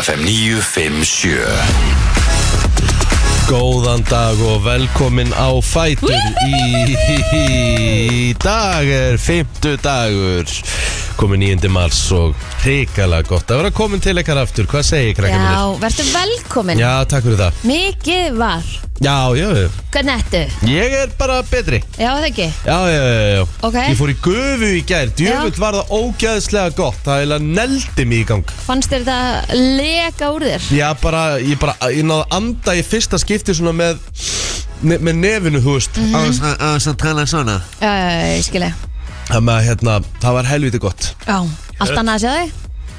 FM 957 Góðan dag og velkomin á Fætur í, í dag er fymtu dagur komið 9. mars og hrikalega gott að vera komin til ykkar aftur hvað segir krakkar Já, mínir? verður velkomin Já, takk fyrir það Mikið var Já, já, já. Hvernig ertu? ég er bara betri Já, það ekki Já, já, já, já Ok. Ég fór í gufu í gær, djöfull var það ógæðslega gott Það heila neldi mig í gang Fannst þér þetta leka úr þér? Já, bara, ég bara, ég náði að anda í fyrsta skipti svona með ne- með nefinu, þú veist Á svona- á svona tala svona Já, já, já, ég skilja Þannig að, hérna, það var helviti gott Já, allt annað að sjá þig?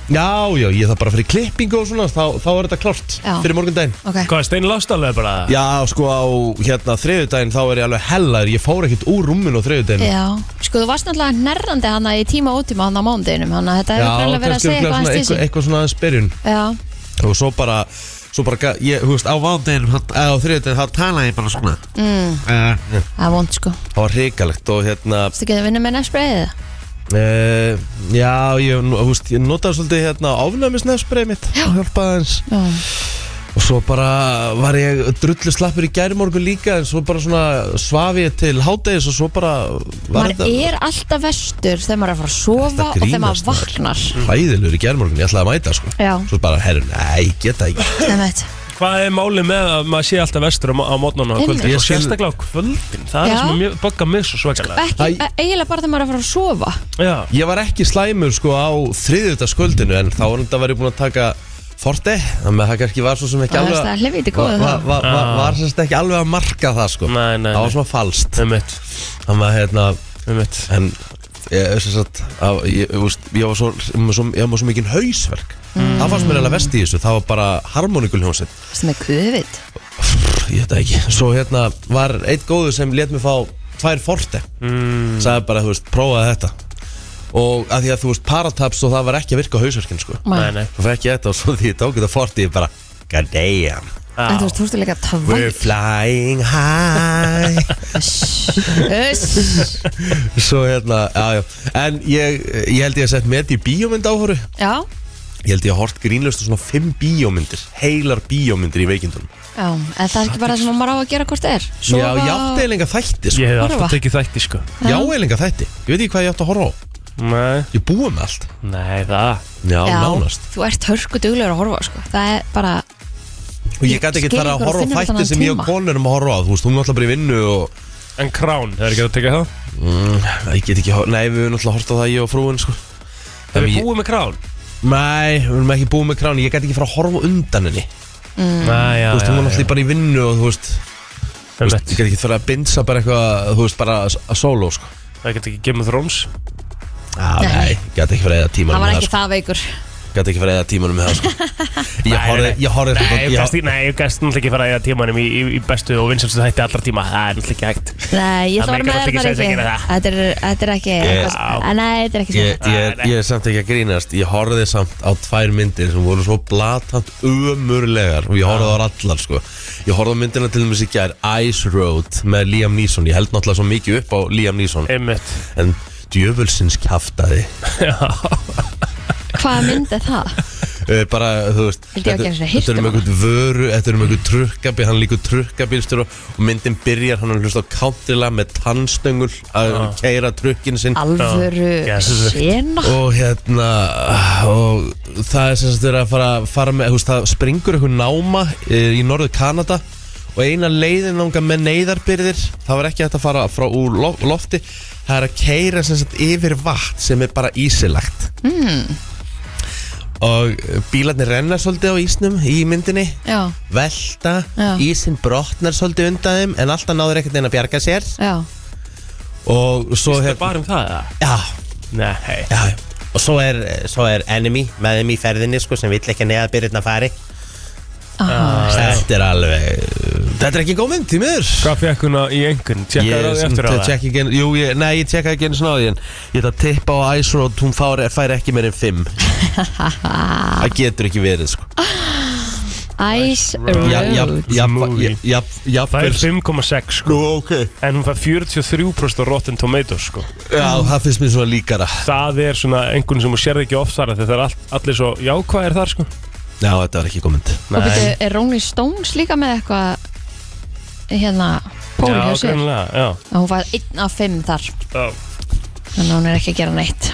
Já, já, ég þarf bara fyrir klippingu og svona þá, þá er þetta klárt Já. fyrir morgundaginn Ok Hvað, Steini Lost alveg bara? Já, sko á hérna þriðudaginn þá er ég alveg hellaður Ég fór ekkert úr rúminu á þriðudaginn Já, sko þú varst náttúrulega nærrandi hana í tíma og ótíma hana á mánudeginum Þannig að þetta hefur greinlega verið að segja sko svona, eitthvað eitthvað, hans til þessi eitthvað svona aðeins byrjun Já, Og svo bara, svo bara, ga- ég, þú veist, á, Á vándeginum, á þriðudegin, þá tala ég bara svona mm. það er vond sko það var hrikalegt Og hérna, Þú getur að vinna með nefnsbreiðið Já, uh, já, ég, nú- þú veist, ég notaði svolítið hérna áfnæmisnefsbreið mitt Og hjálpaði hans Og svo bara var ég drullu slappur í gærmorgun líka En svo bara svona svafi ég til hádegis Og svo bara var maður er alltaf vestur þegar maður er að fara að sofa Ertu að og þegar grínast, maður maður? vaknar hræðilur í gerðmorgun, ég ætlaði að mæta sko. Já, Svo bara, herru, nei, geta ekki það veit Hvað er málið með að maður sé alltaf vestur á, á mótnarna og á kvöldin? Einmitt. Og sérstaklega á kvöldin, það Já. Sko, er sem mjög bugga mig svo svakalega. Ekki, e, Æ. eiginlega bara þegar maður er að fara að sofa Já, Ég var ekki slæmur sko á þriðutaskvöldinu En þá var þetta verið búin að taka forte Þannig að það kannski var svo sem ekki Það er alveg það helviti var, góðu var, það var, var, Ah. var sérst ekki alveg að marka það sko Nei, nei, Það nei. var svona falskt ummitt, Þannig að hérna ummitt. En ég, sem sagt, að, ég, þú veist, ég var svo, ég var svo, ég var svo mikið hausverk Það fannst mér alveg vest í þessu Það var bara harmonikulhjónsinn sem er kufið Ég veit það ekki Svo hérna var eitt góður sem let mér fá tvær forte mm. Sagði bara, þú veist, prófaði þetta Og að því að þú veist, parataps og það var ekki að virka á hausverkinn, sko Nei, nei. Svo fekk ég þetta og svo því ég tók þetta forte Ég bara, god damn En þú veist, þú ert líka We're tvætt flying high Svo hérna, já, já En ég, ég held ég að sett með í bíómynd áhóru Já, Ég held ég að hort grínlöst á svona fimm bíómyndir Heilar bíómyndir í veikindunum já, en það er ekki bara það sem maður á að gera hvort er Já, ég átti eiginlega þætti, sko Ég hef Horfa. alltaf tekið þætti, sko. Já, eiginlega þætti Ég veit ekki hvað ég átti að horfa á Nei, Ég búið með allt nei, það. Já, Já, nánast þú ert hörku duglegur að horfa sko. Það er bara, Og ég gæti ekki Skil þar að ykkur og horfa á finnum þætti þennan sem ég og tíma. konur erum að horfa á Þú veist, hún er alltaf bara í vinnu og Mm, En krán, það er ekki að tekja það? Ég get ekki, hor- nei, við erum alltaf að horfa á það ég og frúin sko. Það En við ég- búið með krán? Nei, við erum ekki búið með kráni Ég gæti ekki fara að horfa á undan henni Mm. Nei, já, Þú veist, hún er já, alltaf bara í vinnu og þú veist já. þú veist, Ég Ummitt. gæti ekki fara að binsa bara eitthvað Þú veist, bara s- að solo sko. Það get ekki Game of Thrones. ah, Nei, ég gæti ekki fara að eða hann tímanum var með ekki það sko. það veikur Gæti ekki fara að eða tímanum með það sko. Ég Nei, horfði- nei. Ég horfði Nei, ég ég- gæst náttúrulega ekki fara að eða tímanum í, í, í bestu og vinsalstu þætti allra tíma. Það er náttúrulega ekki hægt. Nei, ég ætla að vera með Amerikanar þér þykir þar sætt að ekki gera það. Þetta er, þetta er ekki Ég- eitthvað- Nei, þetta er ekki Ég, svona ég, ég er samt ekki að grínast Ég horfði samt á tvær myndir sem voru svo blatant umurlegar og ég horfði á þær allar sko Ég horfði á myndina til þess að gær Ice Road með Liam Neeson Ég held náttúrulega svo mikið upp á Liam Neeson Ummitt. en djöfulsins kjaftaði Hvað myndi það? Eh, bara, þú veist Vildi ég þetta, ekki einu sinni heyrt þetta er um um hana? einhvern vöru, þetta er um einhvern trukkabíl hann er líka trukkabílstjóra og myndin byrjar hann er hlust á kántilega með tannstöngul að ah. keira trukkin sinn Alvöru Jesus. sena og hérna og það er sem sagt verið að fara, fara með, þú veist, það springur einhver náma eh, í norðu Kanada og eina leiðin ánga með neyðarbyrðir það var ekki hægt að fara frá úr lo- lofti það er að keira sem sagt yfir vatn sem er bara ísilagt mm. Hmm. og bílarnir renna svolítið á ísnum í myndinni Já, velta, Já. ísin brotnar svolítið undan þeim en alltaf náður ekkert einn að bjarga sér já, og svo Það er hef, bara um það, eða? já, Nei. Já, já. og svo er, svo er enemy með þeim í ferðinni sko, sem vill ekki að neðabyrðin að fari Ah. Aha. Þetta er alveg Þetta er ekki góð mynd, því miður Hvað fekk hún í engun? Tjekkaðu það eftir á það? tjekka ekki einu- Jú, ég, nei, ég tjekka ekki eins og náði en Ég ætla að tippa á Ice Road, hún fær, fær ekki meir en 5 Það getur ekki verið sko. Ice Já, já, Road já, já, Movie. já, já Það er 5,6 sko Nú, ok En hún fær 43% á Rotten Tomatoes sko Já, það finnst mér svona líkara Það er svona einhvern sem hún sérði ekki oft þar af því Það er all, allir svo jákvæðir þar sko Já, þetta var ekki komend Og byrju, er Rolling Stones líka með eitthvað hérna pól hjá Já, sér? grunlega, já Að Hún var einn af fimm þar, Já. þannig að hún er ekki að gera neitt.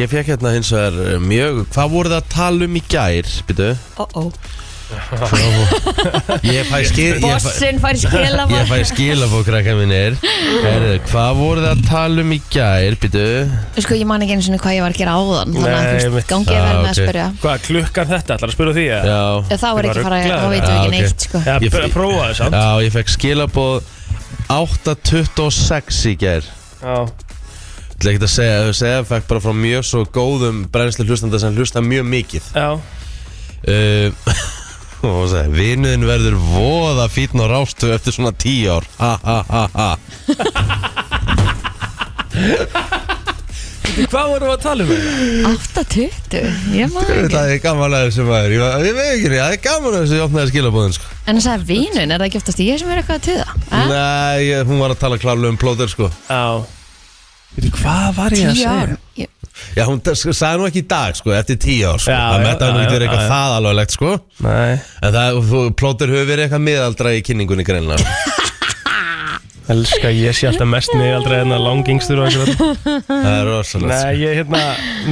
Ég fekk hérna hins vegar eh, mjög Hvað voru það að tala um í gær, byrju? Uh-oh. Ég fæ skil Ég fæ, Bossinn fær skila ég fæ skila fór krakka mínir Heyrðu, Hvað voru það að tala um í gær, byrju? Sko, ég man ekki eins og hvað ég var að gera áðan Þannig að Nei, þú mitt. veist, gangi ég vel Ah, með að ok. spyrja Hvað, klukkan þetta? Ætlar að spyrja því eða? Já Ef Þá er Ég var ekki að fara, ruglaður. þá veitum við Ah, ekki ok. neitt, sko Já, Ég- bara prófa þess að Já, ég fekk skilabóð 8.26 í gær Já, Ég ætla ekki að segja, að segja fekk bara frá mjög svo góðum brennslu hlustanda sem hlusta mjög mikið já uh, og hún sagði, vinuðin verður voða fítn og rástu eftir svona tíu ár ha ha ha ha Bíddu, Hvað vorum við að tala um þetta? 8.20, ég man ekki Það er gaman að þessu maður, ég, var- ég veit ekki, það er gaman að þessu ég opnaði skilabóðin sko. En það er vínun, er það ekki oftast ég sem er eitthvað að tuða? Eh? Nei, ég, hún var að tala klálega um plóður sko. Já Veitu, hvað var ég að Tíu segja? ár Ég- Já, hún sko, sagði nú ekki í dag, sko, eftir tíu ár sko. Já, Það já, metta hann já, ekki verið já, eitthvað já. það alveglegt sko. Nei, En það, plóður hefur verið eitthvað miðaldra í kynningunni greinlega elska ég sé alltaf mest niður aldrei en að langingstur og eitthvað Það er rosalegt sko. Nei, ég hérna,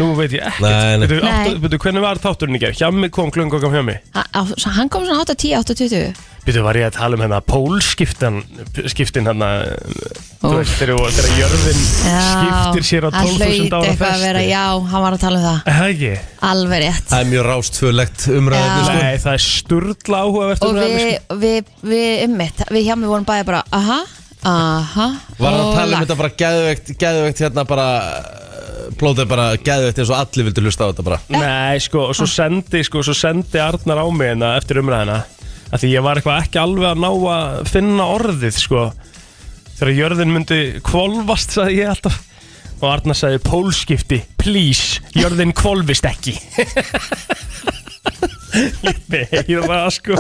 nú veit ég ekkert Nei, nei. Veitu, átta- Nei. Veitu, hvernig var þátturinn í gerð? Hjá kom klunga kom hjá mig Á- á- svo Hann kom svona 8.10, 8.20 Býtu, var ég að tala um hérna pólskiptin skiptin hérna þú Úff. veist, þegar, þegar jörðin skiptir sér á 12.000 Það hlaut ára eitthvað að vera, festi já, hann var að tala um það Það ekki? Alveg rétt Það er mjög rástfölegt umræðinu Já. sko. Nei, það er sturla áhugavert Og umræða, við, sko. við, við, ummitt, við hjá mig vorum bæði bara, aha, aha Var hann og að tala um lag. þetta bara geðveikt, geðveikt hérna bara eh, Plótið bara geðveikt eins og allir vildu hlusta á þetta bara Nei, sko, og svo sendi, sko, svo sendi Arnar á mig hérna eftir umræðina af Því ég var eitthvað ekki alveg að ná að finna orðið, sko Þegar jörðin myndi kvolvast, sagði ég alltaf Og Arnar sagði pólskipti, please, jörðin kvolvist ekki Ég heyra það, sko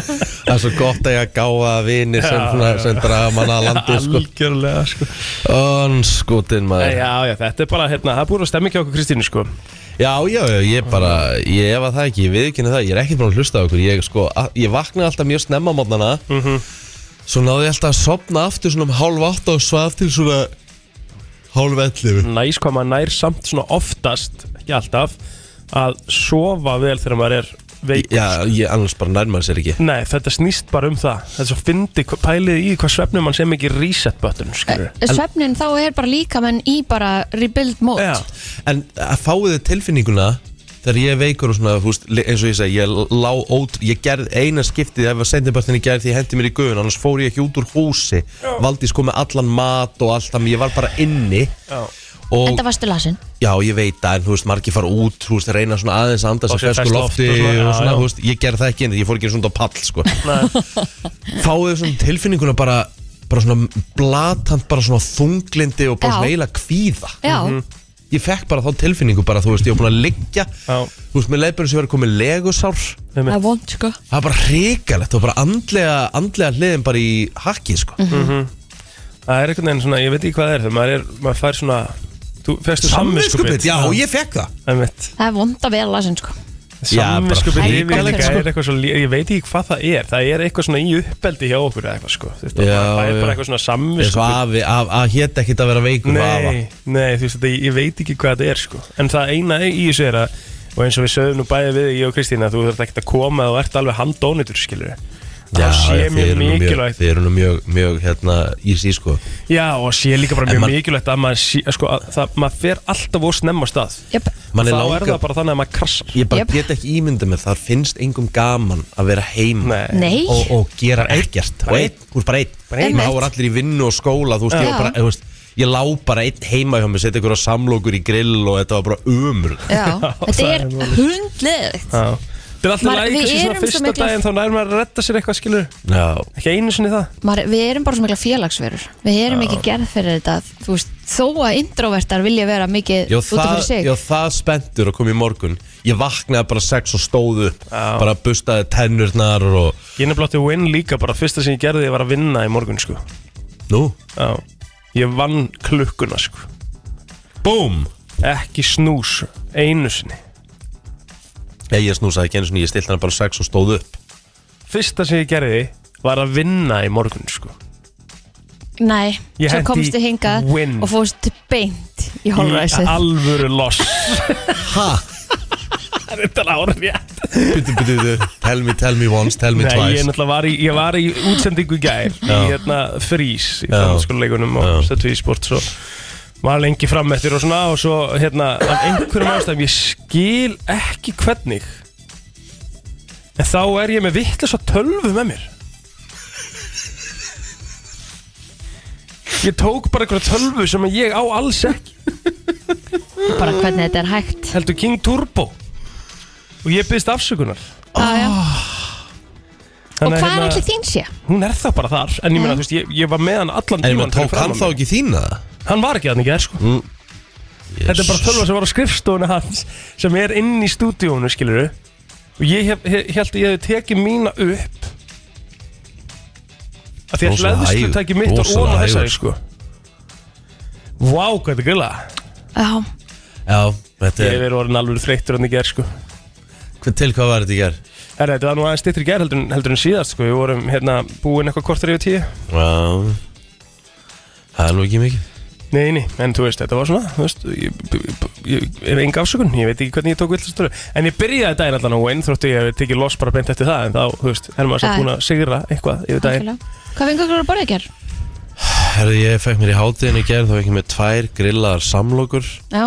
Það er svo gott að ég að gáða vinir sem, Já, svona, já. sem draga manna að landi sko Algjörlega, sko Eh, Onskotin maður Já, Já, já, þetta er bara, hérna, það er búin að stemmi ekki okkur Kristínu, sko já, já, ég bara, ég ef að það ekki, ég viðkynna það, ég er ekki búin að hlusta á okkur Ég sko, a- ég vaknaði alltaf mjög snemma mótnana mm Mhm. Svo náði ég alltaf að sopna aftur svona um hálf átta og svaf til svona hálf ellir næs hvað maður nær samt svona oftast ekki alltaf að sofa vel þegar maður er veik Já, ég annars bara nærmaður sér ekki Nei, þetta snýst bara um það þetta er svo fyndi pælið í hvað svefnum mann sem ekki reset button skilur Eh, Svefnin þá er bara líka menn í bara rebuild mode Já, En að fáið þið tilfinninguna Þegar ég er veikur og svona, þú veist, li- eins og ég segi, ég lá ót, ég gerð eina skiptið ef að sendibartin ég gerð því ég hendi mér í guðun, annars fór ég ekki út úr húsi, valdís komið allan mat og allt það, ég var bara inni já. og Enda varstu lasin já, ég veit að, en þú veist, margir fara út, þú veist, reyna svona aðeins að anda Og sem sér fesku ferskt lofti loft og og svona, svona, já, já. þú veist, ég gerð það ekki inn, ég fór ekki svona á pall, sko. Nei, Fáið þið svona tilfinninguna bara, bara svona blatant, bara svona þunglindi og bara Já. svona eiginlega kvíða Mhm. Já, ég fekk bara þá tilfinningu bara, þú veist, ég var búin að liggja Já. þú veist, mér leið bara eins og ég var að koma í legusár það er vond sko það var bara hrikalegt og bara andlega andlega hliðin bara í hakki, sko Mhm. Mhm. það er einhvern veginn svona, ég veit ekki hvað það er þegar maður, er, maður fær svona þú fyrstu samvinskupið Samviskubit, já, ég fekk það Það er vond að vera lasin sko Já, bara samvinskupið yfirleika hrikalegt, sko. er eitthvað svo lé- ég veit ekki hvað það er, það er eitthvað svona í uppeldi hjá okkur eða eitthvað sko þetta Já, er já. bara eitthvað svona eins og samvinskupið afi, af, að hétt ekkit að vera veikur með afa. Nei, nei, þú veist þetta, ég, ég veit ekki hvað þetta er sko En það eina í þessu er að Og eins og við sögum nú bæði við, ég og Kristín Að þú þarf ekkert að koma og ert alveg handónitur skilur Já, Já, sé já, mjög nú mjög, mikilvægt þið eru nú mjög, mjög hérna, í sí, sko Já, og sé líka bara En mjög man- mikilvægt að maður sé, sko, að það, maður fer alltaf úr snemma á stað Jöp. Þá Manni er það langar, bara þannig að maður krassar ég bara Jep. get ekki ímynda með þar finnst engum gaman að vera heima Nei, Nei, og, og gera ekkert og Bara einn, þú veist bara einn Bara einn. þá er allir í vinnu og skóla þú veist, ég, Já. var bara, þú veist, ég lá bara einn heima hjá mig setja ykkur á samlokur í grill og þetta var bara umur já, þetta það er er málið. hundleðikt Já. Þetta er alltaf Maður- læg, við kannski svona erum svo fyrsta mikla- daginn Þá nær maður að redda sér eitthvað skilur Já, Ekki einu sinni það Maður, Við erum bara svo mikla félagsverur Við erum ekki gerð fyrir þetta Þú veist, þó að introvertar vilja vera mikið já út af fyrir það, sig já, það spenntur að koma í morgun ég vaknaði bara sex og stóð upp Já. bara bustaði tennurnar og Ég nefnilega átti win líka, bara fyrsta sem ég gerði Ég var að vinna í morgun sko nú, Já. Ég vann klukkuna sko búm ekki snús einu sinni Ég, ég snúsaði ekki einu sinni, ég stilt hana bara sex og stóð upp Fyrsta sem ég gerði var að vinna í morgun sko. Nei, Ég svo henti komstu í hingað win. og fóst beint Í í holræsið alvöru loss Þetta er árið rétt Bitu, bitu, bitu Tell me, tell me once, tell me Nei, ég, twice náttúrulega var í, ég var í útsendingu í gær í Já. hérna frís í Já. framhaldsskóluleikunum og Já. stöttu í sport svo var lengi fram eftir og svona og svo hérna af einhverjum ástæðum ég skil ekki hvernig en þá er ég með vittlis að tölvu með mér ég tók bara einhverja tölvu sem ég á alls ekki bara hvernig þetta er hægt heldur King Turbo og ég byrðist afsökunar ah, já. Og Þannig að, hérna, hvað er allir þín sé? hún er það bara þar en ég meina, þú veist, ég, ég var með hann allan En tíman maður tók hann þá ekki þína Mm. hann var ekki hann ekki, sko þetta er bara tölva sem var á skrifstofunni hans sem er inn í stúdíónu, skilur og ég hef, hef, held að ég hef tekið mína upp af því að Rosalega hlæðislu hægur, tæki mitt og rosalega óna þessari, hægur. sko Vá, hvað þetta er grilla Já, Já, þetta Ég hef er verið orðin alveg þreyttur hann í gerð sko Hva- Til hvað var þetta í gerð? Herra, þetta var nú aðeins styttri í gerð heldur, en- heldur en síðast sko Við vorum hérna búin eitthvað kortur yfir tíu Já Það er nú ekki mikið Nei, nei, en þú veist, þetta var svona þú veist, ég, ég, ég er enga afsökun ég veit ekki hvernig ég tók villastur en ég byrjaði daginn allan á einn þróttu ég hef tekið loss bara beint eftir það en þá, þú veist, er maður Já, samt já. búin að sigra eitthvað yfir daginn algjörlega Hvað fengur ykkur að borða ykkur? Herðu, ég fekk mér í hátíðinu í gerð Þá fekk ég mér tvær grillaðar samlokur Já,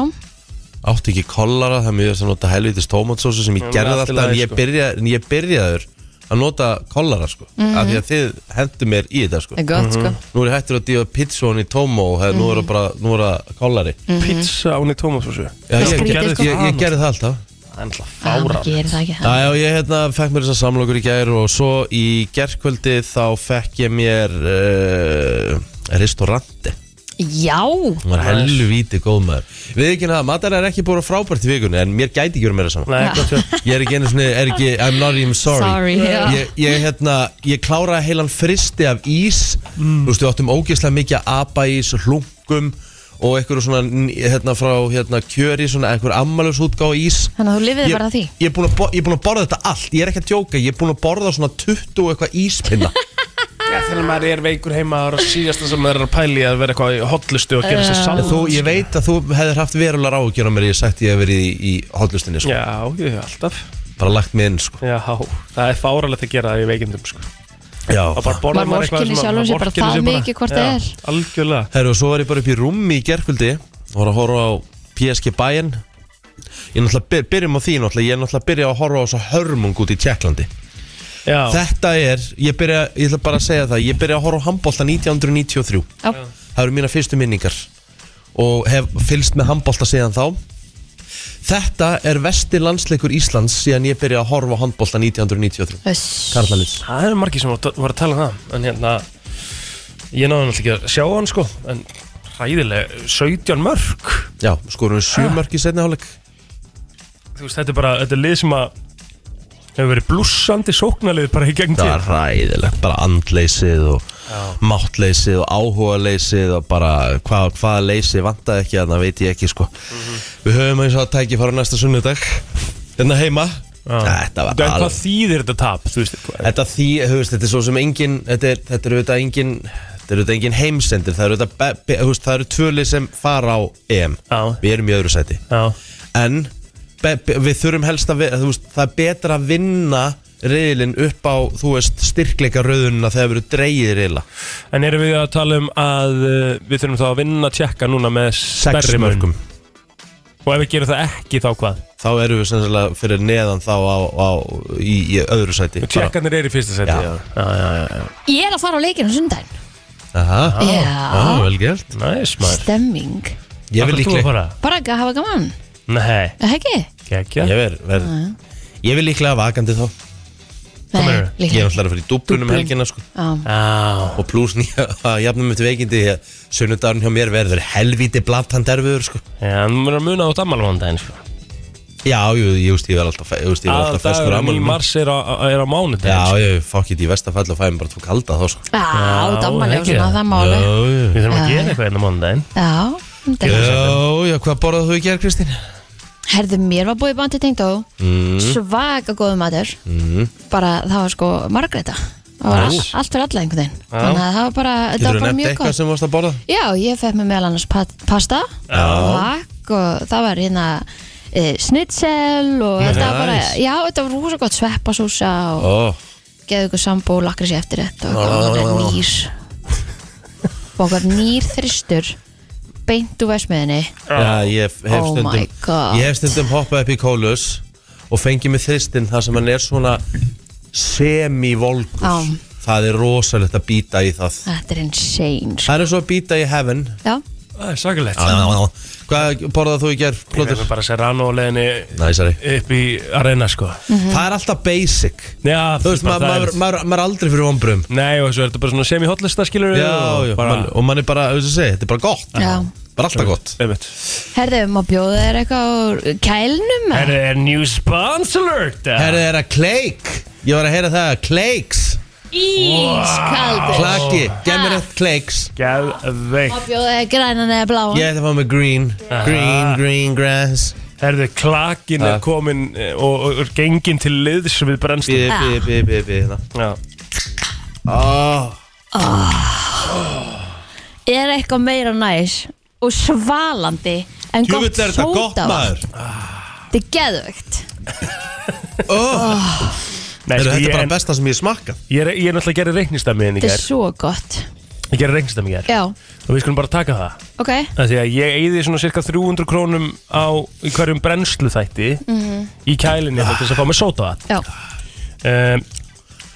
átti ekki kollara það mér þess að nota helvitis tómatsósu sem ég Já, gerði allt í alltaf lagi, en ég, sko. byrja, en ég byrjaður að nota kollara sko af því að þið hendur mér í þetta sko Mhm. það er gott sko Mhm. nú er ég hættur að dífa pizzón í tómo og hef, nú er það bara nú er það kollari pizza án í tómasósu já, Það ég, er ég, skrítið, ég, sko. ég, ég gerði það alltaf það er alltaf Já, maður fára gerir það ekki Já, já, ég hérna, fekk mér þessar samlokur í gær og svo í gærkvöldi þá fekk ég mér uh, restauranti Já, hún var helvíti góð maður við ekki hérna, matar er ekki búin að frábært í vikunni en mér gæti ekki verið meira saman Nei, gott, já. Ég er ekki einu svona, er ekki, I'm not even sorry, Sorry, já. Ég, ég, hérna, ég kláraði heilan fristi af ís Mm. Þú veist, við áttum ógeðslega mikið af apaís, hlungum Og einhverju svona, ný- hérna, frá, hérna, kjöri Svona einhverju ammælusútgáð ís þannig að þú lifiði Ég, bara því ég, er búinn að bo- ég er búin að borða þetta allt, ég er ekki að djóka Ég er búin að borða svona 20 og eitthvað íspinna Já, þegar maður er veikur heima það er að síðasta sem maður er að pæli að vera eitthvað í hotlustu og gera sér En salat þú, ég veit að þú hefðir haft verulega ráðugjör á mér Ég hef sagt ég hef verið í, í hotlustinni, sko Já, ég, alltaf Bara lagt mig inn, sko Já, það er fáralegt að gera það í veikindum sko. Já, Það bara borðar Maður vorkennir sem að- sjálfum sér bara vorkennir það sér mikið hvort það Já, er. Algjörlega Herru, og svo var ég bara upp í rúmi í gerkvöldi og var að horfa á PSG Bayern Ég náttúrulega byr, byrjum á því náttúrulega Ég er náttúrulega byrja að horfa á þessa hörmung út í Tjekklandi Já. Þetta er, ég byrja, ég ætla bara að segja það Ég byrja að horfa á handbolta 1993 Já, Það eru mína fyrstu minningar Og hef fylst með handbolta síðan þá Þetta er vesti landsleikur Íslands síðan ég byrja að horfa á handbolta 1993 uss. Karlalins Það eru margir sem voru voru að tala um það En hérna Ég náði náttúrulega ekki að sjá hann sko En hræðilega 17 mörg Já, skorum við sjö mörk í setni hálfleik Ah. Þú veist þetta er bara Þetta er lið sem að Hefur verið blúsandi sóknalið bara í gegn til Það var ræðilegt, bara andleysið og máttleysið og áhugaleysið og bara hvað, hvaða leysið vantaði ekki þannig veit ég ekki sko Við höfum eins og að tæki fara næsta sunnudag hérna heima Þetta var Þetta er alveg hvað þýðir þetta tap Þú veist hvað Þetta því, þú veist, þetta er svo sem engin þetta er, þetta er auðvitað engin þetta er auðvitað engin heimsendir það eru, auðvitað be- be- þú veist, það eru tvölið sem fara á EM Já. Við erum í öðru sæti Já en be, be, við þurfum helst að vera, þú veist, það er betra að vinna reilin upp á þú veist, styrkleika rauðununa þegar við erum dreigið reila En erum við að tala um að uh, Við þurfum þá að vinna tjekka núna með sex stærri mörgum mörgum Og ef við gerum það ekki þá hvað þá erum við sennilega fyrir neðan þá á, á, í, í öðru sæti Tjekkanir eru í fyrsta seti Já. já. Já, já, já, já. Ég er að fara á leikinu sundaginn Aha, ah, Já, vel gert Næs maður stemming Ég Akkur þú vil að líklega fara? Bara ekki að hafa gaman, Nei, er það ekki? gekkja Ég, ver, ver, ég vil líklega vakandi þá meinarðu? Ég er líklega náttúrulega að fara í dúblunum Dúblun. helgina sko. Já. Já Og pluss nýja að jafnum mitt veikindi því að Sunnudarinn hjá mér verður helvíti blatant erfiður sko. Já, hann verður að muna út ammálum hann sko. Já, jú, jú, ég veist ég verð alltaf, fe- ég veist, ég verð alltaf feskur Aðaldagurinn í afmælinu. mars er á, er á Já, mánudaginn sko. ég fokk ég í vestafall og fæði mér bara tvo kalda þá sko. Já, dammalega ekki. svona, það máli Við þurfum að Já. gera eitthvað enn á mánudaginn Já, þetta er já, já, hvað borðað þú í gerð, Kristín? herðu mér var búið bandi tengt á Mm. svaga góðu matur Mm. bara það var sko margreita það var Já. all, allt fyrir alla einhvern veginn Já. þannig að það var bara, þetta Getur var þú bara nefnt mjög eitthvað gott sem þú varst að borða? já, ég fekk mér meðal annars pat, pasta Já. lakk og það var hérna e, snitsel og þetta var bara Nice. já, þetta var rosa gott sveppasúsa og Ó, geðu ykkur sambó lakri sér eftir þetta Já, já, og já, eitthvað já. nýr og okkar nýr þristur beint úr vesmiðinni Já, ég hef hef Oh my stundum God. Ég hef stundum hoppað upp í kólus og fengið mig þristinn þar sem hann er svona semi-volgur Já. Það er rosalegt að býta í það þetta er insane sko. Það er svo að býta í heaven já, Það er sakalegt Hvað borðað þú í gerð? Ég nefnir bara Serrano leðinni Næsari upp í arena sko Mhm. Það er alltaf basic Já, Þú veist, bara það maður er- maður- maður- maður er aldrei fyrir vonbrum Nei, og svo er þetta bara svona semi-hotlista skilur Já, já, bara, mann- og mann er bara, þú veist að segja, þetta er bara gott já. Bara alltaf gott einmitt. herðu, má bjóða þér eitthvað úr kælnum eða? Herri, er new sponsor alert, eh? Herðu þeirra kleik Ég var að heyra það, kleiks ískaldur Klaki, gef mér eitt kleiks má Geðveikt bjóða þér grænan eða bláan Ég ætla að fá mig green Green, green grass Herri, klakin Ah. er komin eh, og, og, og gengin til liðs við brennstum Bíði, bíði, Ah. bíði, bíði, bíði hérna. Ah. Já, Ó, Ah. er eitthvað meira næs og svalandi en Jú veit gott er þetta gott sódavatn maður þetta er geðvögt Nei, Heyrðu, sko, Þetta ég, er bara en, besta sem ég smakka ég, er, ég er náttúrulega gerði reiknistæmi en ég þetta er ger svo gott Ég gerði reiknistæmi ég ger já, Og við skulum bara taka það ok, Það því að ég eyði svona cirka 300 krónum á í hverjum brennslu þætti í kælinni ah. til þess að fá mig sóta Mhm, já, það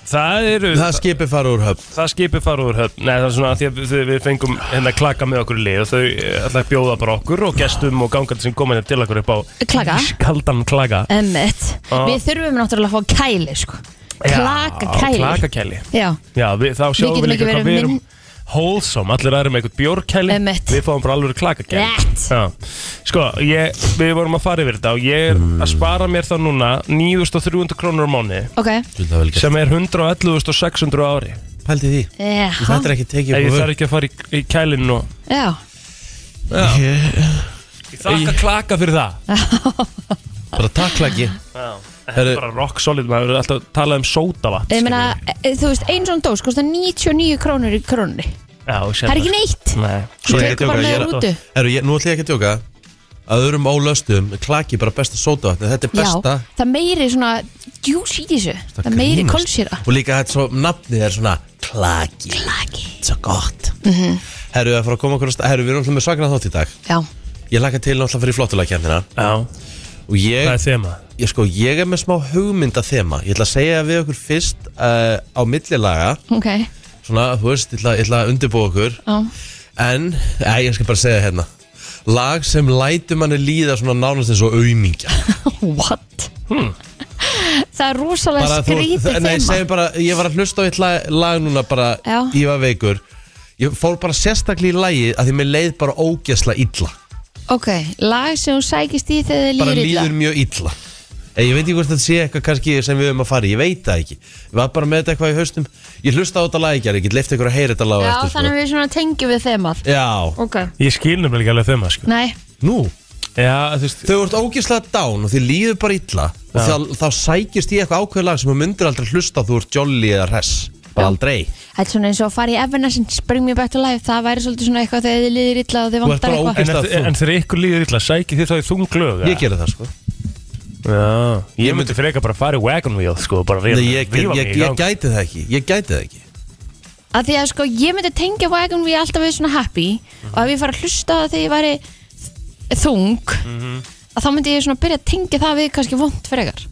Það eru Það skipir fara úr höfn Það skipi fara úr höfn Nei það er svona að því að við, við fengum hérna klaka með okkur í lið og þau eh, ætla að bjóða bara okkur og gestum og gangandi sem koma hérna til okkur upp á Klaka. Ískaldan klaka emmitt Ah. við þurfum náttúrulega að fá kæli sko. klaka kæli Klakakæli já, Já við, þá sjáum getum við ekki líka verið hvað við erum minn- wholesome, allir aðrir með eitthvað bjórkæli Einmitt. Við fáum bara alveg klakakæli Rétt. Já. Sko, ég, við vorum að fara yfir þetta og ég er að spara mér þá núna 9.300 krónur á mánu ok Sem- sem er 111.600 á ári Pældi því já, Þetta er ekki tekið Ef upp ég á þarf vörn. ekki að fara í, í kælinn og já. Ég þakka klaka fyrir það Bara takk klaki Þetta er bara rock solid, maður er alltaf að tala um sódavatt Ég meina, e, þú veist, ein svona dós kostar 99 krónur í krónunni Það er ekki neitt Nei, Svo ég Ég tjóka, tekur ég bara með er- rútu Herru, ég- nú ætla ég ekki að tjóka Að öðrum ólöstum, klaki er bara besta sódavatn Þetta er Já, besta það meiri svona djús í þessu Það að meiri grínast. kolsýra Og líka þetta svo, nafnið er svona Klaki Laki Svo gott Mhm. Herru, það er að fara að koma okkur á stað Herru, við erum alltaf með svakna þátt í dag Já, Ég laka til náttúrulega fyrir flottulega já, Og ég það er þema Ég sko, ég er með smá hugmynda þema Ég ætla að segja við okkur fyrst uh, á millilaga ok Svona, þú veist, ég ætla, ég ætla að undirbúa okkur Já, En, ei, ég skal bara segja hérna Lag sem lætur manni líða svona nánast eins og aumingja Hmm. what? Það er rosalega Bara þú- skrítið Nei, þema segjum bara, ég var að hlusta á eitt lag, lag núna bara Já. Ég var veikur Ég fór bara sérstaklega í lagi að því mér leið bara ógesla illa Ok, lag sem þú sækist í þegar þið Bara líður illa líður mjög illa Eh, Ég veit ekki hvort þetta sé eitthvað kannski sem við höfum að fara í, Ég veit það ekki Ég var bara með þetta eitthvað í haustum Ég hlusta á þetta lag í gær, Ég get leift ykkur að heyra þetta lag á Já, eftir, sko. þannig að við svona tengjum við þemað Já, Ok Ég skil nefnilega ekki alveg þema, sko Nei, nú Já, þú veist, Þau ert ógislega down og þið líður bara illa og Já. þá, þá sækist ég eitthvað ákveð lag sem þú myndir aldrei hlusta á þú ert jolly eða res bara aldrei þetta er svona eins og að fara í Evanescence, Bring Me Back to Life Það væri svolítið svona eitthvað þegar þið líður illa og þið ert vantar bara eitthvað en, Veist að eftir, þú- en þegar ykkur líður illa, sækir þið þá í þunglög Ég gerði það sko Já, ég myndi- myndi freka bara fara í wagon wheel, sko Bara Nei, ríða, ég, ég, ég, ég gæti það ekki Ég gæti það ekki að því að sko ég myndi tengja Wagon Wheel alltaf við svona happy og ef ég fara að hlusta á það þegar ég væri þung að þá myndi ég svona byrja að tengja það við kannski vond fyrir ykkar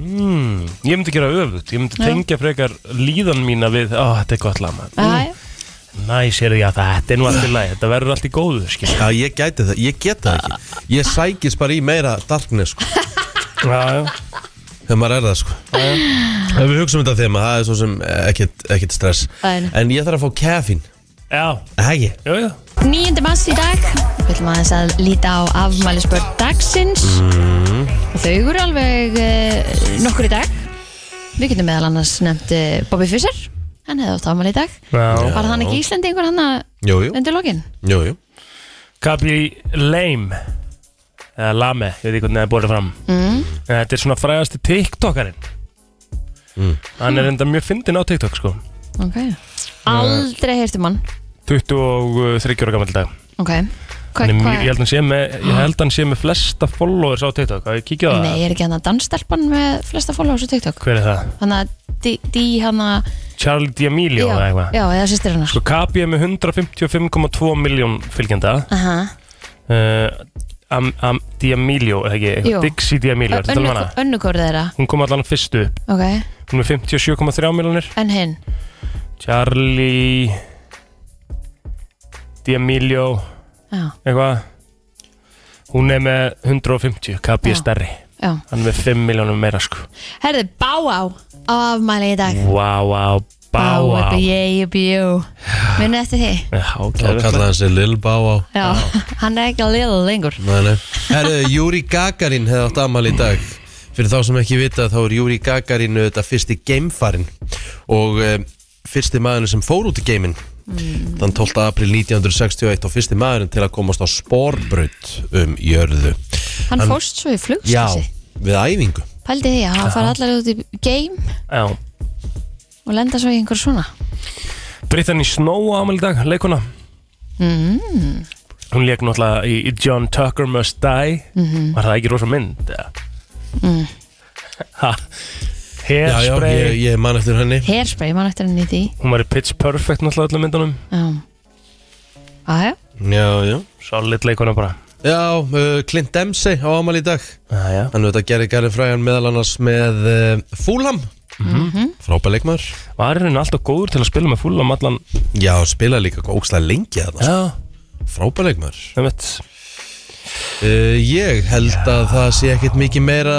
mm, Ég myndi gera öfut, ég myndi Já. tengja frekar líðan mína við Ó, þetta er gott lama mm. Næs, er því að þetta er nú allt í lagi Þetta verður allt í góðu, skil Já, ég gæti það, ég get það ekki Ég sækist bara í meira darkness sko Já, já þegar maður er það sko Ef við hugsaum þetta þegar það er svo sem eh, ekkert, ekkert stress Nei, nei. En ég þarf að fá kaffín Já, Ægir já, já 9. mass í dag við ætlum aðeins að líta á afmælisbörn dagsins Mm-hmm. og þau eru alveg uh, nokkur í dag við getum meðal annars nefnt uh, Bobby Fischer hann hefði átt afmæli í dag Já. var hann ekki Íslendingur hann að Jú, jú, undir lokin jú, jú Kabi Lame eða Lame, ég veit ekki hvernig það er borðið fram Mm. en þetta er svona frægasti TikTokarinn Mm. hann er enda mjög fyndin á TikTok sko Ok Aldrei heyrtum hann 23 ára gammal dag Ok Hvað, hann er hva? mjög, ég, held hann sé með, ég held hann sé með flesta followers á TikTok að ég kíkja á það, Nei, er ekki hann að dansstelpan með flesta followers á TikTok hver er það? Hann að Dí hann að Charlie D'Amelio eða Já, eitthvað já, eða sýstir hennar Sko Kabi er með 155,2 miljón fylgjenda Aha. uh, am, am, D'Amelio, eða ekki Ah. Jú. eitthvað, Dixie D'Amelio, ertu að tala um Önnu- hana? Önnukórið þeirra Hún kom allan fyrstu upp Ok Hún er með 57,3 miljonir En hinn Charlie D'Amelio Já, Eitthvað Hún er með 150 Kabi Já. er stærri já Hann er með 5 miljonum meira sko Herði, Báá á afmæli í dag Vá, vá, bá, vá Yay, bjú Minni eftir því Þá kallaði Hákjæður hann sig Lil Bá á Já, hann er ekki að liða lengur Herðu, Júri Gagarin hefði átt amal í dag Fyrir þá sem ekki vita þá er Júri Gagarin auðvitað fyrsti geimfarin Og um, fyrsti maðurinn sem fór út í geiminn Þann 12. april 1961 og fyrsti maðurinn til að komast á sporbraut um jörðu Hann fórst svo í Já, flugslýsi við æfingu Pældi því að hann fara allar út í game og lenda svo í einhver svona Brittany Snow á ámæli dag, leikuna mm. Hún leik náttúrulega í í John Tucker Must Die Mhm. Var það ekki rosa mynd? eða? Mm. Ha, Já, já, ég, Hairspray ég man eftir henni Hairspray, mann eftir henni í því Hún var í Pitch Perfect náttúrulega öllum myndunum Já, aðja Já, já Solid leikuna bara Já, uh, Clint Dempsey á amal í dag Jæja. Hann auðvitað gerði Gary Fræjan meðal annars með uh, Fúlham Mm-hmm. Mhm. Frábær leikmaður Var henni alltaf góður til að spila með fulla allan Já, spilaði líka ógslag lengi að það Já, Frábær leikmaður það veit uh, Ég held að það sé ekkit mikið meira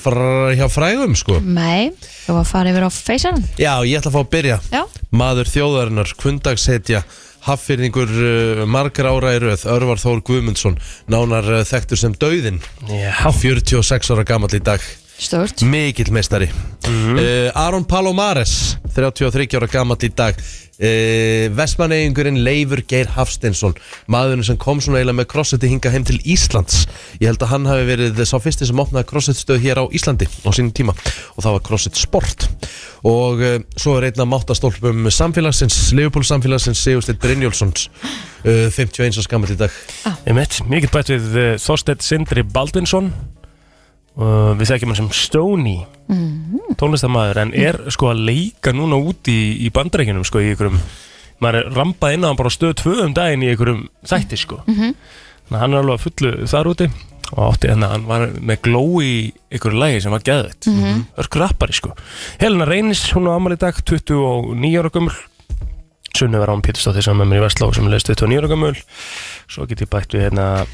fr hjá frægum sko Nei, þú var að fara yfir á feysaran Já, ég ætla að fá að byrja Já, Maður þjóðarinnar, kundagshetja Haffyrningur uh, margar ára í röð Örvar Þór Guðmundsson Nánar uh, þekktur sem Dauðinn Já, 46 ára gamall í dag stort Mikill meistari uh, Aron Palomares 33 ára gamall í dag uh, Vestmanneigingurinn Leifur Geir Hafsteinsson maðurinn sem kom svona eiginlega með crossfiti hinga heim til Íslands ég held að hann hafi verið sá fyrsti sem opnaði crossfitstöð hér á Íslandi á sínum tíma og það var crossfit sport og uh, svo er einn af máttastólpum samfélagsins, Leifupól samfélagsins Sigursteinn Brynjólfssons uh, 51 ára gamall í dag ég veit Mér get bætt við eh, Þorsteinn Sindri Baldvinsson uh, Við þekkjum hann sem Stoney mm Tónlistamæður En er sko að leika núna út í, í bandreikinum Sko í ykkurum Maður er rampað inn á hann bara á stöð tvö um daginn Í ykkurum þætti sko Þannig að hann er alveg að fullu þar úti Og átti hennar, hann var með gló í ykkur lægi sem var geðvægt mm -hmm. rappari sko Helena Reynis, hún á amal í dag 29 ára gömul Sunnivar Rám Pétursdóttir sem er með mér í Vestló sem leist 29 ára gömul Svo get ég bætt við hérna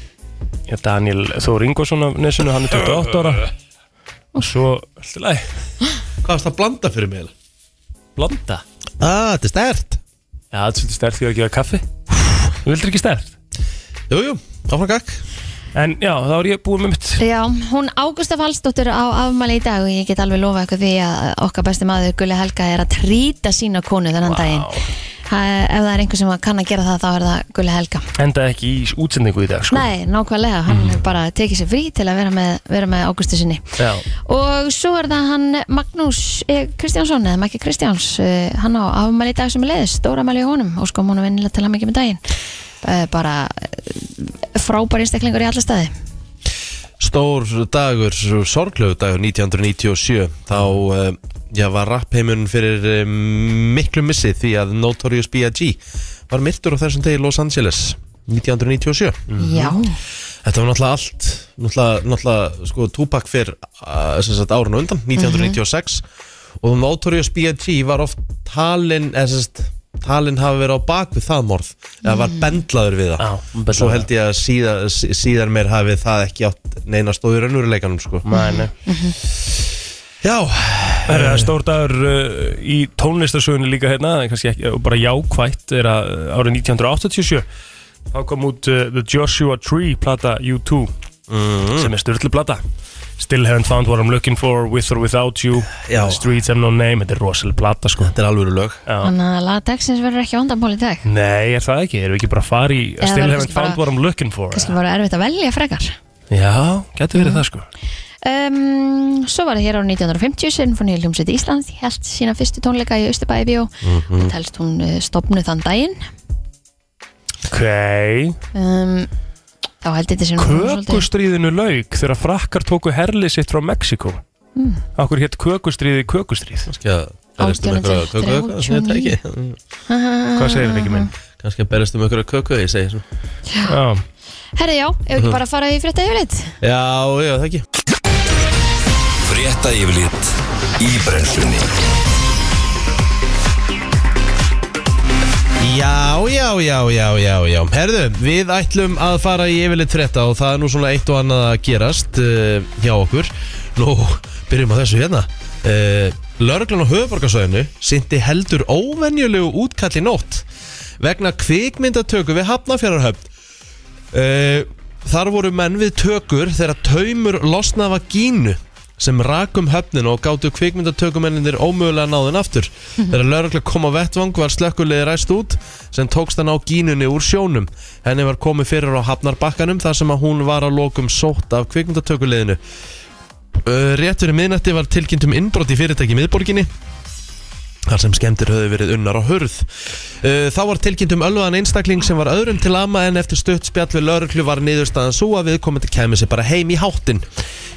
ja, Daniel Þór Ingvarsson af Nesinu, hann er 28 ára og svo, alltaf læg, Hvað varst það að blanda fyrir mig? blonda Ah, þetta er stert Já, þetta er svolítið stærkt því að gefa kaffi Þú vildir ekki stærkt Jújú, áfram gakk En já, þá er ég búið með mitt Já, hún Ágústa Falsdóttir á afmæli í dag og ég get alveg lofa ykkur því að okkar besti maður Gulli Helga er að trýta sína konu þennan daginn ha, Ef það er einhver sem kann að gera það þá er það Gulli Helga Endaði ekki í útsendingu í dag, sko Nei, nákvæmlega, hann hefur bara tekið sér frí til að vera með, vera með Águstu sinni Já, Og svo er það hann Magnús eh, Kristjánsson, eða Maggi Kristjáns eh, Hann á afmæli í dag sem er leiðist, stóra mæli í honum Og sko múnum vinnilega til hann mikið með daginn eh, Bara eh, frábær einstaklingur í alla staði Stór dagur, sorglögu dagur 1997 Þá uh, já, var rappheimun fyrir uh, miklu missi því að Notorious B.I.G. var myrtur á þessum degi í Los Angeles 1997 Já, Þetta var náttúrulega allt Náttúrulega, náttúrulega sko, Tupac fyrir uh, árun og undan 1996 Og um Notorious B.I.G. var oft talin eða, sem sagt, talin hafi verið á bak við það morð eða var bendlaður við það já, betur Svo held ég að síða, sí- síðar mér hafi það ekki átt neina stóður önnuruleikanum sko. Mæni Já, Það er stór dagur uh, í tónlistarsögunni líka hérna, en kannski ekki, og bara jákvætt er að uh, árið 1987 þá kom út uh, The Joshua Tree plata U2 Mhm. sem er styrlu plata Still haven't found what I'm looking for with or without you Já. The Streets have no name, þetta er rosalega plata sko þetta er alveg lög Já. þannig að lagdagsins verður ekki vandamál í dag Nei, er það ekki? Erum við ekki bara að fara í Eða Still verður haven't kannski found bara- what I'm looking for Kannski bara erfitt að velja frekar Já, getur verið það sko Um, svo var það hér á 1950 Sinfonía hljómsveit Íslands held sína fyrstu tónleika í Östubæði bjó mm Mhm. -hmm. telst hún eh, stofnuð þann daginn Ok um, þá held þetta sem Kökustríðinu lauk þegar frakkar tóku herlið sitt frá Mexiko Mm. Akkur hétt kökustríðið kökustríð Kannski að berjast um einhverja köku eða eitthvað sem þetta ekki Hvað segir þetta ekki minn? Kannski að berjast um einhverja köku ég segi svona Já, herri já, ef ekki bara að fara í frétta yfirleitt já, já, það ekki Frétta yfirlit í brennslunni Já, já, já, já, já, já Herðu, við ætlum að fara í yfirleitt frétta og það er nú svona eitt og annað að gerast uh, hjá okkur Nú, byrjum á þessu hérna uh, Lörglan á höfuborgarsöðinu sinti heldur óvenjulegu útkall í nótt vegna kvikmyndatöku við Hafnafjörðarhöfn uh, Þar voru menn við tökur þegar taumur losnaða gínu sem rak um höfnin og gátu kvikmyndatökumennir ómögulega náðin aftur Þegar laurugla kom á vettvang var slökkulegði ræst út sem tókst hann á gínunni úr sjónum Henni var komið fyrir á hafnarbakkanum þar sem að hún var að lokum sótt af kvikmyndatökulegðinu Rétt fyrir miðnætti var tilkynnt um innbrot í fyrirtæki í miðborginni þar sem skemmtir höfðu verið unnar á hurð. Uh, Þá var tilkynnt um ölvaðan einstakling sem var öðrum til ama en eftir stutt spjall við lauruglu var niðurstaðan svo að viðkomandi kæmi sér bara heim í háttin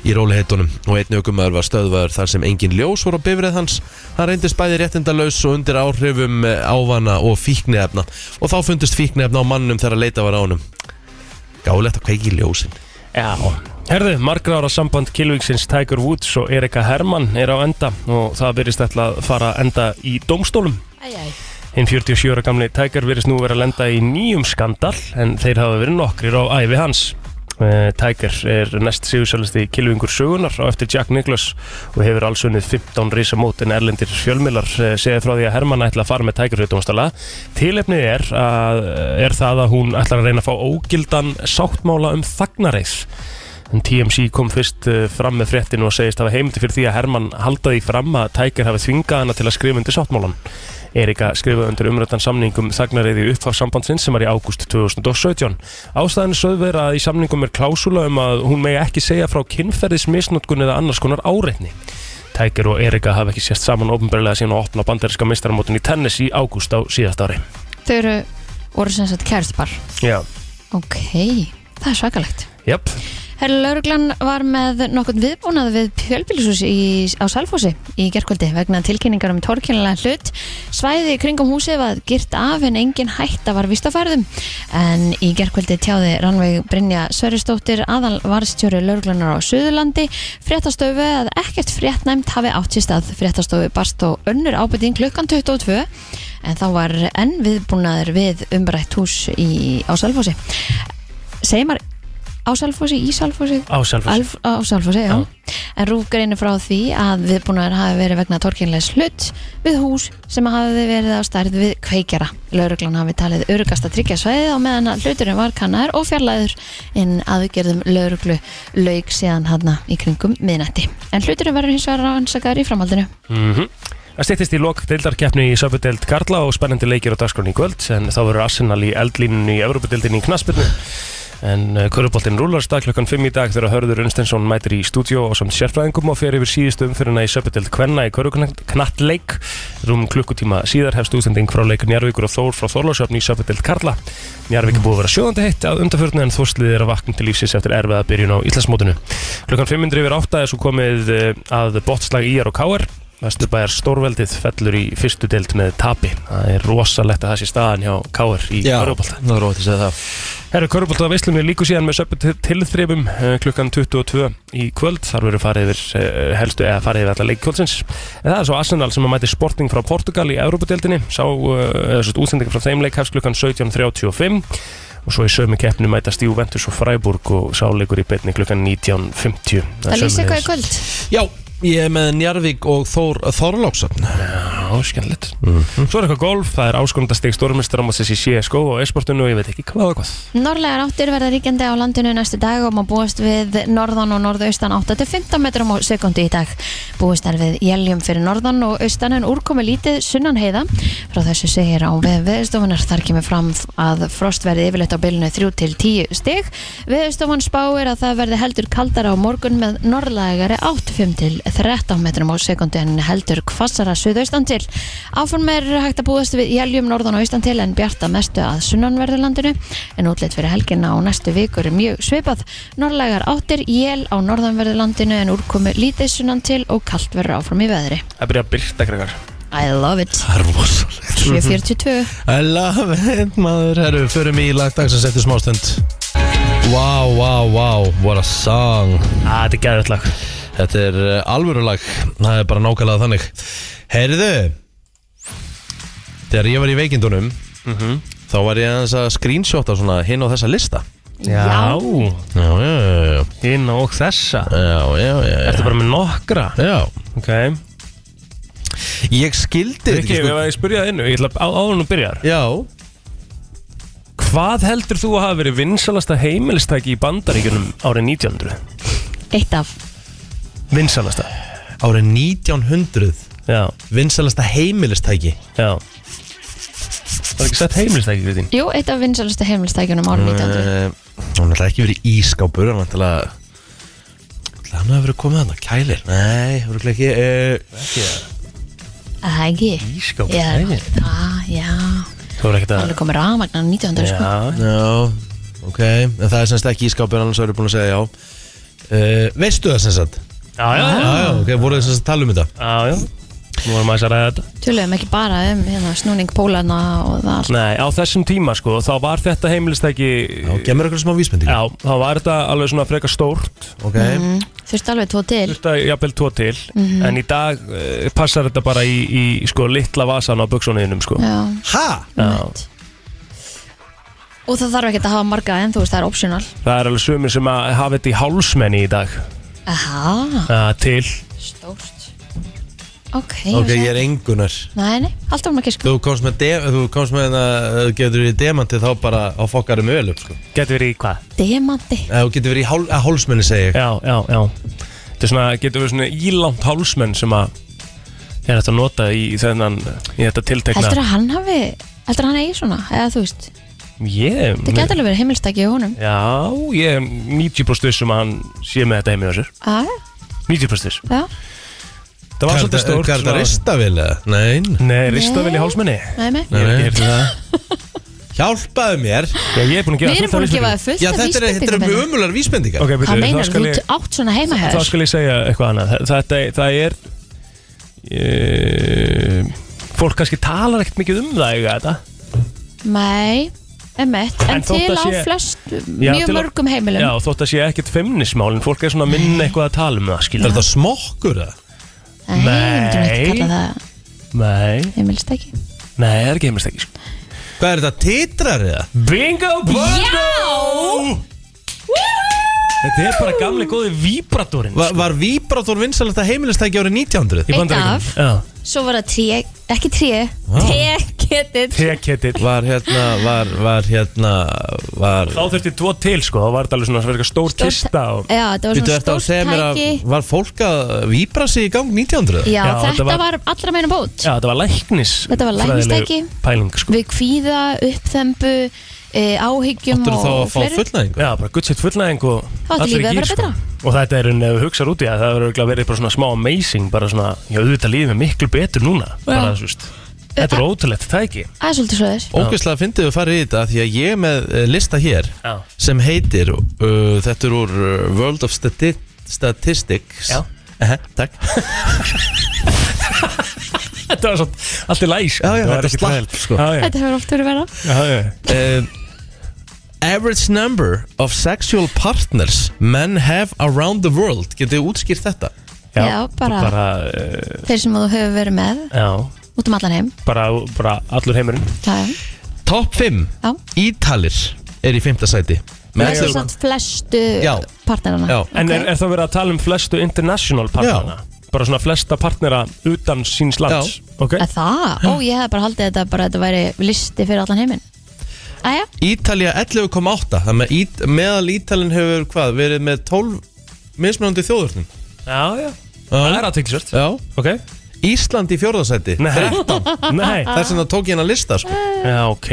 í róliheitunum og einn aukumöður var stöðvaður þar sem engin ljós voru á bifrið hans. Hann reyndist bæði réttindalaus og undir áhrifum eh, ávana og fíknefna og þá fundist fíknefna á mannum þegar leita var á honum. Gálegt að kveiki í ljósin. Já Herðu, margra ára samband Kilvíksins Tiger Woods og Erika Hermann er á enda og það virðist ætla að fara að enda í dómstólum Hinn 47 ára gamli Tiger virðist nú vera að lenda í nýjum skandal en þeir hafa verið nokkrir á æfi hans. Eh, Tiger er næst sigursælisti kilvingur sögunar á eftir Jack Nicklaus og hefur alls unnið 15 risamót en erlendir fjölmilar segja frá því að Hermann ætla að fara með Tiger við dómstala. Tilefnið er, að, er það að hún ætlar að reyna að fá ógildan sáttmála um þagnareið en TMC kom fyrst eh, fram með fréttinu og segist hafa heimildi fyrir því að Hermann halda því fram að Tiger hafi þvingað hana til að skrifa undir sáttmálan. Erika skrifaði undir umrættan samning um þagnariði uppfá sambandsins sem var í ágúst 2017. Ástæðan sögð vera að í samningum er klásula um að hún megi ekki segja frá kynferðismisnotkun eða annars konar áreitni. Tiger og Erika hafa ekki sést saman ofnbærlega síðan að opna bandariska meistaramótin í tennis í ágúst á síðast ári. þau eru voru sem sagt kærðspar Já. ok, það er svakalegt Jöp. Herra lauruglan var með nokkurn viðbúnað við fjölbílisús í, á Salfósi í gerkvöldi vegna tilkynningar um torkynlega hlut. Svæði í kringum húsið var gyrt af en engin hætta var vist á færðum. En í gerkvöldi tjáði Rannveig Brynja Sörjustóttir aðal varstjóri lauruglanar á Suðurlandi fréttastofu að ekkert fréttnæmt hafi átt sér stað. Fréttastofu barst og önnur ábyrting klukkan 22 en þá var enn viðbúnaður við umbrætt hús í, á Salfósi. Segir maður á Salfósi, í Salfósi Á Selfossi. Alf, á Salfósi, já. en Rúf greinir frá því að viðbúnaður hafi verið vegna torkinlegs hlut við hús sem hafi verið á stærð við kveikjara lauruglan hafi talið örugast að tryggja svæðið á meðan að hluturinn var kannar og fjarlæður inn aðgerðum lauruglu lauk síðan hana í kringum miðnætti en hluturinn verður hins vegar rannsakaður í framhaldinu Mm Það stýttist í lok deildarkeppni í söpudild Karla og spennandi leikir á dagskráni í kvöld en þá verður Arsenal í eldlínunni í Evropadildinni í knaspinu en Köruboltinn rúlar stað klokkan 5 í dag þegar Hörður Unstensson mætir í stúdíó og samt sérfræðingum og fer yfir síðustu umfyrirna í söpudild Kvenna í Köruknattleik rúm klukkutíma síðar hefst útsending frá leik Njarvíkur og Þór frá Þorlásöfni í söpudild Karla Njarvík er búið að vera sjóðandi heitt að undarförnu en þórslið er að vakna til lífsins eftir erfiða byrjun á Íslandsmótinu klukkan 5 yfir 8 er svo komið eh, að botslag IR og KR Vesturbæjar stórveldið fellur í fyrstu deild með tapi. Það er rosalegt að það sé staðan hjá Káar í Körubolta. það er rótt að segja það. Herru, Körubolta veislunni líku síðan með söpum tilþrifum eh, klukkan 22 í kvöld. Þar verður farið yfir eh, helstu eða farið yfir alla leikkjólsins. En það er svo Arsenal sem að mæti sporting frá Portugal í Európa-deildinni. Sá eh, eða svo útsendingar frá þeim leik hefst klukkan 17.35 og svo í sömu keppnu mætast Juventus og Freiburg og sáleikur í beinni klukkan 19.50. Það lýsir eitthvað í kvöld Já, Ég er með Njarvík og Þór Þorláksöfn Já, skemmtilegt Svo er eitthvað golf, það er áskundastig stórmestramótsins í CSGO og e-sportinu og ég veit ekki hvað og hvað Norðlegar áttir verða ríkjandi á landinu næstu dag og má búast við norðan og norðaustan 8-15 metrum á sekundu í dag. Búast er við jæljum fyrir norðan og austan en úrkomi lítið sunnan heiða. Frá þessu segir á veðstofunar þar kemur fram að frost verði yfirleitt á bylunu 3-10 stig. Veðstofan spáir að það verði heldur kaldara á morgun með norðlegari 8-5-13 metrum á sekundu en heldur kvassara suðaustan til. Áfram er hægt að búast við jæljum norðan og austan til en bjarta mestu að sunnanverðurlandinu en útleitt fyrir helgina og næstu vikur er mjög svipað. Norðlegar áttir, jél á norðanverðurlandinu en úrkomi lítið sunnan til og kalt verður áfram í veðri. Það byrja að byrta grekar I love it. Það er rosalegt 742. I love it, maður Herru, förum í lagdagsins eftir smástund Wow, wow, wow What a song Það Ah, er gæðið lag Þetta er uh, alvöru lag Það er bara nákvæmlega þannig Heyrðu Þegar ég var í veikindunum Mhm. Þá var ég aðeins að screenshota svona hinn á þessa lista Já, Já, já, já, já hinn og þessa Já, já, já, já. Ertu bara með nokkra? já. Ok Ég skildi þetta Rikki, ekki, sko. ef ég spyrja það innu, ég ætla að áðan og byrjar Já Hvað heldur þú að hafa verið vinsalasta heimilistæki í bandaríkunum árið 1900? Eitt af. Vinsalasta Árið 1900 Já, Vinsalasta heimilistæki já Það er ekki sett heimilistæki, Kristín Jú, eitt af vinsalastu heimilstækjunum árum 1900. Eh, Hún er ekki verið ískápur Hann er alltaf Hann hefur verið komið hann Kælir Nei, hún er ekki uh, Það ekki. Ískáp Já, yeah. ah, já. Þú er ekkert að Alveg komið rafmagnar 1900 sko. Já, Já, ok En það er semst ekki ískápur Annars erum við búin að segja já uh, Veistu það semst já, að já, Já, já, já, ok Voruð þið semst að tala um þetta já, já. Nú varum aðeins að ræða þetta Tölum ekki bara um hérna, snúning pólana og það allt. Nei, á þessum tíma sko, þá var þetta heimilistæki Já, gemur ykkur smá vísmynding Já, þá var þetta alveg svona frekar stórt Ok Mm, Þurfti alveg tvo til. Þurfti að jafnvel tvo til Mhm. En í dag uh, passar þetta bara í, í sko, litla vasan á buksónuðinum sko. Já, Ha? umhett. Og það þarf ekki að hafa marga en þú veist það er optional. Það er alveg sumir sem að hafa þetta í hálsmenni í dag Aha, uh, Til stórt. Ok, Ok, vissi ég er engunar það. Nei, nei, alltaf maður Þú giska. komst með, de- þú komst með uh, getur í demanti þá bara á fokkarum öl upp sko. Getur verið í hvað? Demandi. Ef Þú getur verið í ah. hál, að hálsmenni segi ég Já, já, já Þetta er svona, getur verið svona ílangt hálsmenn sem að er þetta að nota í, þennan, í þetta tiltekna Heldur að hann hafi, heldur að hann eigi svona, eða þú veist. Ég, Það getur alveg verið heimilstæki í honum. Já, ég er 90% vissum um að hann sé með þetta heim í þessir Já, 90% viss. já. Það var svolítið stórt Hvað er þetta svona- ristavil eða? Nein Nei, ristavel í hálsmenni Nei, nei. Ég hef Nei, nei. ekki heyrt um það. Hjálpaðu mér Já, ég er búin að Við gefa erum fullt af búin að vísbendingum. gefa það fullt Já af þetta er, þetta er mjög umular vísbendingar Ok, Hvað byrju, þá meinar, skal þú ég átt svona Þá heimahöður? skal ég segja eitthvað annað Þa- Þetta, það er e, Fólk kannski talar ekkert mikið um það eiga þetta Nei, emmett. En, En þótt til að á sé- flest, Já, mjög til að- mörgum heimilum. Já, þótt að sé ekkert feimnismál En fólk er svona að minna eitthvað að tala um það Er skilur þetta smokkur eða? Nei, við myndum ekki Nei. kalla það Nei, heimilstæki. nei, það er ekki heimist ekki sko. Hvað er þetta titrar eða? Bingo bongo Já! Þetta er bara gamli góði víbratorinn Var, var Víbrator vinsalegt að heimilistæki árið 1900? í Eitt Bandaríkjunum. af. Já, Svo var það tré, ekki tré, teketill. teketill Var hérna, var, var hérna, var Þá þurfti tvo til sko, þá var þetta alveg svona svona stór Stórt- kista og... Já, þetta var Býttu svona eftir að segja stórt mér að tæki. var fólk að víbra sig í gang 1900? Já, Já, þetta þetta var- var, allra meina bót. Já, þetta var læknis Þetta var læknistæki. fræðileg Pæling sko Við kvíða, uppþembu, e, áhyggjum Áttur þá að og fá fleiri. fullnæðingu? Já, bara gutt sétt fullnæðing og átti allir í lífið að gír, vera sko. betra. Og þetta er enn, ef við hugsaðum út í að það verður örugglega verið bara svona smá amazing bara svona, já, auðvitað lífið er miklu betur núna bara, þú veist, þetta er ótrúlegt tæki Það er svolítið svo þess. Ógeðslega fyndið við farið í þetta því að ég er með eh, lista hér Já, sem heitir uh, þetta er úr uh, World of Stati Statistics Já. Ehe, Takk þetta var svona allt í læs Já, já, þetta er slapp, sko. Já, já, Þetta hefur oft verið vera. já, já uh, Eh, Average number of sexual partners men have around the world Getið þið útskýrt þetta? Já, bara- bara eh, Þeir sem þú hefur verið með Já, út um allan heim. bara, bara allur heimurinn Það er, Top 5 já. Ítalir er í fymta sæti Það Með er ellefu- svona flestu Já. partnerana. Já. En er, er það verið að tala um flestu international partnana? bara svona flesta partnera utan síns lands ok? Að það? Ó, ég hef bara haldið þetta bara að þetta væri listi fyrir allan heiminn Æja, Ítalía 11,8 Þannig að ít, meðal Ítalinn hefur hvað, verið með 12 mismunandi þjóðurnum já, já, það er aðtækisvert Já, ok? Ísland í fjórðasæti Nei. 13 Nei, Þess vegna tók ég hennar lista sko. já, ok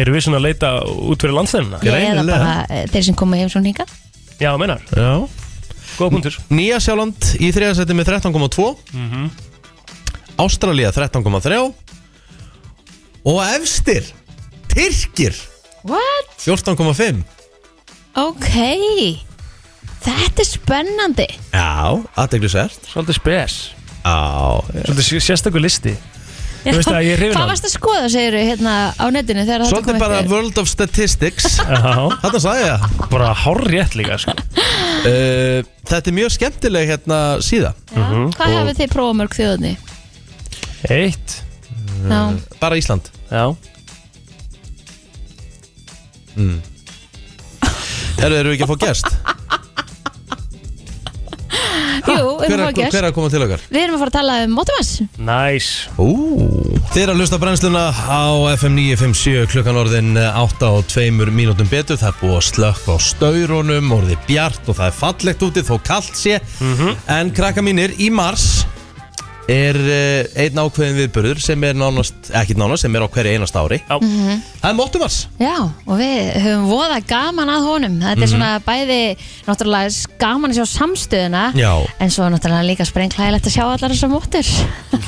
Erum við svona að leita út fyrir landstæðina? ég eða greinilega. bara eh, þeir sem koma heim svona hingað Já, meinar, Já góða punktur Mhm. Nýja Sjáland í þriðasæti með 13,2 mm Ástralía 13,3 Og efstir Tyrkir What? 14,5 Ok Þetta er spennandi Já, aðdeglisvert Svolítið spes Já, Svolítið sé- sérstakur listi Þú veist að ég er Hvað hrifin varst að skoða, segir hérna á netinu þegar þetta kom Svolítið bara upp? World of Statistics Já, Þetta sagði ég það. bara hár rétt líka sko. uh, Þetta er mjög skemmtileg hérna síða Já. Mhm. Hvað hafið þið prófað mörg þjóðni? Eitt Já, Eh, Bara Ísland Já, Eru, eru Mm. við ekki að fá gest? Jú, Hver um er, hvað hver gerst er að koma til okkar? Við erum að fara að tala um Motimas næs Ú. Þið er að hlusta á brennsluna á FM 957 klukkan orðin 8 og 2 mínútum betur Það er búið að slökka á staurunum, orðið bjart og það er fallegt úti þó kallt sé Mhm. En krakka mínir, í mars er eh, einn ákveðin viðburður sem er nánast, ekkert nánast, sem er á hverju einast ári Já. Það er móttumars Mhm. Já, og við höfum voða gaman að honum Þetta er Mhm. svona bæði náttúrulega gaman að sjá samstöðuna Já. En svo náttúrulega líka sprengklæðilegt að sjá allar þessar móttur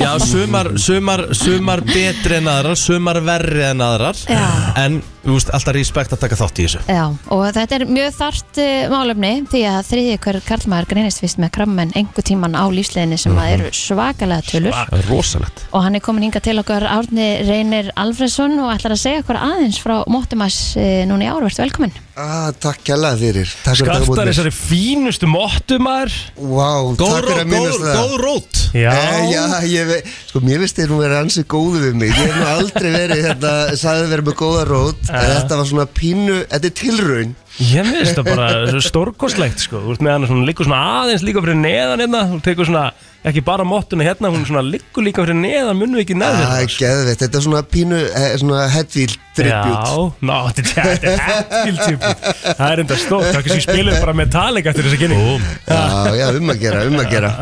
Já, sumar, sumar, sumar betri en aðrar, sumar verri en aðrar Já. En, þú veist, alltaf respekt að taka þátt í þessu Já, og þetta er mjög þart uh, málefni því að þriðja hver karlmaður greinist fyrst með krammen einhver tíman á lífsleginni sem að eru svakalega tölur Svak- Rosalegt og hann er komin hingað til okkar Árni Reynir Alfredsson og ætlar að segja okkur aðeins frá Móttumas uh, núna í árvert, velkomin Ah, takk kjærlega fyrir Takk fyrir að taka Gartar mót mér þessari fínustu mottumar Vá, Góð takk fyrir rót, að minnast góð, góð það rót Já, Eh, Já, ég veit, sko mér finnst þeir nú verið ansi góðu við mig Ég hef nú aldrei verið hérna, sagði verið með góða rót En þetta var svona pínu, þetta er tilraun ég veist það bara stórkostlegt sko Þú ert með hann svona liggur svona aðeins líka fyrir neðan hérna Þú tekur svona, ekki bara mottuna hérna Hún svona liggur líka fyrir neðan, munum við ekki neðan Það er geðveitt, þetta er svona pínu, eh, svona headfield tribut Já, ná, þetta er- þetta er hættiltjúpi Það er enda stórt, það er kannski spilum bara Metallica eftir þessa kynni Já, já, um að gera, um að gera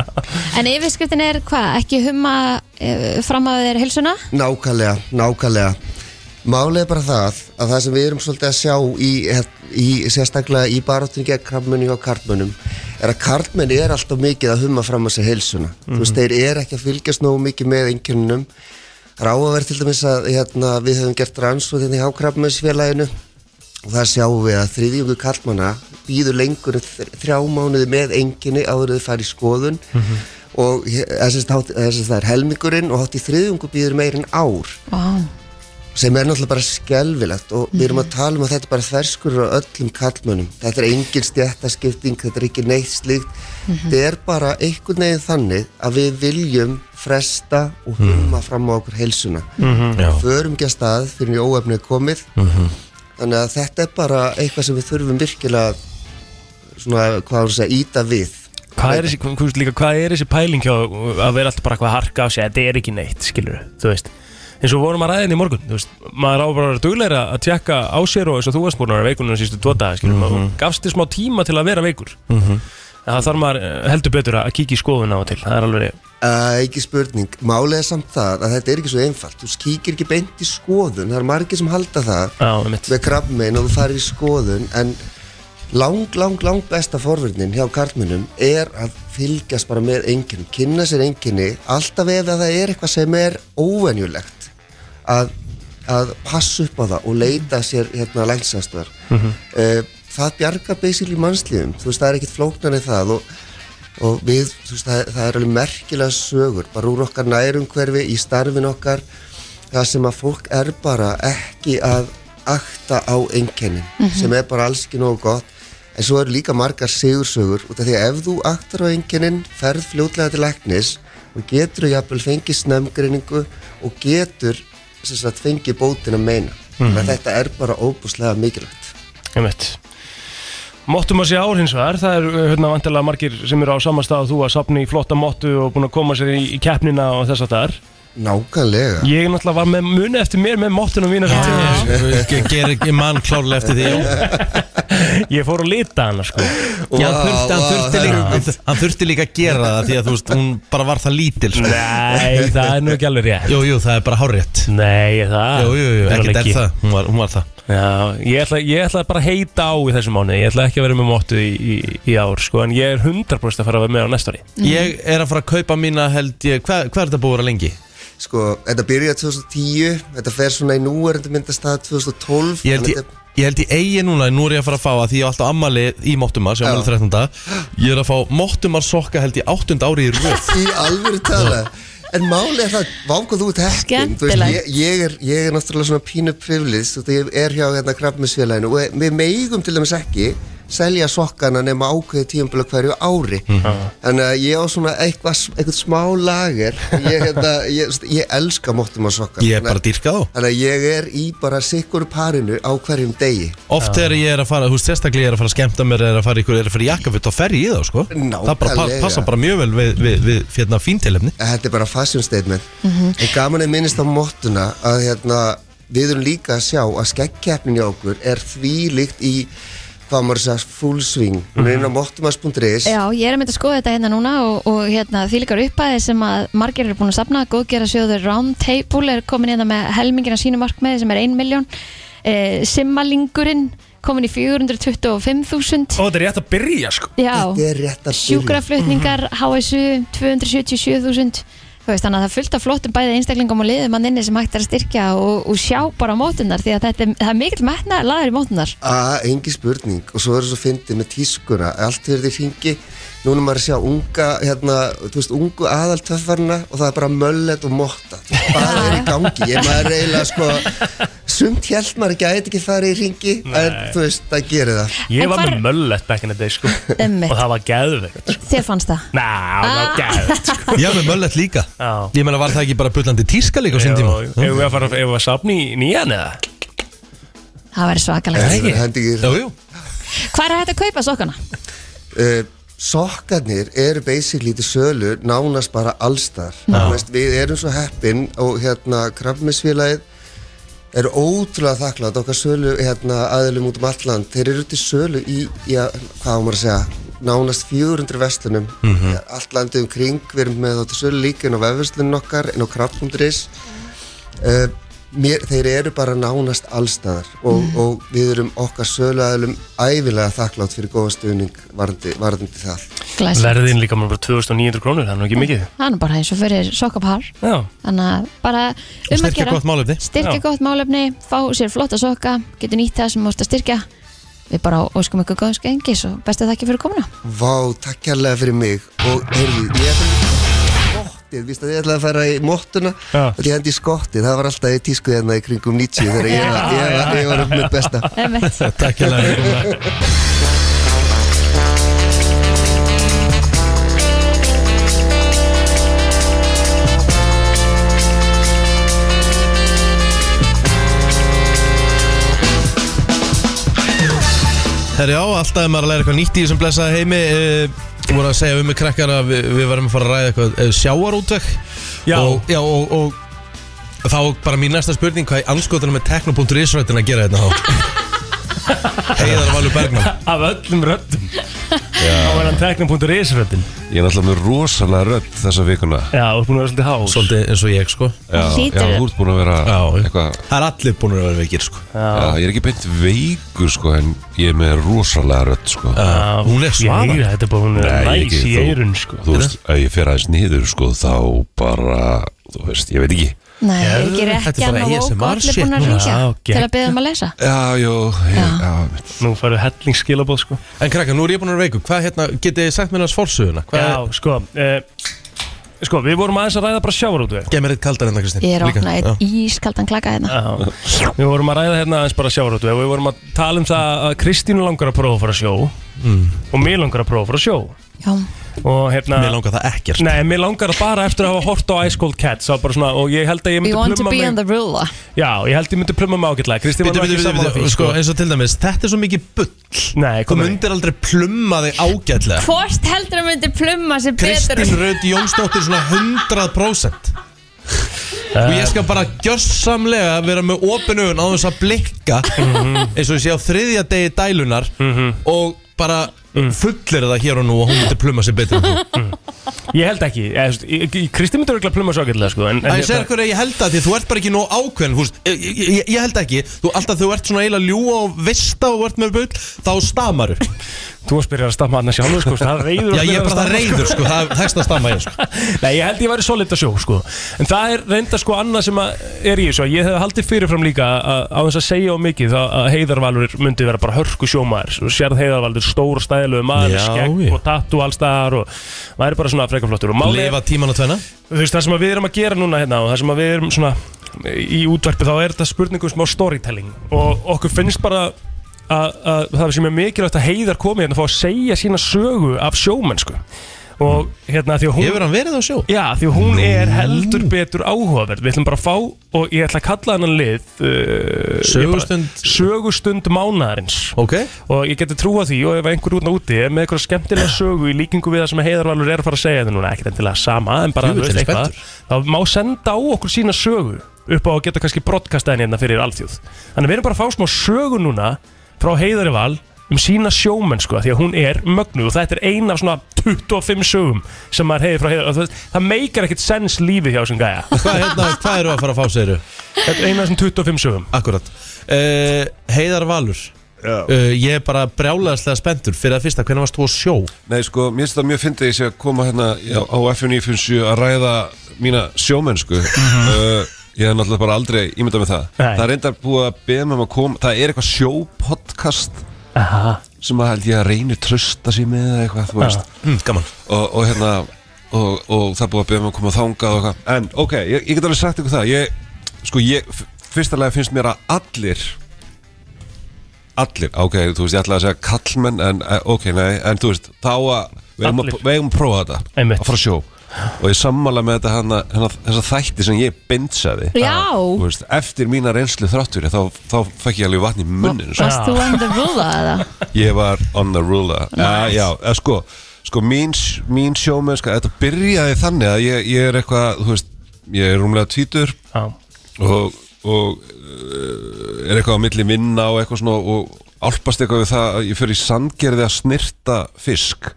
En yfirskriftin er hvað, ekki humma uh, fram að þeir hilsuna? Nákvæmlega, nákvæmlega Málið er bara það að það sem við erum svolítið að sjá í, í sérstaklega í baráttunni gegn krabbmenni og karlmennum er að karlmenni er alltaf mikið að humma fram að sér heilsuna þú veist, þeir eru ekki að fylgjast nógu mikið með einkennunum ráðverð til dæmis að hérna, við höfum gert rannsóð hérna í hákrabbmennsfélaginu og það sjáum við að þriðjungu karlmanna býður lengur en þr- þrjá mánuði með enginni áður en þau fara í skoðun mm -hmm. og he- eða sem sagt hátt- eða sem sagt það er helmingurinn og hátt í þriðjungu býður meir en ár Vá, sem er náttúrulega bara skelvilegt og við erum að tala um að þetta er bara þverskurur á öllum kallmönnum, þetta er engin stjættaskipting, þetta er ekki neitt slíkt þetta er bara einhvern veginn þannig að við viljum fresta og humma fram á okkur heilsuna Já. förum ekki að stað fyrir því óefni er komið Mm. þannig að þetta er bara eitthvað sem við þurfum virkilega svona, hvað þú segja, íta við Hvað er þessi, hvað, hvað, líka, hvað er þessi pæling hjá að vera alltaf bara eitthvað að harka á sig þetta er ekki neitt, skilur þú veist eins og vorum að ræðin í morgun, þú veist maður á bara að vera dugleira að tjekka á sér og eins og þú varst búin að vera veikunum sístu tvo daga skilur mm -hmm. gafst þið smá tíma til að vera veikur mm það þarf maður eh, heldur betur að kíkja í skoðun á og til, það er alveg Uh, ekki spurning, málið er samt það að þetta er ekki svo einfalt, þú skýkir ekki beint í skoðun, það er margir sem halda það á, mitt, með krabmein og þú farir í skoðun en lang, lang, lang besta forvörnin hjá karlmennum er að fylgjast bara með enginnum, kynna sér enginni alltaf ef að það er eitthvað sem er óvenjulegt að, að passa upp á það og leita sér hérna længsastöðar mm það bjargar basically mannslífum þú veist það er ekkit flóknar en það og, og við, þú veist það, það er alveg merkilega sögur, bara úr okkar nærumhverfi í starfin okkar það sem að fólk er bara ekki að akta á einkennin sem er bara alls ekki nógu gott en svo eru líka margar sigursögur út af því að ef þú aktar á einkennin ferð fljótlega til læknis og getur jafnvel fengið snemgreiningu og getur sem sagt, fengið Mhm. bótin að meina mm þetta er bara óbúslega mikilvægt einmitt Mottum að sé ár hins vegar, það eru hérna vantilega margir sem eru á sama stað og þú að safna í flotta mottu og búin að koma sér í, í keppnina og þess að það er. Nákvæmlega Ég náttúrulega var með muni eftir mér með mottunum mína sem tíma. Ger ekki mann klárlega eftir því já. Ég fór að lita hana sko. Já, hann þurfti, hann, vá, þurfti það er líka, hann þurfti líka að gera það Því að þú veist, hún bara var það lítil sko. Nei, það er nú ekki alveg rétt. Jú, jú, það er bara hárétt Nei, það. Jú, jú, jú, það er ekkert alveg er það Hún var, hún var það Já, ég ætla, ég ætla bara að heita á í þessum mánu Ég ætla ekki að vera með móttu í, í, í ár sko, En ég er 100% að fara að vera með á næsta ári Mhm. Ég er að fara að kaupa mína held ég Hvað hva er þetta búið að vera lengi? Sko, þetta byrjaði 2010 Þetta fer svona í núverandi myndastað 2012 þannig Ég held ég, að þetta- ég held ég eigi núna Nú er ég að fara að fá að því ég er alltaf ammali í Mottumar Sem Já. ammali 13. Ég er að fá Mottumar sokka held ég 8. ári í röð Í alvöru tala En máli er það, vámkvæð þú ert heppin Þú veist, Skemmtilegt. ég, ég, er, ég er náttúrulega svona pínu privilis Þú veist, ég er hjá hérna krabmisfélaginu Og við megum til dæmis ekki Selja sokkana nema ákveði tíumbila hverju ári Mhm. Þannig að ég á svona eitthvað, eitthvað smá lager Ég, hérna, ég, þú veist, ég elska móttum að sokkana Ég er bara að dýrka þá Þannig að ég er í bara sikkur parinu á hverjum degi Oft er ég er að fara, þú veist, sérstaklega ég er að fara að skemmta mér er að fara ykkur, er að fara í jakkafutt og fer ég í þá, sko Það bara pa Nákvæmlega. passa bara mjög vel við, við, við hérna, férna fíntilefni Þetta er bara fashion statement En gaman er minnist á móttuna að hérna, við erum líka að sjá að skeggkeppnin í okkur er því líkt í hvað maður sagði full swing Hún er inn á móttumas.is Já, ég er að mynda að skoða þetta hérna núna og, og hérna, því líkar uppæði sem að margir eru búin að safna, góðgera sjóður Roundtable er komin hérna með helmingina sínu markmiði sem er 1 miljón e, Simmalingurinn komin í 425.000 Ó, þetta er rétt að byrja sko Já, Þetta er rétt að Mhm. byrja sjúkraflutningar HSU 277.000 Þú veist, þannig að það er fullt af flottum bæði einstaklingum og liðum að nynni sem hægt er að styrkja og, og sjá bara mótunar því að þetta er, það er mikill metna laður í mótunar Að, engin spurning og svo er svo fyndið með tískuna allt verður í hringi núna er maður að sjá unga hérna, þú veist, ungu aðaltöffarna og það er bara möllet og motta Þú veist, hvað er í gangi, ég maður eiginlega sko sumt hjælt maður ekki að þetta ekki farið í hringi en þú veist, það gerir það Ég En var hvar- með möllet back in the day sko Einmitt. Ah. Og það var geðvegt sko. Þér fannst það? Ná, það var geðvegt sko Já, með möllett líka Já. Ég meina, var það ekki bara bullandi tíska líka á sinn tíma? Jú, Eigum við að fara eigum við að safna í nýjan eða? Það væri svakalegt. Ekki. Hendi ekki- Jú, jú Hvað er hægt að kaupa sokkana? Eh, sokkarnir eru basically til sölu nánast bara allstar veist, við erum svo heppin og hérna krafmisfélagið er ótrúlega þakklátt okkar sölu hérna, aðilum út um alland þeir eru til sölu í, í að, hvað á maður að segja nánast 400 vestlunum mm allt landið um kring, við erum með þá til sölu líka inn á vefverslunum okkar, inn á kraft.is uh, mér, þeir eru bara nánast allstæðar og, og við erum okkar söluaðilum æfilega þakklátt fyrir góða stuðning varðandi, varðandi það Glæs. Verðin líka með bara 2900 krónur, það er nú ekki mikið Það er nú bara eins og fyrir sokkapar. Já, Þannig að bara um að Styrkja gera. gott málefni Styrkja Já. gott málefni, fá sér flotta sokka, getur nýtt það sem þú mást að styrkja. Við bara óskum ykkur góðum skengis og bestu þakki fyrir komuna. Vá, takk hérlega fyrir mig og heyrðu, ég ætla skottið, víst að ég ætlaði að fara í móttuna Já. og ég hendi í skottið, það var alltaf í tísku hérna í kringum 90 þegar ég, var- ég, var- ég var upp með besta Einmitt. Takk ég lega Herri já, alltaf er maður að læra eitthvað nýtt í þessum blessaða heimi eh, Þú voru að segja við með krakkar að við, við varum að fara að ræða eitthvað eh, sjávarútveg Já. og, já og, og þá bara mín næsta spurning hvað í anskotunum með tekno.is röttin að gera þetta þá Heiðar Valur Bergman af öllum röddum Á verðan teknum.is röddin Ég er náttúrulega með rosalega rödd þessa vikuna Já, þú ert búin að vera svolítið hás Svolítið eins og ég sko Já, Hlýtur já að- þú ert búin að vera Já. eitthvað Það er allir búin að vera veikir sko Já, ég er ekki beint veikur sko En ég er með rosalega rödd sko Já, Já, Hún er Ég svaðan heyri að þetta er bara hún Nei, er ekki, næs í þú- eirun sko Þú veist, ef ég fer aðeins niður sko Þá bara, þú veist, ég veit ekki Nei, er ekki Þetta er bara rétt að ná og ASMR allir shit búin að núna. ringja Já, til að geggjað. beða um að lesa. Já, jú, ég, já, Nú færðu helling skilabóð sko En krakka, nú er ég búin að vera veikur Hvað hérna, getið þið sagt mér hans fórsöguna? Já, Hvað, sko eh, Sko, við vorum aðeins að ræða bara sjávarútveg Geð mér eitt kaldar enda Kristín Ég er Líka. Já. ofnað eitt ískaldan klaka hérna. Já, við vorum að ræða hérna aðeins bara sjávarútveg og við vorum að Mm. tala um það að Kristínu langar að prófa að fara að sjó og mér langar að prófa að fara að sjó Já, og hérna Mér langar það ekkert Nei, mér langar það bara eftir að hafa hort á Ice Cold Cats það var bara svona, og ég held að ég We myndi want to pluma be on mig the ruler Já, ég held ég myndi pluma mig ágætlega Kristín var nú Bitu, bitu, ekki bitu, sammála bitu, því sko, sko. eins og til dæmis, þetta er svo mikið bull Nei, Þú kom með myndir aldrei plumma þig ágætlega Hvort heldur að myndi plumma sér betur Kristín Rödd Jónsdóttir svona 100% Og ég skal bara gjörsamlega vera með opin augun á þess að blikka Mhm. eins og ég sé á þriðja degi dælunar og bara Mm. fullir það hér og nú og hún myndi pluma sér betur en þú. Ég held ekki Eða, þú veist, ég- ég- Kristín myndi örgulega pluma sig ágætlega sko, en, Það en ég segir hverju að ég held að því þú ert bara ekki nóg ákveðin húst, ég, ég, ég- ég held ekki, þú alltaf þú ert svona eiginlega ljúa og vista og ert með bull þá stamaru, Þú að spyrja að stamma hann að sjálfu sko, það reyður að já ég spyrja er að bara það stamma, sko. reyður sko, það þekst að stama ég sko. Nei, ég held ég væri solid að sjó sko. En það er reynda sko annað sem að er í þessu að Ég hef haldið fyrirfram líka að á þess að segja á mikið þá að heiðarvalur myndi vera bara hörku sjómaður Svo Sérð heiðarvalur stór og stæðilegu maður með Já, skegg já. og tattu allstaðar og væri bara svona frekaflottur Og málið er- lifa tíman og tvenna þú veist, það sem að við erum að gera núna hérna og það sem að við erum svona í útvarpi þá er þetta spurningum smá storytelling og okkur finnst bara að, að það sem er mikilvægt að heiðar komi hérna og fá að segja sína sögu af sjómennsku og hérna því að hún hefur hann verið á sjó? Já, því að hún er heldur betur áhugaverð Við ætlum bara að fá og ég ætla að kalla hennan lið uh, Sögustund- ég bara- Sögustund mánaðarins ok, og ég geti trúa því og ef einhver útna úti er með eitthvað skemmtilega sögu í líkingu við það sem heiðarvalur er að fara að segja þetta núna ekkert endilega sama en bara Jú, þú veist, þetta er eitthvað, þá má senda á okkur sína sögu upp á að geta kannski brotkastæðin hérna fyrir alþjóð þannig að við erum bara að fá smá sögu núna frá heiðarval um sína sjómenn sko því að hún er mögnu og þetta er ein af svona 25 sögum sem maður heiði frá heiðarval það, það meikar ekkert sens lífið hjá þessum gæja hvað, hérna, hvað eru að fara að fá segiru? þetta er ein af þessum 25 sögum Akkurat uh, Heiðar Valur uh, Ég er bara brjálæðislega spenntur fyrir að fyrsta Hvernig varst þú á sjó? Nei, sko, mér finnst það mjög fyndið að ég sé að koma hérna á- á FN957 að ræða mína sjómennsku uh, Ég hef náttúrulega bara aldrei ímyndað með það Nei. Það er reyndar búið að beða með að koma Það er eitthvað sjópodcast Aha. sem að held ég að reyni trösta sér með eða eitthvað, þú veist Mm, gaman og, og hérna og, og það er búið að beða mig að koma þangað og eitthvað en ok, ég, ég get alveg sagt ykkur það ég, sko ég, f- fyrsta lega finnst mér að allir allir, ok, þú veist, ég ætlaði að segja kallmenn en eh, ok, nei, en þú veist þá að, við eigum að, Allir. við eigum að prófa þetta Einmitt. að fara að sjó og ég sammála með þetta hana, hana, þessa þætti sem ég bindsaði Já. Þú veist, eftir mína reynslu þráttur þá, þá fekk ég alveg vatn í sko. munnin Varst þú on the ruler eða? Ég var on the ruler nice. Já, eða sko, sko mín, mín sjómennska Þetta byrjaði þannig að ég, ég er eitthvað Þú veist, ég er rúmlega tvítur Já. Og, og uh, er eitthvað á milli vinna og eitthvað svona Og álpast eitthvað við það að Ég fyrir í sandgerði að snirta fisk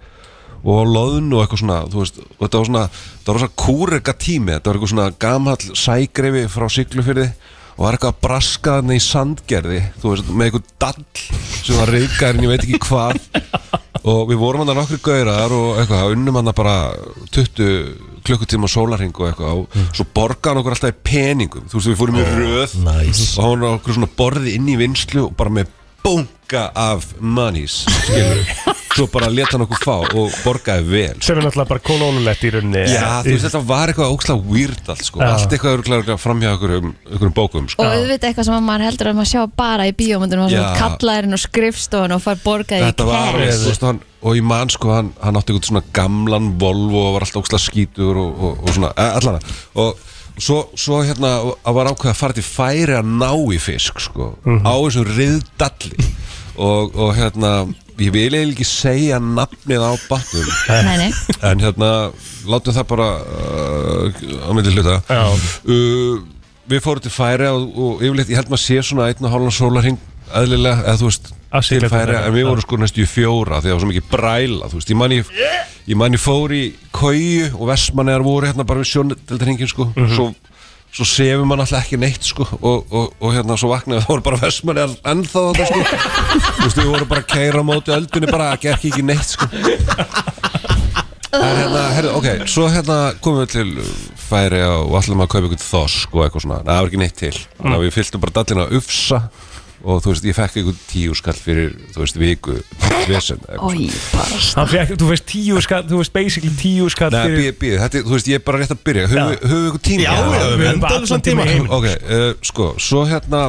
og á loðun og eitthvað svona þú veist, og þetta var svona, þetta var svona kúrega tími þetta var eitthvað svona gamall sægreifi frá Siglufyrði og var eitthvað að braska hann í sandgerði þú veist, með eitthvað dall sem var reyðgarinn, ég veit ekki hvað og við vorum hann að nokkri gaurar og eitthvað, unnum hann bara 20 klukkutíma sólarhing og eitthvað og svo borgaði hann okkur alltaf í peningum þú veist, við fórum í röð nice. og hann var okkur svona borði inn í vinslu og bara með bunga af monies skilur svo bara leta hann okkur fá og borgaði vel sko. sem er náttúrulega bara kolónulegt í rauninni Já, þú veist, þetta var eitthvað ókslega weird allt, sko. Já. Allt eitthvað eru klæður framhjá okkur um, okkur um bókum, sko. Og auðvitað eitthvað sem að maður heldur um að maður sjá bara í bíómyndunum og svona Já. kallarinn og skrifstofan og far borgaði í Þetta var, cash. þú veist, hann, og ég man, sko, hann, hann átti eitthvað svona gamlan Volvo og var alltaf ókslega skítur og, og, og svona, eh, allan að. Og svo, svo hérna, að var ákveð að fara til færi að ná í fisk, sko, á þessum riðdalli. Og, og hérna, ég vil eiginlega ekki segja nafnið á bátnum, Nei, nei, en hérna, látum það bara uh, á myndi hluta. Já. uh, Við fórum til færi og, og yfirleitt, ég held maður sé svona einn og hálfan sólarhing eðlilega, eða þú veist Að sigla til færi, til Færeyja, en við já. vorum sko næstu í fjóra því það var svo mikið bræla, þú veist, ég man ég ég man ég fór í kauju og vestmannegar voru hérna bara við sjóndeldarhingin sko, svo, svo sefum mann alltaf ekki neitt sko, og, og, og hérna svo vaknaði þá voru bara vestmannegar ennþá þetta sko, þú veist, við vorum bara að keira á móti öldunni bara, gekk ekki neitt sko En hérna, herri, ok, svo hérna komum við til færi og ætlum að kaupa einhvern þosk og eitthvað svona, Nei, það var ekki neitt til þannig að við fylltum bara dallina að ufsa og þú veist, ég fekk einhvern tíu skall fyrir þú veist, viku vesen oi, bara Hann fekk, þú veist, tíu skatt, þú veist, basically tíu skatt Nei, býð, fyrir býð, þetta er, þú veist, ég er bara rétt að byrja höfum Já. við höfum við einhvern tíma? Já, já, við við erum bara endalum allan svona tíma tíma í heiminum. ok, uh, sko, svo hérna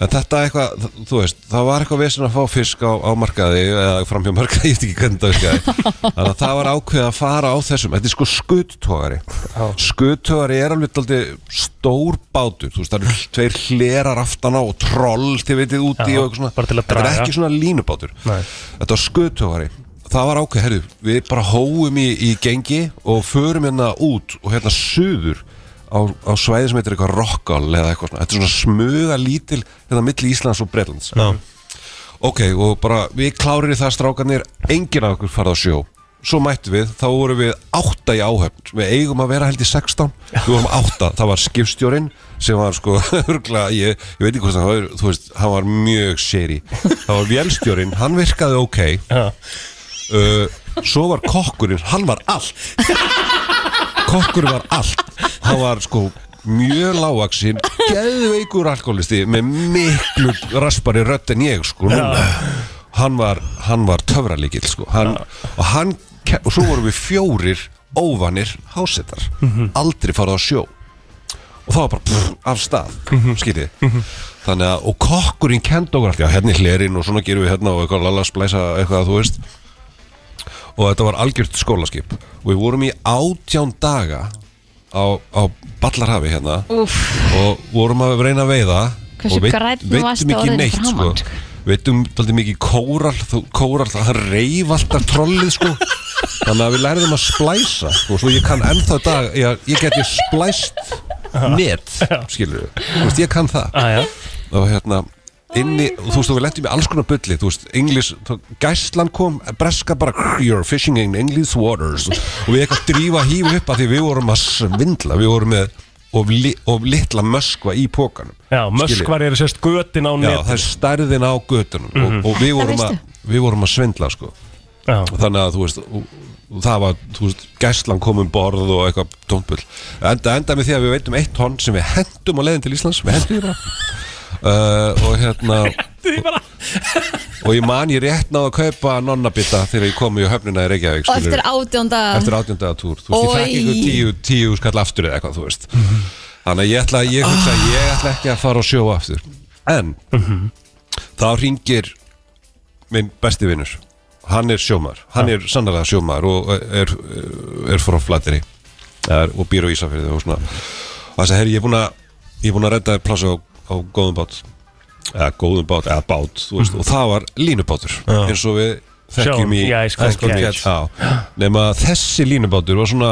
En þetta eitthvað, þú veist, það var eitthvað vesen að fá fisk á, á markaði eða framhjá markaði, ég veit ekki hvernig það virkaði Þannig að það var ákveðið að fara á þessum Þetta er sko skuttogari Skuttogari er alveg aldrei stór bátur Þú veist, það eru tveir hlerar aftan á og troll, þið veitir, úti Já, og eitthvað svona bara til að Þetta er draga. ekki svona línubátur Nei. Þetta var skuttogari Það var ákveð, herru, við bara hóum í, í gengi og förum hérna út og hérna suður á, á svæði sem heitir eitthvað rockall eða eitthvað svona, þetta er svona smuga lítil hérna milli Íslands og Bretlands Já. Ok, og bara við klárir í það strákanir, enginn af okkur farið á sjó Svo mættum við, þá vorum við átta í áhöfn Við eigum að vera held í 16 Við vorum átta, það var skipstjórinn sem var sko, örgla, ég, ég veit ekki hvað það var þú veist, hann var mjög séri það var vélstjórinn, hann virkaði ok Já. uh, svo var kokkurinn, hann var allt kokkurinn var allt hann var sko mjög lágaksinn, geðveikur alkoholisti með miklu raspari rödd en ég sko núna hann var, hann var töfralíkil sko hann, og hann, ke- og svo vorum við fjórir óvanir hásetar aldrei farið á sjó og það var bara pff, af stað mm þannig að, og kokkurinn kendi okkur allt, já hérna er hlerinn og svona gerum við hérna og eitthvað lala splæsa eitthvað þú veist og þetta var algjört skólaskip og við vorum í átján daga á, á Ballarhafi hérna Úf, og vorum að reyna að veiða Hversu og veit- grænn veiddum varstu ekki orðinn neitt, framan, sko. veitum daldið um mikið kóral, þú- kóral það reyf alltaf trollið sko þannig að við lærðum að splæsa sko, svo ég kann ennþá í dag, ég, ég geti splæst net skilur við, þú veist ég kann það Æja, og hérna inni, og þú veist, og við lendum í alls konar bulli þú veist, English, þá- gæslan kom breska bara, you're fishing in English waters og við eitthvað drífa hífu upp að því við vorum að svindla, við vorum með of, li, of litla möskva í pókanum já, möskvar eru sérst götin á Já, það netin er stærðin á götunum og, og við, vorum að, veistu. við vorum að svindla sko Já, og þannig að þú veist og, og það var, þú veist, gæslan kom um borð og eitthvað tónbull enda, enda með því að við veitum eitt tonn sem við hendum á leiðin til Íslands, við hendum því bara uh, og hérna og ég man ég rétt náðu að kaupa nonnabita þegar ég kom í höfnina í Reykjavík og skilurðu eftir átjónda eftir átjöndaða túr þú veist, ég fekk ykkur Oj. tíu, tíu skall aftur eða eitthvað, þú veist þannig að ég ætla, ég hugsa, ég ætla ekki að fara og sjóa aftur en þá ringir minn besti vinnur hann er sjómar, hann er sannlega sjómar og er, er frá flatteri er, og býr á Ísafjörði og svona og þess að herri, ég er búin að ég er búin að redda plásu á, á góðum bát eða góðum bát, eða bát þú veist, Mhm. og það var línubátur eins og við þekkjum í Sjón, já, í Skotland. þekkjum í- Já, nema að þessi línubátur var svona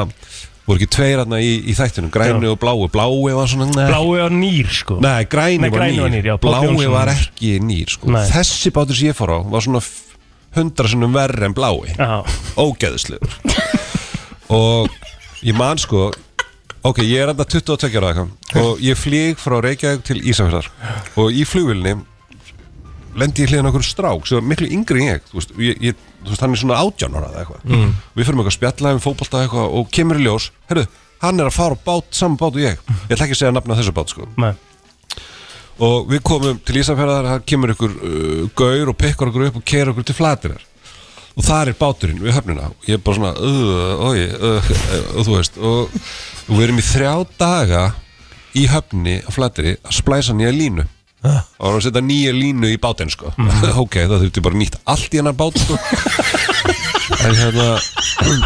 voru ekki tveir hérna í, í þættinum græni og blái, blái var svona nei, blái á nýr sko nei græni, Nei, var, græni nýr, var nýr, já, Páll blái Jónsson. var ekki nýr sko. Nei. þessi bátur sem ég fór á var svona hundra sinnum verri en blái Já, ógeðslegur og ég man sko ok, ég er enda 22 ára eða eitthvað og ég flýg frá Reykjavík til Ísafjörðar og í flugvilni lendi ég hliðan okkur strák sem var miklu yngri en ég, þú veist, ég, ég, þú veist hann er svona 18 ára eða eitthvað mm. við fyrir með eitthvað spjallaði um fótbolta eða eitthvað og kemur í ljós herru, hann er að fara á bát, saman bát og ég ég ætla ekki að segja nafna þessu bát sko nei, og við komum til Ísafjörðar það kemur ykkur uh, gaur og pekkar okkur upp og keir okkur til flatirar og þar er báturinn við höfnina og ég er bara svona uh, oi, uh, uh, og þú veist og og við erum í þrjá daga í höfni á flatiri að splæsa nýja línu og við erum að setja nýja línu í bátinn sko ok, það þurfti bara nýtt allt í hennar bát sko en hérna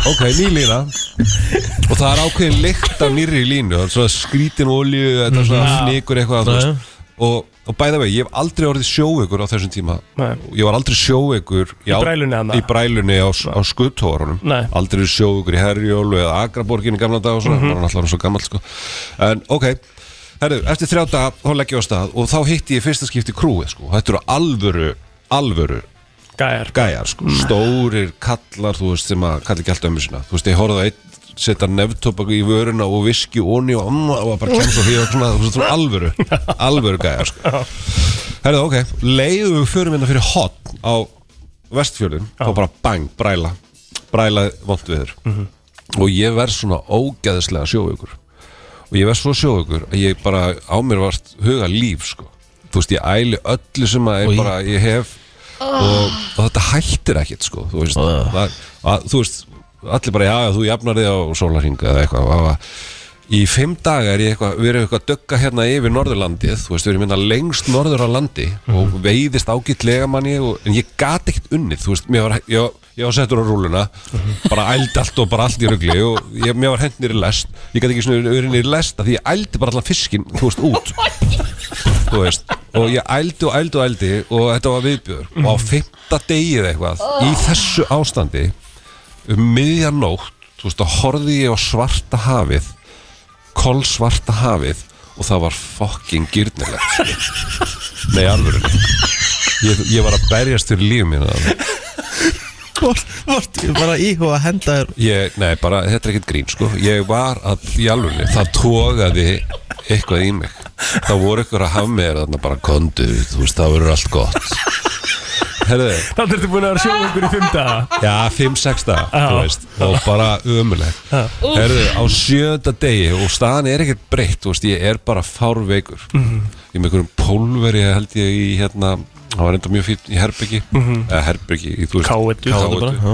ok, ný lína og það er ákveðin lykt af nýri línu það er svona skrítin olju þetta er svona fnikur eitthvað þú veist. og, og bæða vegi, ég hef aldrei orðið sjóveikur á þessum tíma Nei. ég var aldrei sjóveikur Í brælunni þarna? í brælunni á, á skuttóarunum Nei. aldrei sjóveikur í Herjólu eða Agraborgin í gamla dag og svona, mm -hmm. var alltaf svo gammal sko. en ok, herru, eftir þrjá dag þá leggjum við á stað og þá hitti ég í fyrsta skipti krúið sko, þetta eru alvöru alvöru gæjar gæjar sko, stórir kallar þú veist sem að kalli ekki alltaf ömmu sína þú veist, ég horfði að einn setja nefntobak í vöruna og viski óni og amma og bara kemst og hýða svona, þú veist, svona alvöru alvöru gæjar sko herðu, ok, leiðum við förum hérna fyrir hot á vestfjörðum og bara bang, bræla bræla vond viður og ég verð svona ógæðislega sjóaukur og ég verð svo sjóaukur að ég bara á mér vart huga líf sko þú veist, ég æli öllu sem að ég, bara, ég hef og, og þetta hættir ekkert sko þú veist, það, að, þú veist allir bara já, já, þú jafnar þig á sólarhinga eða eitthvað og, í fimm daga er ég eitthvað, við erum eitthvað að dögga hérna yfir Norðurlandið, þú veist, við erum hérna lengst norður á landi og veiðist ágætlega manni og, en ég gat ekkert unnið, þú veist, mér var, ég, var- ég var settur á rúluna, bara ældi allt og bara allt í rugli og ég, mér var hendnir í lest, ég gat ekki svona verið niður í lest af því ég ældi bara allan fiskinn, þú veist, út, þú veist, og ég ældi og ældi og ældi og þetta var viðbjör og á fimmta degið eitthvað, í þessu ástandi, um miðjanótt, þú veist, þá horfði ég á svarta hafið kolsvarta hafið og það var fucking gyrnilegt sko. Nei, alvöru ég, ég var að berjast fyrir lífum mínu þarna. Vart ég bara íhuga að henda þér ég, Nei, bara, þetta er ekkert grín, sko Ég var að, í alvöru, það tógaði eitthvað í mig Það voru ykkur að hafa mér þarna bara kondu, þú veist, það verður allt gott Herðu, Þannig ertu búin að vera sjóðungur í fimm daga já, 5-6 daga, þú veist og bara ömulegt Herðu, á sjönda degi og staðan er ekkert breytt, þú veist, ég er bara fárveikur ég er með einhverjum pólveri held ég í hérna það var enda mjög fýtt í herbyggi eða herbyggi, í, þú veist Káetu. Káetu.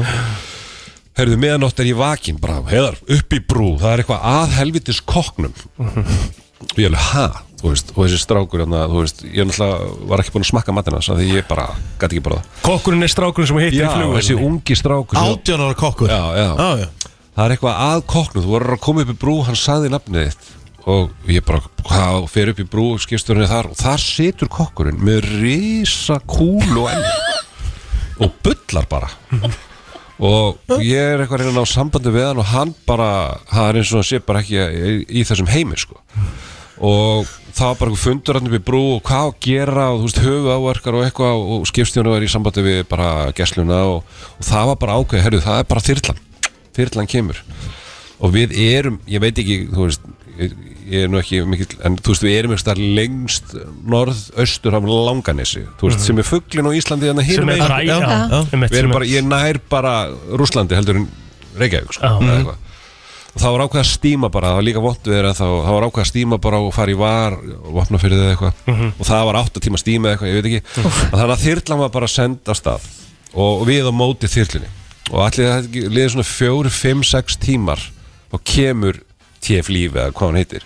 Herðu, meðanótt er ég vakin bara, heiðar, upp í brú það er eitthvað að helvitis kokknum og ég alveg, ha, þú veist og þessi strákur, hérna, þú veist, ég náttúrulega var ekki búin að smakka matina, þannig að ég bara gæti ekki bara það, Kokkurinn er strákurinn sem hittir í já, flugur þessi ungi strákur sem- Átján ára kokkur Já, já. já, já. það er eitthvað að koknu, þú voru að koma upp í brú, hann saði nafnið þitt og ég bara, hvað, fer upp í brú, skipsturinn er þar og þar situr kokkurinn með risa kúlu og enn og bullar bara og ég er eitthvað að reyna á sambandi við hann og hann bara, það er eins og hann sé bara ekki í þessum heimi sko og það var bara einhver fundur hann upp í brú og hvað á að gera og þú veist höfu áverkar og eitthvað og skipstjónu var í sambandi við bara gesluna og, og það var bara ákveð, herru það er bara þyrlan þyrlan kemur og við erum, ég veit ekki þú veist, ég ég er nú ekki mikill, en þú veist við erum eitthvað lengst norðaustur af langanesi þú veist, sem er fugglin á Íslandi þannig Mhm. sem hinum er megin. bara í Já, já. Við erum bara, ég nær bara Rúslandi heldur en Reykjavík sko, Já. eða eitthvað. og það var ákveð að stíma bara það var líka vondt við þeirra þá það var ákveð að stíma bara og fara í var og vopna fyrir þeir eitthvað og það var átta tíma stíma eða eitthvað, ég veit ekki og þannig að þyrlan var bara að senda af stað og við á móti þyrlinni og allir það ekki- liður svona fjóri, fimm, sex tímar og kemur TF Líf eða hvað hann heitir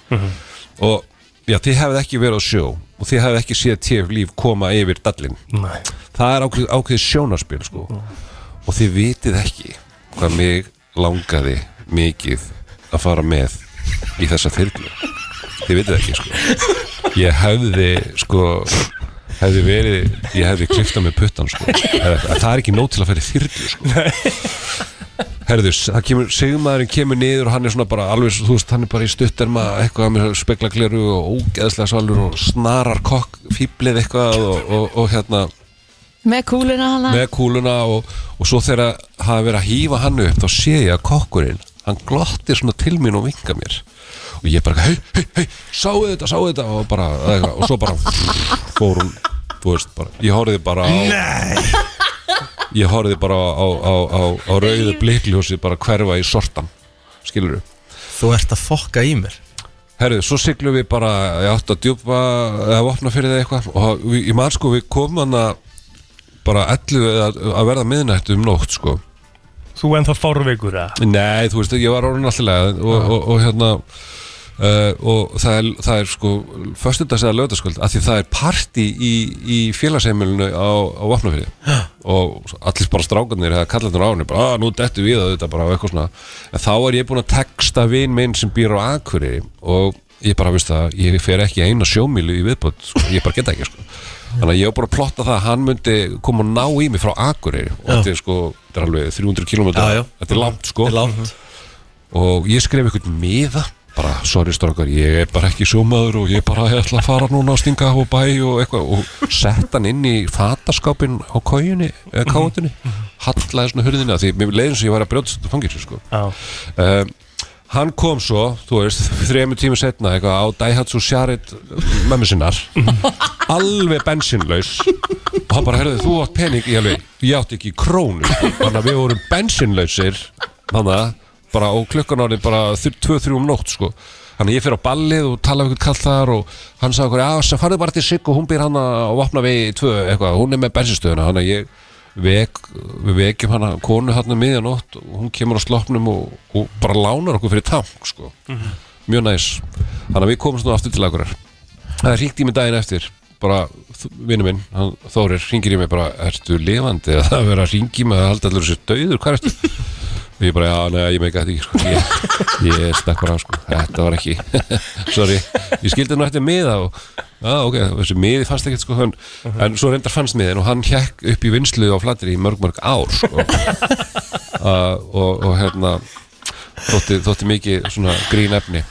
og já, þið hefði ekki verið á sjó og þið hefði ekki séð TF Líf koma yfir dallin Nei. það er ákveð, ákveð sjónarspil sko. og þið vitið ekki hvað mig langaði mikið að fara með í þessa þyrlu þið vitið ekki sko. ég hefði sko hefði verið, ég hefði kliftað með puttan sko. Eða eitthvað. það er ekki nót til að fara í þyrlu sko. Herðu, það kemur, segumæðurinn kemur niður og hann er svona bara alveg, þú veist, hann er bara í stutterma eitthvað með spekla gleru og ógeðslega svalur og snarar kokk fýblið eitthvað og, og, og hérna Með kúluna hana með kúluna og, og svo þegar það er verið að hýfa hann upp þá sé ég að kokkurinn hann glottir svona til mín og vinga mér og ég bara, hei, hei, hei, sáu þetta, sáu þetta og bara, eða eitthvað, og svo bara fór hún, þú veist, bara ég horfði bara á Nei. ég horfði bara á, á, á, á, á rauðu blikljósi bara hverfa í sortan skilur þú Þú ert að fokka í mér Herru, svo siglum við bara í átt að djúpa eða vopna fyrir það eitthvað og við, ég man sko við komum hann að bara 11 að, að verða miðnættu um nótt sko Þú ennþá fárveikur að Nei, þú veist, ég var orðin alltaf leið og, og, og, hérna uh, og það er, það er sko föstudags eða lögdaskvöld, af því það er parti í, í félagsheimilinu á, á Vopnafyrði og allir bara strákarnir eða kallarnir á henni, bara, að nú dettu við að þetta bara og eitthvað svona, en þá er ég búin að texta vin minn sem býr á Akureyri og ég bara, veist það, ég fer ekki eina sjómilu í viðbútt, sko, ég bara geta ekki sko. þannig að ég var bara að plotta það að hann myndi koma og ná í mig frá Akureyri og þetta er sko, þetta er alveg 300 km Já, já. þetta er langt sko Þetta er langt. og ég skref einhvern miða bara, sorry strákar, ég er bara ekki sjómaður og ég bara ætla að fara núna að stinga á bæ og eitthvað og sett hann inn í fataskápin á kójunni, eða Mhm. káðunni hallaði svona hurðina því mér leiðin sem ég var að brjóta þetta fangir sko. um, hann kom svo, þú veist þrejum tími setna eitthvað á Daihatsu Sharit mömmu sinnar alveg bensinlaus og hann bara, herðu, þú átt pening ég, alveg, ég átti ekki krónu sko. þannig að við vorum bensinlausir þannig að bara og klukkan orðið bara 2-3 um nótt sko Þannig að ég fyrir á ballið og tala við einhvern kall þar og hann sagði okkur, já, sem farið bara til Sigg og hún býr hann að vopna við í tvö eitthvað, hún er með bensinstöðuna, þannig að ég vek, við vekjum hana konu hann um miðjanótt og hún kemur á sloppnum og, og bara lánar okkur fyrir tank, sko mjög næs þannig að við komumst nú aftur til akkurar það ríkti í mig daginn eftir bara vinnu minn, hann, Þórir, ringir í mig bara, ertu lifandi eða það verður að ringi mig að halda allur þessu döður, hvað ertu og ég bara, já, neða, ég meika þetta ekki sko. ég, ég stakk bara á, sko, þetta var ekki sorry, ég skildi nú eftir miða og, já, ok, þessi miði fannst ekkert sko, hann, en svo reyndar fannst miðin og hann hjekk upp í vinslu á flatri í mörg, mörg ár sko. uh, og, og hérna þótti, þótti mikið svona grín efni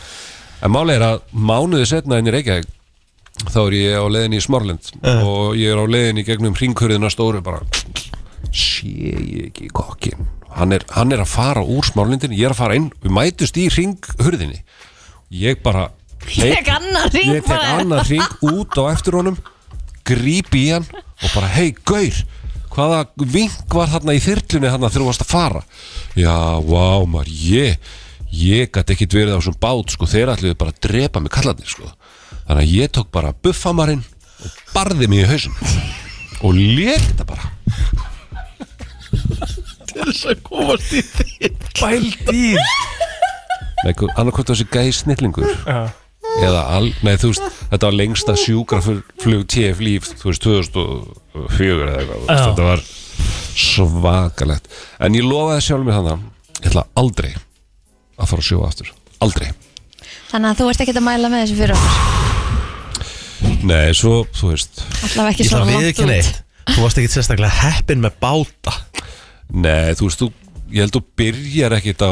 en máli er að mánuði setna inn í Reykjavík þá er ég á leiðin í Smorland og ég er á leiðin í gegnum hringkurðina stóru bara sé ég ekki kokkin hann er, hann er að fara úr smárlindin ég er að fara inn, við mætust í ringhurðinni ég bara hleyp- Tek annan hring ég tek bara. annan ring út á eftir honum gríp í hann og bara hei gaur hvaða vink var þarna í þyrlunni þarna þegar þú varst að fara já, vá maður, ég ég gæti ekkit verið á þessum bát sko, þeir ætluðu bara að drepa mig kallarnir sko. þannig að ég tók bara buffamarinn og barði mig í hausum og lék þetta bara Bældýr annarkvæmt þessi gæði snillingur eða all, nei þú veist þetta var lengsta sjúkraflug TF líf þú veist 2004 eða eitthvað, þú veist, Já. þetta var svakalegt, en ég lofaði sjálf mér þannig, ég ætla aldrei að fara að sjóa aftur, aldrei Þannig að þú ert ekkert að mæla með þessu fyrir okkur nei, svo, þú veist Allavega ekki Ég ætla svona að við langt ekki út neitt Þú varst ekki sérstaklega heppin með báta Nei, þú veist, þú, ég held þú byrjar ekkit á,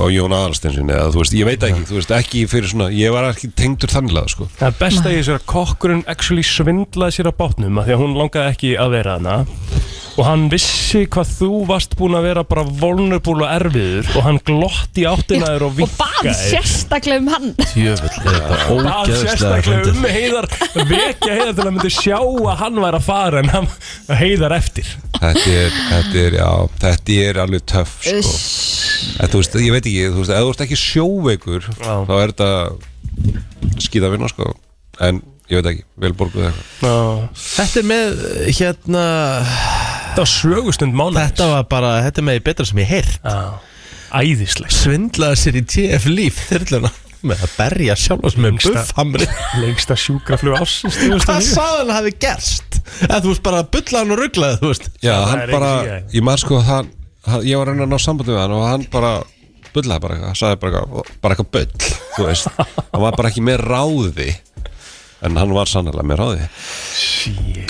á Jón Aðalstensin eða þú veist, ég veit ekki, þú veist, ekki fyrir svona, ég var ekki tengdur þanniglega, sko. Það er best að ég sér að kokkurinn actually svindlaði sér á bátnum af því að hún langaði ekki að vera hana og hann vissi hvað þú varst búin að vera bara vulnerable og erfiður og hann glotti áttinaður og Og bað vinkaði sérstaklega um hann Jöfull, þetta er bara Bað ógeðslega sérstaklega fyndið. um heiðar vekja heiðar til að myndi sjá að hann væri að fara en hann heiðar eftir Þetta er, þetta er, já, þetta er alveg töff, sko. En þú veist, ég veit ekki, þú veist, ef þú ert ekki sjóveikur, Já. þá er þetta skýða vinna, sko. En, ég veit ekki, vel borguð eitthvað. Þetta Þetta er með, hérna var sögustund mánuð Þetta var bara, þetta er með því betra sem ég heyrt Æðisleg Svindlaði sér í TF líf þyrluna Með að berja sjálf sem með Lengsta- buffhamri Lengsta sjúkraflug ásins Hvað sagði hann hafi gerst? Eða þú veist bara að bulla hann og rugglaði, þú veist Já, það hann er bara, ekki ég. ég maður sko að hann, hann- ég var að reyna að ná sambandi við hann og hann bara bullaði bara eitthvað, sagði bara eitthvað, bara eitthvað bull, þú veist, hann var bara ekki með ráði, en hann var sannlega með ráði.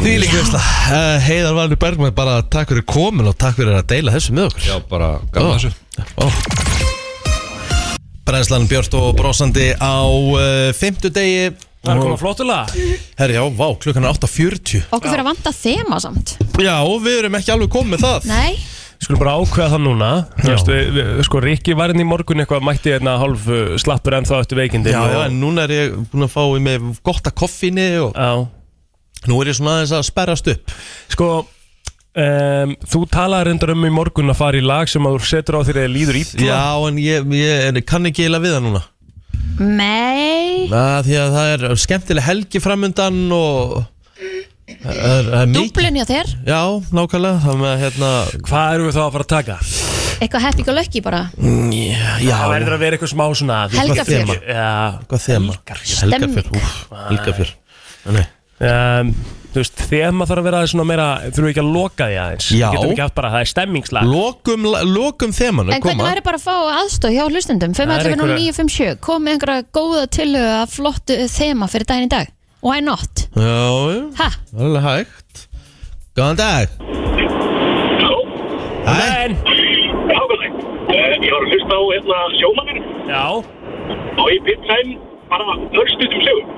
Því líka veist það Eh, Heiðar Valur Bergman bara takk fyrir komin og takk fyrir að deila þessu með okkur Já, bara gaf þessu. Ó. Brænslan Björn og brosandi á uh, fimmtudegi Það er komað flottulega Herri, já, vá, klukkan er 8.40 Okkur fyrir að vanda þema samt Já, og við erum ekki alveg komið með það Nei, Skulum bara ákveða það núna Þú veist, við, við, Sko Rikki var inn í morgun eitthvað mætti hérna hálf uh, slappur en þá eftir veikindi Já, já, en núna er ég búin að fá í mig gott að koffíni og já. nú er ég svona aðeins að sperrast upp Sko um, Þú talaði reyndar um í morgun að fara í lag sem að þú setur á þér eða líður ítla Já, en ég, ég en ég kann ekki eila við það núna mei að Því að það er skemmtileg helgi framundan og það er, það er mikið Dúblin hjá þér, Já, nákvæmlega, það með hérna Hvað erum við þá að fara að taka? eitthvað happy go lucky bara Já, já Mm, Það verður að vera eitthvað smá svona þú veist, Helgafjör. svona þema. hvað þema? Stemning. Helgafjör úff, Helgafjör Nei. Já um, Þú veist, þema þarf að vera svona meira Þurfum við ekki að loka því aðeins Já. Getum ekki haft bara, það er stemmingslag Lokum, lokum þemanu En hvernig væri bara að fá aðstóð hjá hlustendum? Það er 511 og einhverja- 957 Komið einhverja góða tilhug að flottu þema fyrir daginn í dag Why not? Já, já, Ha? það er alveg hægt Góðan dag Hæ, En, Já, góðan dag. Eh, Ég var að hlusta á hérna sjómannir já, og ég pizza inn bara örstutum sögum.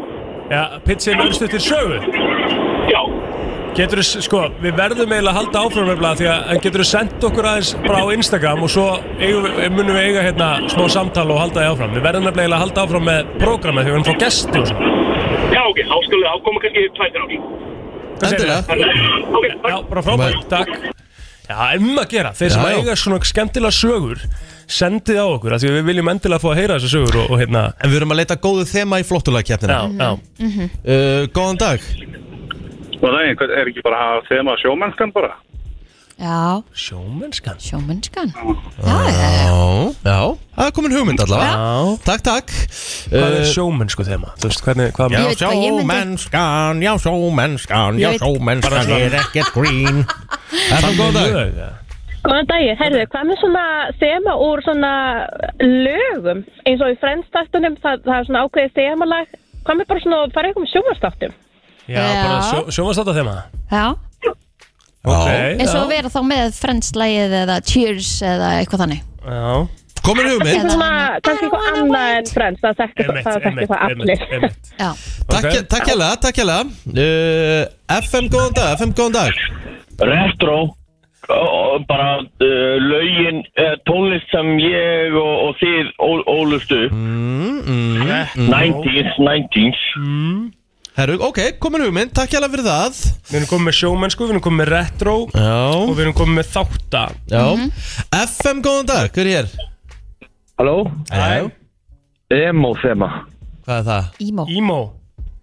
já Pitsin örstu til sögu Já, Getur þú, sko, við verðum eiginlega að halda áfram nefnilega því að en getur þú sendt okkur aðeins bara á Instagram og svo eigum, við- munum við eiga hérna smá samtala og halda því áfram. Við verðum nefnilega eiginlega að halda áfram með prógramið því við erum frá gesti og svo. já ok, þá skulum við ákoma kannski tvær þrjár. Hvað segirðu? endilega Ok, takk. Já, bara frábært, takk. Já, um að gera. Þeir sem Já, já. eiga svona skemmtilega sögur, sendið á okkur af því að við viljum endilega fá að heyra þessu sögur og, og hérna, En við erum að leita góðu þema í já, flottulagkeppnina já. Mhm. uh, Góðan dag Góðan daginn, hvað- er ekki bara að hafa þema sjómennskan bara? Já, Sjómennskan sjómennskan Já, já, já já, það er komin hugmynd allavega Já. Takk, takk Hvað er Eh, sjómennsku sko, þema? Þú veist hvernig, hvað Ég veit hvað ég myndi- sjómennskan, já sjómennskan, Ég já veit- Bara sjómennskan svona- er ekkert grín FM, góðan dag Lög, ja. Góðan dagir, herðu, hvað með svona þema úr svona lögum eins og í frendstættunum, það, það er svona ákveðið þemalag, hvað með bara svona að fara eitthvað með sjómanstáttum? Já, bara Já. sjó, sjómanstáttar þema Já, Ok, eins já. og að vera þá með Friends-lægið eða Cheers eða eitthvað þannig Já, Komin hugmynd Eitthvað Hérna. svona, kannski eitthvað annað en frends, það þekkir einmitt, það, þekkir einmitt, það allir. einmitt, einmitt Já, Takk Ok. takk hérlega, takk hérlega uh, FM, góðan dag, FM, góðan dag retro og bara uh, lögin uh, tónlist sem ég og, og þið ó- ólust upp Mm. Retro. 90s, 90s Herru, ok, komin hugmynd, takk hérlega fyrir það Við erum komið með sjómennsku, við erum komið með retro og Já, við erum komið með þátta já Mhm. FM, góðan dag, hver er hér? Halló, Æ, emo þema Hvað er það? Ímó Ímó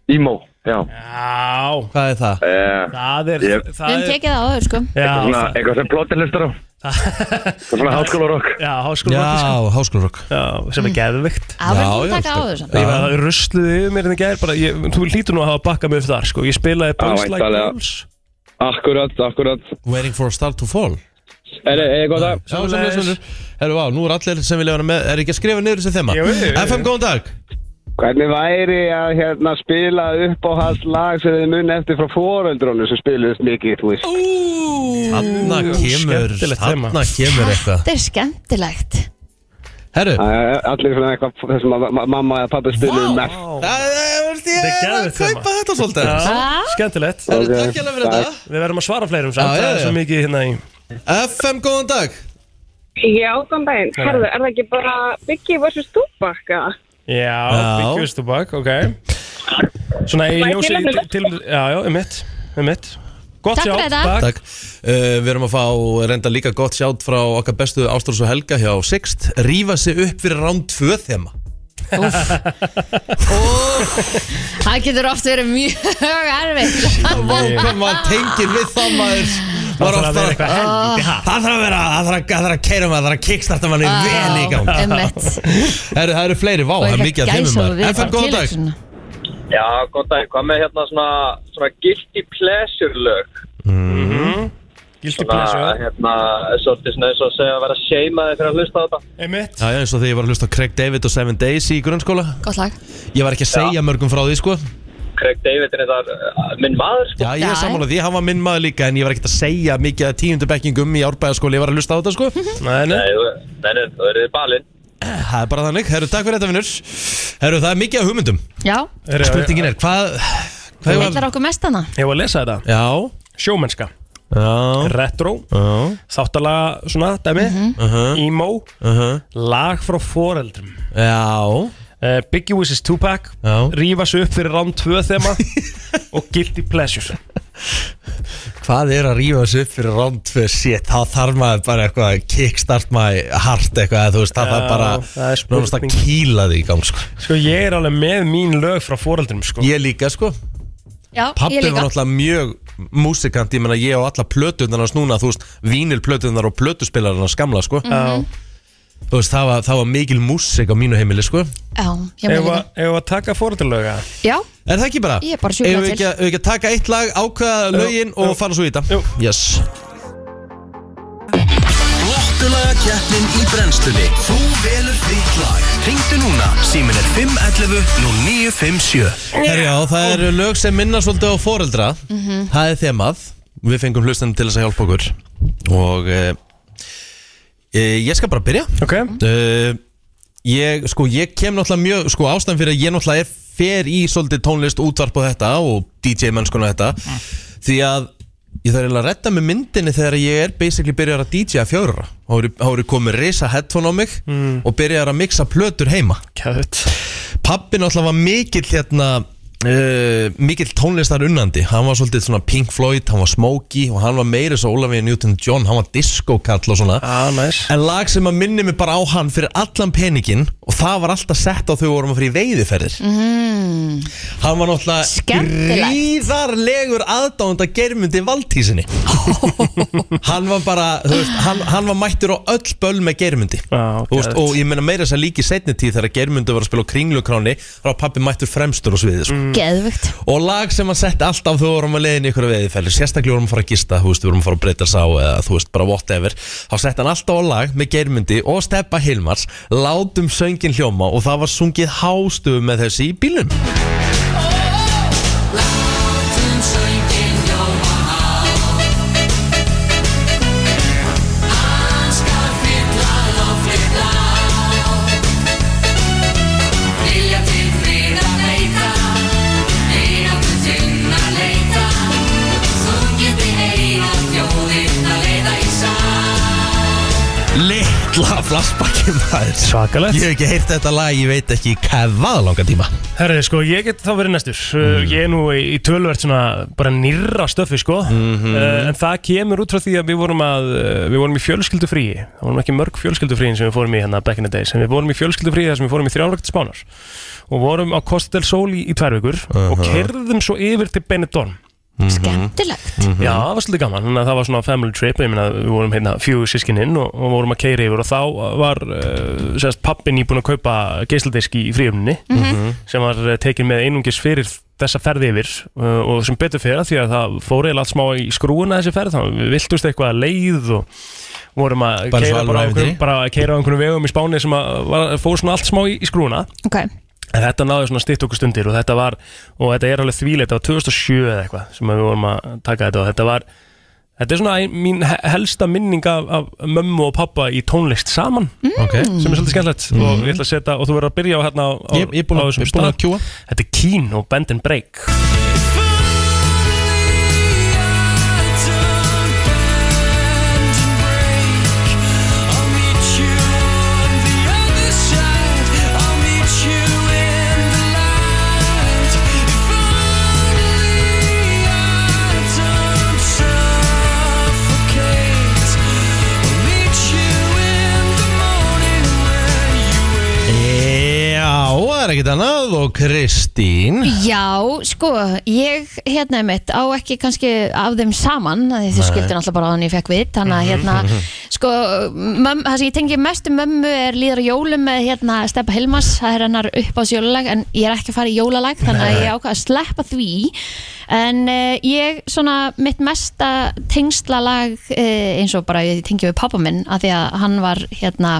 emo, já Já, Hvað er það? eh, það er Ég- Við það höfum er, tekið það áður sko Já, svona, það- eitthvað sem plotin hlustar á svona háskólarokk já háskóla sko. Já, háskólarokk já, sem er Mm. geðvikt Það Já, verður búin já, að taka sko. áður sann Ég var að rusluði yfir mér en það gæðir bara, ég, þú hlýtur nú að hafa bakkað mig upp þar sko, ég spilaði Boys Já, Like væntanlega. Girls Ah. Akkurat, akkurat Waiting for a star to fall Er þið góð að Já, sem leysum við Herru, á, nú er allir sem vilja vera með Er ekki að skrifa niður þessi þema? Jú, jú, jú. FM, góðan dag Hvernig væri að hérna, spila upp á hans lag sem þið muni eftir frá foreldrónu sem spiluðist mikið, þú veist Hanna kemur, skemmtilegt þema. hanna kemur eitthvað Þetta er skemmtilegt Herru, Eh, Allir svona eitthvað þessum að ma- mamma eða pappi Vá. spiluðu mest það er, ég Þetta er er að geðveikt þema. kaupa þetta svolítið Já, skemmtilegt Herru, Ok, takk hérlega fyrir takk. þetta Við verðum að svara fleirum Já, samt, já, það er já. svo mikið hérna í FM, góðan dag Já, góðan daginn, herðu, er það ekki bara Biggie vs. Tupaka? Já, Já. byggjust og bakk, ok Svona í Mætti ljósi ég nefna til, til- Já, já, um mitt, um mitt Gott Takk sjá, fyrir þetta. Takk. Uh, við erum að fá reynda líka gott sjátt frá okkar bestu Ástrós og Helga hjá Sixt Rífa sig upp fyrir ránd 2 þema Það getur oft verið mjög erfitt Vá, hvað maður tengir við það maður Það maður Ah, þarf að vera eitthvað helviti hæ Það þarf að vera, það þarf að, það þarf að keira maður, það þarf að kickstarta maður vel í gang Emmett Herru, það eru fleiri, vá, Ah, Og það er ég fekk mikið að þeimum gæsa maður FM, góðan dag Já, góð dag, hvað með hérna svona, svona guilty pleasure lög Mhm. Mm-hmm. Gildi svona, plæsja, hérna, svolítið svona eins og segja að vera seimaði fyrir að hlusta á þetta um mitt Já, já, eins og þegar ég var að hlusta á Craig David og Seven Days í grunnskóla Gott lag Ég var ekki að segja mörgum frá því, sko Craig David er þetta minn maður sko. Já, ég er Já. sammálað því, hann var minn maður líka En ég var ekki að segja mikið að tíundu bekkingum í árbæðaskóli Ég var að hlusta á þetta, sko Mhm. Nei, nei, Nei, þú- nei, nei, þú eru þið balinn Það er bara þannig, herru, takk fyrir þetta vinnur Herru, það er mikið af hugmyndum Já, Heyrðu, Spurningin er, hvað það Hvað villar okkur mest hana ég var að lesa þetta Já, Sjómennska, já, retro, já Mhm. þáttalaga svona, dæmi Emo, uh -huh. lag frá foreldrum Já, uh, Biggie vs. Tupac Já. Rífa sig upp fyrir round 2 þema Og guilty pleasure hvað er að rífa þessu upp fyrir ránd fyrir shit, þá þarf maður bara eitthvað að kickstart my heart eitthvað, þú veist, það Já, þarf bara það er spurning. nánast að kýla því í gang, sko. Sko ég er alveg með mín lög frá foreldrum sko. Ég líka, sko. Já, Pappi ég var líka náttúrulega mjög músikant, ég menna ég á alla plötunar hans núna, þú veist, vínilplötunar og plötuspilarar hans gamla, sko. Mhm. Já. Þú veist, það var, það var mikil músik á mínu heimili, sko. Já, ég með Ef líka að- ef að taka foreldralöga Já, Er það ekki bara? Ég er bara sjúklega Eigum við ekki, til. að- eigum við ekki að taka eitt lag, ákvaða lögin og jú. fara svo í þetta? Jú. Yes. Flottulaga keppnin í brennslunni Þú velur þitt lag Ringdu núna, símin er 511 0957 Herra, já, það eru lög sem minna svolítið á foreldra Það er þemað Við fengum hlustanum til þess að hjálpa okkur Og e, e, Ég skal bara byrja Ok e, ég, sko, ég kem náttúrulega mjög Sko ástæðan fyrir að ég náttúrulega er Fer í svolítið tónlist útvarp og þetta Og DJ mennskona þetta Því að ég þarf eiginlega að redda með myndinni Þegar ég er basically byrjar að DJ að fjóra Há eru komið risa headphone á mig Mm. Og byrjar að mixa plötur heima Kæðut Pappi náttúrulega var mikill hérna uh, mikill tónlistar unnandi hann var svolítið svona Pink Floyd, hann var Smokey og hann var meira svo Olavi Newton-John hann var disco-kall og svona ah, nice. en lag sem að minni mig bara á hann fyrir allan peningin og það var alltaf sett á þau vorum að fyrir veiðiferðir mm. hann var náttúrulega Skemmtilegt. gríðarlegur aðdánda germundi valdísinni hann var bara þú veist, hann, hann var mættur á öll böl með germundi ah, veist, geðveikt. og ég meina meira þess að líki setni tíð þegar germundi var að spila á kringlukráni þá var pappi mættur fremstur á sviðið Mm. Mm. sko. Geðvögt Og lag sem að setja alltaf þú vorum að leiðin í ykkur veðiðferðir Sérstaklega vorum að fara að gista, þú veist, við vorum að fara að breyta sá eða þú veist, bara whatever Þá setti hann alltaf á lag með geirmyndi og steppa Hilmars Látum söngin hljóma og það var sungið hástöfu með þessi í bílum Litla flassbakki maður Svakalegt Ég hef ekki heyrt þetta lag, ég veit ekki hvað var langa tíma Herri, sko, ég get þá verið næstur mm. Ég er nú í, í tölvert svona bara nýrra stöfi, sko uh, En það kemur út frá því að við vorum að uh, Við vorum í fjölskyldufríi Það vorum ekki mörg fjölskyldufríin sem við fórum í hérna back in the days En við vorum í fjölskyldufríi þar sem við fórum í þrjárvægt spánar Og vorum á Costa del Sol í, í tvær vikur Og kerðum svo yfir til Benidorm Mm-hmm. Skemmtilegt Já, það var svolítið gaman, þannig að það var svona family trip ég meina við vorum hérna fjögur sískininn og, og vorum að keira yfir og þá var uh, sérst pappin íbúin að kaupa geisladisk í fríöfninni sem var uh, tekin með einungis fyrir þessa ferði yfir uh, og sem betur fyrir því að það fór eða allt smá í skrúuna þessi ferð, þannig að við viltust eitthvað að leið og vorum að Bara svo keira bara, á alveg einhverjum- ævintýri. bara að keira á einhvern vegum í Spáni sem að var, fór svona allt smá í, í skrúuna Ok, En þetta náði svona stitt okkur stundir og þetta var, og þetta er alveg þvíleitt, þetta var 2007 eða eitthvað sem við vorum að taka þetta og þetta var, þetta er svona ein- mín he- helsta minning af, af mömmu og pappa í tónlist saman Ok Mhm. sem er svolítið skemmtilegt og ég ætla að setja, og þú verður að byrja á hérna á, á, Ég- ég er búinn á að- þessum ég er búinn að stað. kjúga. Þetta er Keen og Bend and Break Já, það er ekkert annað og Kristín já, sko, ég hérna mitt á ekki kannski af þeim saman af því þið skildir alltaf bara á þannig ég fekk við þannig að hérna, sko mömm, það sem ég tengi mest um mömmu er líður á jólum með hérna Steppa Hilmas það er hennar upp á jólalag en ég er ekki að fara í jólalag þannig að ég ákvað að sleppa því en uh, ég svona mitt mesta tengslalag uh, eins og bara ég tengi við pappa minn af því að hann var hérna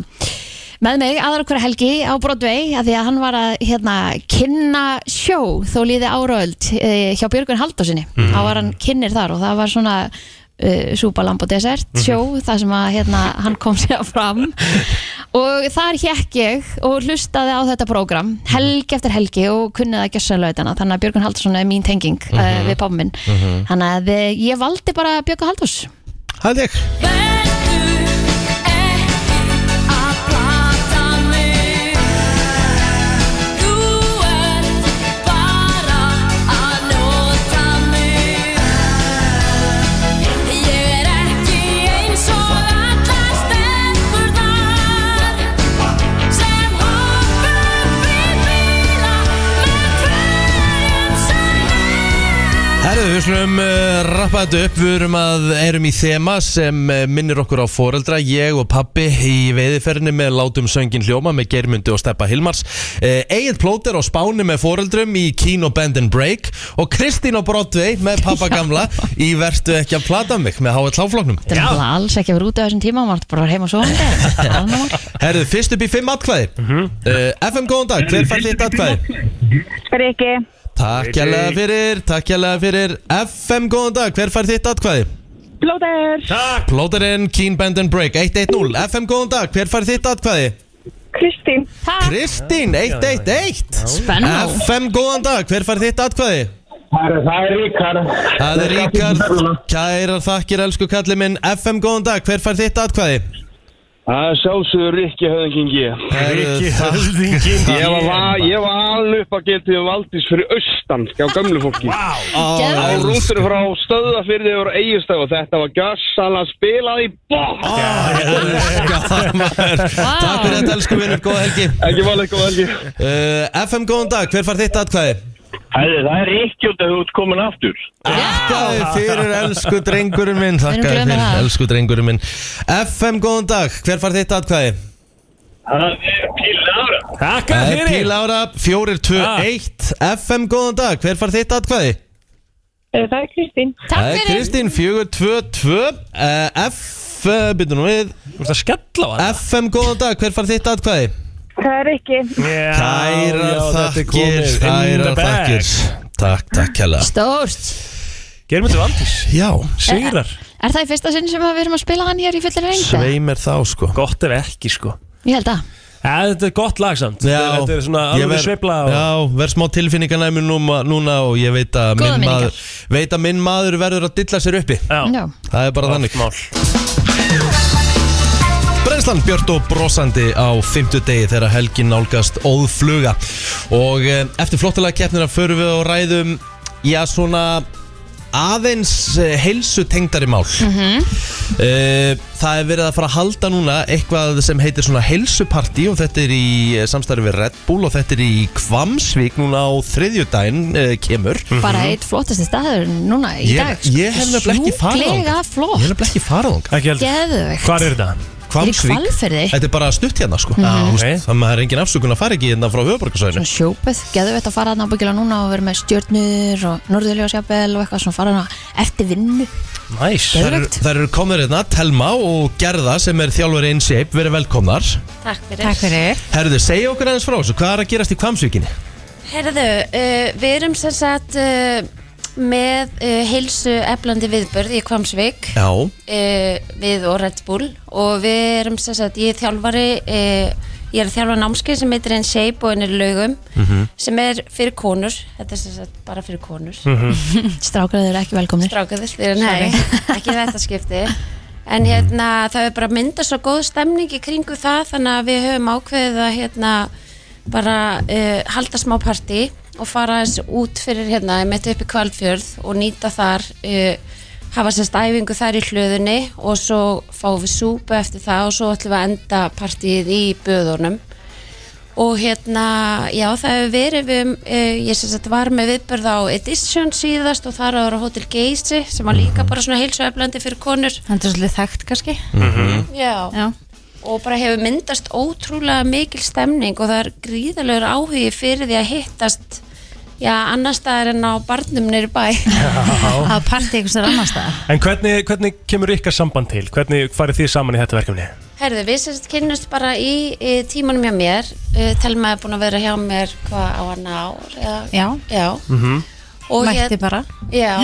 með mig aðra okkur helgi á Broadway af því að hann var að hérna, kynna sjó þó líði áraöld eh, hjá Björgun Haldósinni mm. þá var hann kynnir þar og það var svona uh, súpa, lamb og desert sjó þar sem að hérna, hann kom sér fram og þar hekk ég og hlustaði á þetta prógram Mhm. helgi eftir helgi og kunnið að gjössa lögðana þannig að Björgun Haldósson er mín tenging mm Mhm. við pabba minn þannig að eh, ég valdi bara Björgun Haldós Hald ég Herru, við slum uh, rappa þetta upp, við erum, að, erum í þema sem uh, minnir okkur á foreldra, ég og pappi í veiðiferðinni með Látum söngin hljóma með Germundi og Steppa Hilmars, uh, Egil Plóter á Spáni með foreldrum í Kino Band and Break og Kristín á Broadway með pappa gamla í Vertu ekki að plata mig með HL-láfloknum. þetta er náttúrulega alls ekki að vera út á þessum tíma hann var bara að vera heima og um svo Herru, fyrst upp í fimm atkvæði. uh, FM, góðan dag, hver fær þitt atkvæði? Riki, Takk kjærlega fyrir, takk kjærlega fyrir. FM, góðan dag, hver fær þitt atkvæði? Blóður, Plóterinn, Keen Bend and Break 1-1-0, FM góðan dag, hver fær þitt atkvæði? Kristín, Kristín, 1-1-1 Spennu FM góðan dag, hver fær þitt atkvæði? Það er ríkar Það er Ríkard, kærar þakkir elsku kallið minn FM góðan dag, hver fær þitt atkvæði? Það er sjálfsögur Rikki höfðingingi Rikki höfðingingi Ég var, va- ég var alveg upp að getið valdís fyrir austan hjá gamlu fólki wow. Á Geðveikt. rútur frá stöða fyrir þeir voru eigustöð og þetta var gjössalega spilað í bótt Takk fyrir þetta, elsku vinnur, góða helgi Ekki máli, góða helgi FM, góðan dag, hver far þitt atkvæði? Herri, það er ekki út að þú ert komin aftur Þakkaði fyrir, elsku drengurinn minn Við erum Þakkaði glöð með fyrir, það. elsku drengurinn minn FM, góðan dag, hver far þitt atkvæði? Það er píla ára Takk Það er Píl Ára, Ah. 421 FM, góðan dag, hver far þitt atkvæði? Eh, Það er Kristín. Það er Kristín 422 uh, F, uh, byrjum nú við Þú ert að skella á það FM, góðan dag, hver far þitt atkvæði? Það er ekki. Kæra já, þetta er þakkir, komið. In kæra the bag. þakkir Takk, takk hella Stórt Gerum þetta valdís Já Sigrar Er það í fyrsta sinn sem að við erum að spila hann hér í fullir reynda? Sveimir þá sko Gott ef ekki sko Ég held að Ja, þetta er gott lag samt Þetta er svona ég alveg verð- sveifla og... Já, verð smá tilfinninganæmi núna, núna og ég veit að, Góða minn minningar. maður, veit að minn maður verður að dilla sér uppi Já. Já. Það er bara þannig Brennslan Björn og brosandi á fimmtudegi þegar helgin nálgast óðfluga og eh, eftir flottilega keppnina förum við og ræðum já svona aðeins heilsu tengdari mál Mhm. Eh, Það er verið að fara að halda núna eitthvað sem heitir svona helsupartí og þetta er í eh, samstarfi við Red Bull og þetta er í Kvamsvík núna á þriðjudaginn uh, kemur Bara eitt flottasti staður núna í Ég- dag sko. ég hef nefnilega ekki farið Sjúklega flott Mhm. Ég er nefnilega ekki farað þangað. Ekki heldur. Geðveikt. Hvar er þetta? Hvammsvík. Í Hvalfirði. Þetta er bara stutt hérna sko Mhm. Já, Þú veist, Þannig að það er engin afsökun að fara ekki hérna frá höfuborgarsvæðinu Sjópið, geðu veit að fara þarna ábyggilega núna og vera með stjörnur og norðurljósjabel og eitthvað svona fara þarna eftir vinnu Næs Þær eru- þær eru komnir hérna, Telma og Gerða sem er þjálfur InShape, verið velkomnar Takk fyrir. Takk fyrir. Herðu, segja okkur aðeins frá þessu, hvað er að gerast í Kvamsvíkinni? Herðu, uh, við erum sem sagt uh, með uh, heilsu eflandi viðbörð í Kvamsvík Já uh, við og Red Bull og við erum sem sagt, ég er þjálfari, uh, ég er að þjálfa námskeið sem heitir InShape og ennir laugum Mhm. sem er fyrir konur, þetta er sem sagt bara fyrir konur. Mhm. Mhm. Strákar þeir eru ekki velkomnir Strákaðir, nei, ekki í þetta skipti En hérna, það er bara að mynda svo góð stemning í kringu það Þannig að við höfum ákveðið að hérna bara uh, halda smá partí og fara eins út fyrir hérna, ég meti upp í Kvalfjörð og nýta þar uh, hafa sérst æfingu þar í hlöðunni og svo fáum við súpu eftir það og svo ætlum við að enda partíið í böðunum og hérna, já það hefur verið við, uh, ég sem sagt var með viðbörð á Edition síðast og þar ára Hotel Geysi sem var líka bara svona heilsueflandi fyrir konur Það Mhm. er svolítið þekkt kannski já. og bara hefur myndast ótrúlega mikil stemning og það er gríðalegur áhugi fyrir því að hittast já, annars staðar en á barnum nýri bæ Já. partí einhvers þar annars staðar En hvernig, hvernig kemur ykkar samband til? Hvernig farið þið saman í þetta verkefni? Herðu, við sem sagt kynnumst bara í, í tímanum hjá mér uh, Telma er búin að vera hjá mér hvað á hann ár eða, Já. já. Mætti bara. já.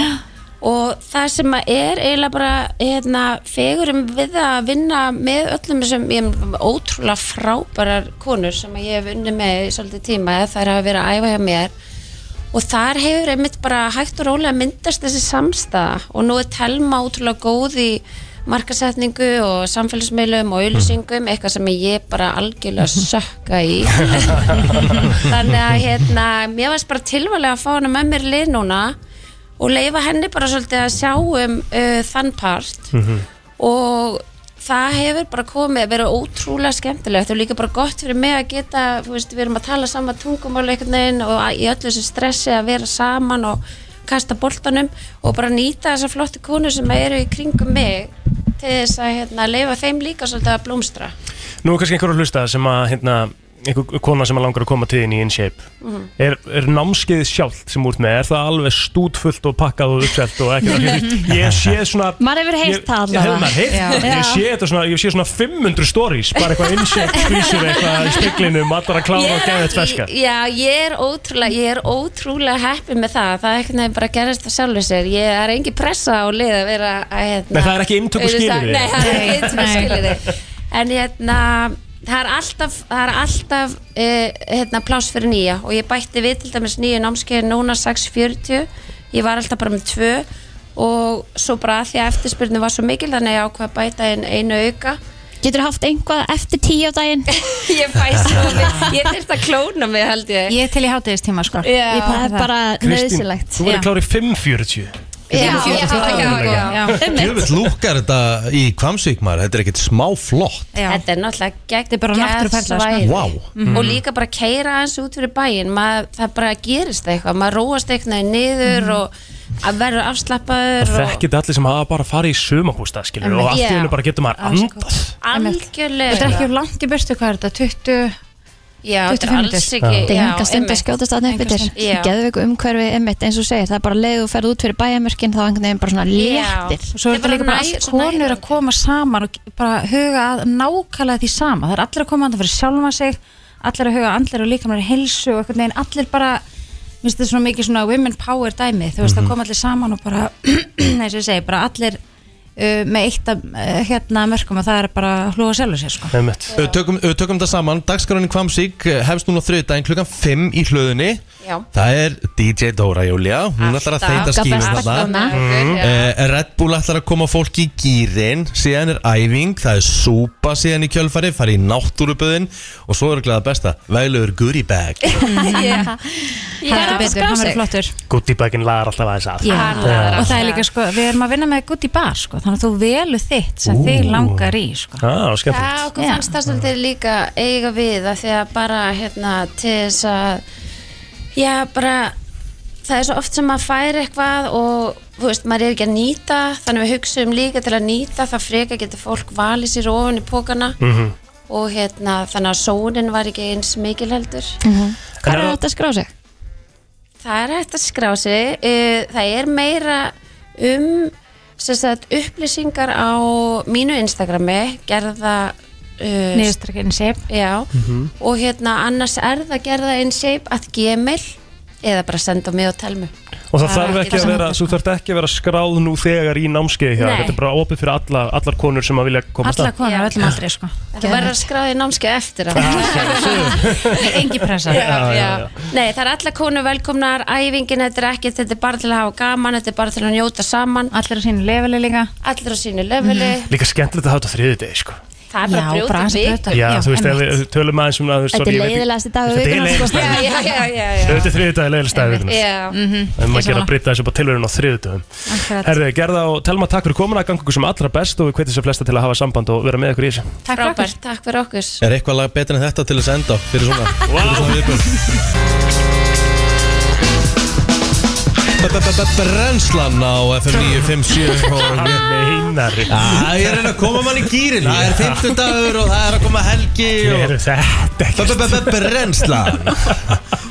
og það sem að er eiginlega bara hérna, fegurum við að vinna með öllum þessum ég, meina, ótrúlega frábærar konur sem að ég hef unni með í svolítið tíma eða þær hafa verið að æfa hjá mér og þar hefur einmitt bara hægt og rólega myndast þessi samstaða og nú er Telma ótrúlega góð í markasetningu og samfélagsmiðlum og auðlýsingum, eitthvað sem ég bara algjörlega sökka í þannig að hérna mér varst bara tilvalega að fá hana með mér lið núna og leifa henni bara svolítið að sjá um uh, þann part og það hefur bara komið að vera ótrúlega skemmtilegt og líka bara gott fyrir mig að geta þú veist, við erum að tala sama tungumál einhvern veginn og að- í öllu þessu stressi að vera saman og kasta boltanum og bara nýta þessa flottu konu sem eru í kringum mig til þess að hérna, leifa þeim líka svolítið að blómstra Nú er kannski einhver að hlusta sem að hérna, einhver kona sem að langar að koma til þín í InShape Mhm. er, er námskeið sjálft sem úr með er það alveg stútfullt og pakkað og uppselt og ekkert ég sé svona Maður hefur heyrt það Ég hefði maður heyrt, Já. ég sé þetta svona, ég sé svona 500 stories, bara eitthvað innsett, skvísur eitthvað í speglinum, allar að klára og geða þetta ferska. Já, ég er ótrúlega, ég er ótrúlega heppið með það, það er einhvern veginn bara að gerast það sjálfur sér, ég er engin pressa á lið að vera að hérna Nei, það er ekki inntöku skilyrði. Nei, það er ekki inntöku Nei. skilirði En hérna, það er alltaf, það er alltaf uh, hérna, pláss fyrir nýja og ég bætti við til dæmis nýju námskeið núna 6.40, ég var alltaf bara með tvö og svo bara af því að eftirspyrnu var svo mikil þannig að ég ákvað að bæta inn einu auka Getur haft einhvað eftir tíu á daginn? ég fæ svo við- ég þurft að klóna mig held ég Ég er til í hátegistíma sko Já. Ég Það er bara Kristín, þú verður klár í 5.40 Já, já, já, já, já. Jöfnveld lúkar þetta í Kvamsvík maður Þetta er ekkert smá flott Þetta er náttúrulega gegn Þetta er bara náttúruperla, sko. Vá. Mhm. Og líka bara keira aðeins út fyrir bæin maður, Það bara gerist eitthvað, maður róast eitthvað niður og að verður afslappaður Það og þekkir þetta allir sem hafa bara farið í sumabústa skilur og allt í Já. hennu bara getur maður andað algjörlega Þetta er ekki langt í burtu hvað er þetta, 20 Já, þetta er 25 alls mínútur. ekki Já. Þetta er hengast stund að einmitt. skjótast að nefnir Enga stund. Já. Geðveiku umhverfi, einmitt, eins og þú segir Það er bara leið og ferð út fyrir bæjarmörkin Þá einhvern veginn bara svona léttir og svo er þetta líka bara allt konur að koma saman og bara huga að nákvæmlega því sama það er allir að koma andan fyrir sjálfa sig allir að huga andlir og líkamlega hilsu og einhvern veginn allir bara minnst þetta svona mikið svona women power dæmi þú veist Mhm. að koma allir saman og bara eins og ég segi, bara allir uh, með eitt af uh, hérna mörgum og það er bara að hlúa sjálfur sér sko Við tökum, við tökum það saman, dagskránin í Kvamsík eh, hefst núna þriðdæðin klukkan 5 í hlöðunni Já. Það er DJ Dóra Júlia, hún ætlar að Alltaf. þeita skífum Alltaf þarna besta maður, já. Eh, Red Bull ætlar að koma fólki í gýrin, síðan er æfing, það er súpa síðan í kjölfari, fari í náttúruböðin og svo er glæða besta, veglegur goodie bag yeah. Já, Heldur betur, hann skrá verður sig. flottur Goodie-baginn lagar alltaf aðeins að Já, Já. og það er líka sko, við erum að vinna með gutt í bar sko, þannig að þú velu þitt sem Ú. þig langar í sko. Já, skemmtilegt Já, okkur fannst það svolítið líka eiga við að því að bara hérna til þess að já, bara það er svo oft sem maður fær eitthvað og þú veist, maður er ekki að nýta þannig við hugsaum líka til að nýta það freka getur fólk valið sér ofan í pókana Mhm. og hérna þannig að sónin var ekki eins mikil heldur Mhm. Hvað er þetta að skrá sig? Það er hægt að skrá sig. eh, Það er meira um sem sagt, upplýsingar á mínu Instagrami, gerða... Uh, Niðurstrik InShape. Já, Mhm. Mm. og hérna annars er það gerða InShape að gmail eða bara senda á mig og telmu. Og það þarf ekki að vera, þú þarf ekki að vera skráð nú þegar í námskeiði hjá, þér. Nei. þetta er bara opið fyrir alla, allar konur sem að vilja komast Alla konar, öllum aldrei sko Þú verður að skráði námskeið eftir að Ah, Engi pressa já, já, Nei, það er alla konu velkomnar, æfingin, þetta er ekkert, þetta er bara til að hafa gaman, þetta er bara til að njóta saman. Allir á sínu leveli líka. Mhm. Allir á sínu leveli. Mm. Líka skemmtilegt að hafa þetta þriðið degi, sko Það er bara Já, bara að brjóta um aðeins að viku. brjóta. Já, Já, þú veist, ef einmitt. við tölum aðeins um það þú veist, Þetta sorry, er ég veit- leiðilegasti Þetta dagur er vikunnar, sko. leiðilegasti dagur Já, já, já, já, já. Þetta er þriðið dagi leiðilegst dagur vikunar Já, En maður gera að breyta þessu bara tilverun á þriðutöfum Herðu, gerða og telma takk fyrir komuna Gangu ykkur sem allra best og við hvetjum sér flesta til að hafa samband og vera með ykkur í þessu Takk Frábært, takk fyrir okkur Er eitthvað lag betur en þetta til þess að enda á fyrir svona, fyrir svona viðbjörn Brennslan á FM 957 og- Meinari Æ, ég er að reyna að koma mann í gýrin Það er 50 dagur og það er að koma helgi Eru þetta ekki Brennslan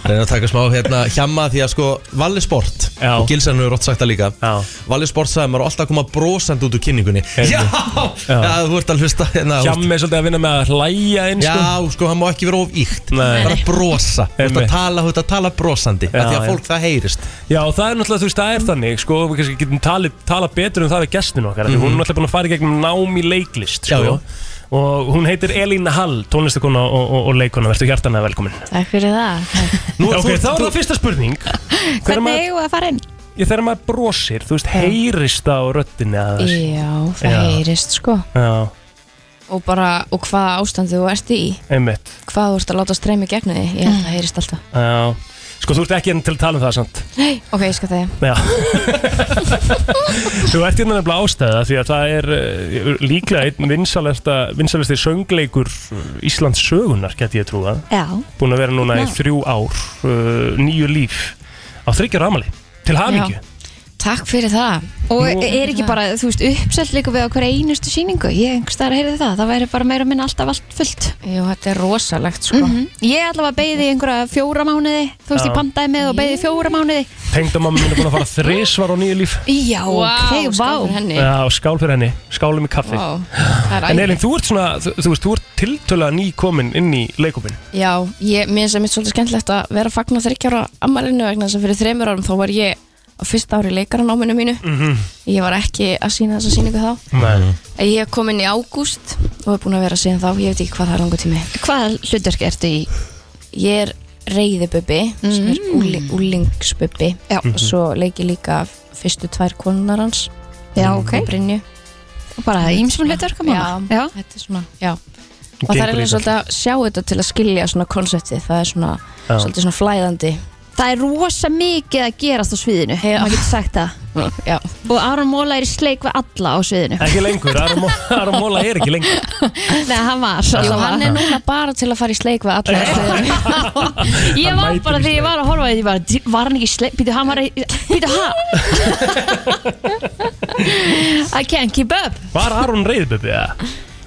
Reyna að taka smá hérna hjamma því að sko Valli Sport og Gilsan hefur rótt sagt það líka Já. Valli Sport sagði maður á alltaf að koma brosandi út úr kynningunni Já, Já. þú ert að hlusta hérna, þú Hjammi er svolítið að vinna með að hlæja eins sko. Já, sko, hann má ekki vera of íkt Nei. Bara brosa Þú ert Einmitt. að tala, þú ert að tala brosandi Já, af Því að já. fólk það heyrist Já, og það er náttúrulega, þú veist, það er þannig sko, við kannski getum talið, tala betur um það við gestinu okkar mm Mhm. hún er náttúrulega búin að fara í gegnum nám í leiklist sko. Já, já. og hún heitir Elín Hall tónlistakona og, og, og leikona, verður hjartanlega velkomin Takk fyrir það Nú, okay, Þá er það fyrsta spurning Þegar Hvernig maður- eigum við að fara inn? Ég þegar maður brosir, þú veist, heyrist það á röttinni að þess Já, það Já. heyrist sko Já, og bara, og hvaða ástand þú ert í einmitt hvað þú ert að láta streymi gegn því ég held að það heyrist alltaf Já, sko þú ert ekki enn til að tala um það samt Nei, ok, ég skal það Já Þú ert hérna nefnilega ástæða því að það er uh, líklega einn vinsalesta, vinsalesti söngleikur Íslands sögunar, get ég trúa Já. Búin að vera núna í Já. þrjú ár, uh, nýju líf á þryggjur amali, til hamingju Takk fyrir það Og er ekki bara, þú veist, uppselt líka við á hverja einustu síningu? Ég einhvers þar heyrði það, það væri bara meira og minna alltaf allt fullt. Mhm. Jú, þetta er rosalegt sko Ég allavega beigði í einhverja fjóra mánuði, þú veist, Já. ég pantaði með og beigði í fjóra mánuði. Tengdamamma mín er búin að fara þrisvar á nýju líf Já, Vá, ok, vá. skál fyrir henni. Já, skál fyrir henni, skálum í kaffi Vá, það er En æði. Elin, þú ert svona, þú, þú veist, þú ert tiltöla nýkomin inn í leikopin Já, ég, mér finnst það mitt svolítið skemmtilegt að vera að fagna þryggjára ammarinu vegna þess að fyrir þreymur árum þá var ég á fyrsta ári leikaranáminu mínu Mhm. ég var ekki að sína þessa síningu þá Nei En Ég hef komin í ágúst og hef búin að vera síðan þá, ég veit ekki hvað það er langur tími. Hvað hlutverk ertu í? Mm. Ég er reyðibubbi, sem er úli, úlingsbubbi og svo leik ég líka fyrstu tvær konunar hans. Já, ok. Brynju. og bara í ýmsum hlutverkum já, já, þetta er svona, já Hún og það er gengur í alveg þetta. svolítið að sjá þetta til að skilja svona konseptið, það er svona Já. svolítið svona flæðandi það er rosa mikið að gerast á sviðinu maður getur sagt það já. og Aron Móla er í sleik við alla á sviðinu Ekki lengur, Aron Mó- Aron Móla er ekki lengur Nei, hann var, Jú, hann hann er núna bara til að fara í sleik við alla Ég var bara þegar ég var að horfa á þetta, ég bara, "Dí- var hann ekki sleik, býtu hann var að, býtu hann I can't keep up Var Aron reyðbubbi eða?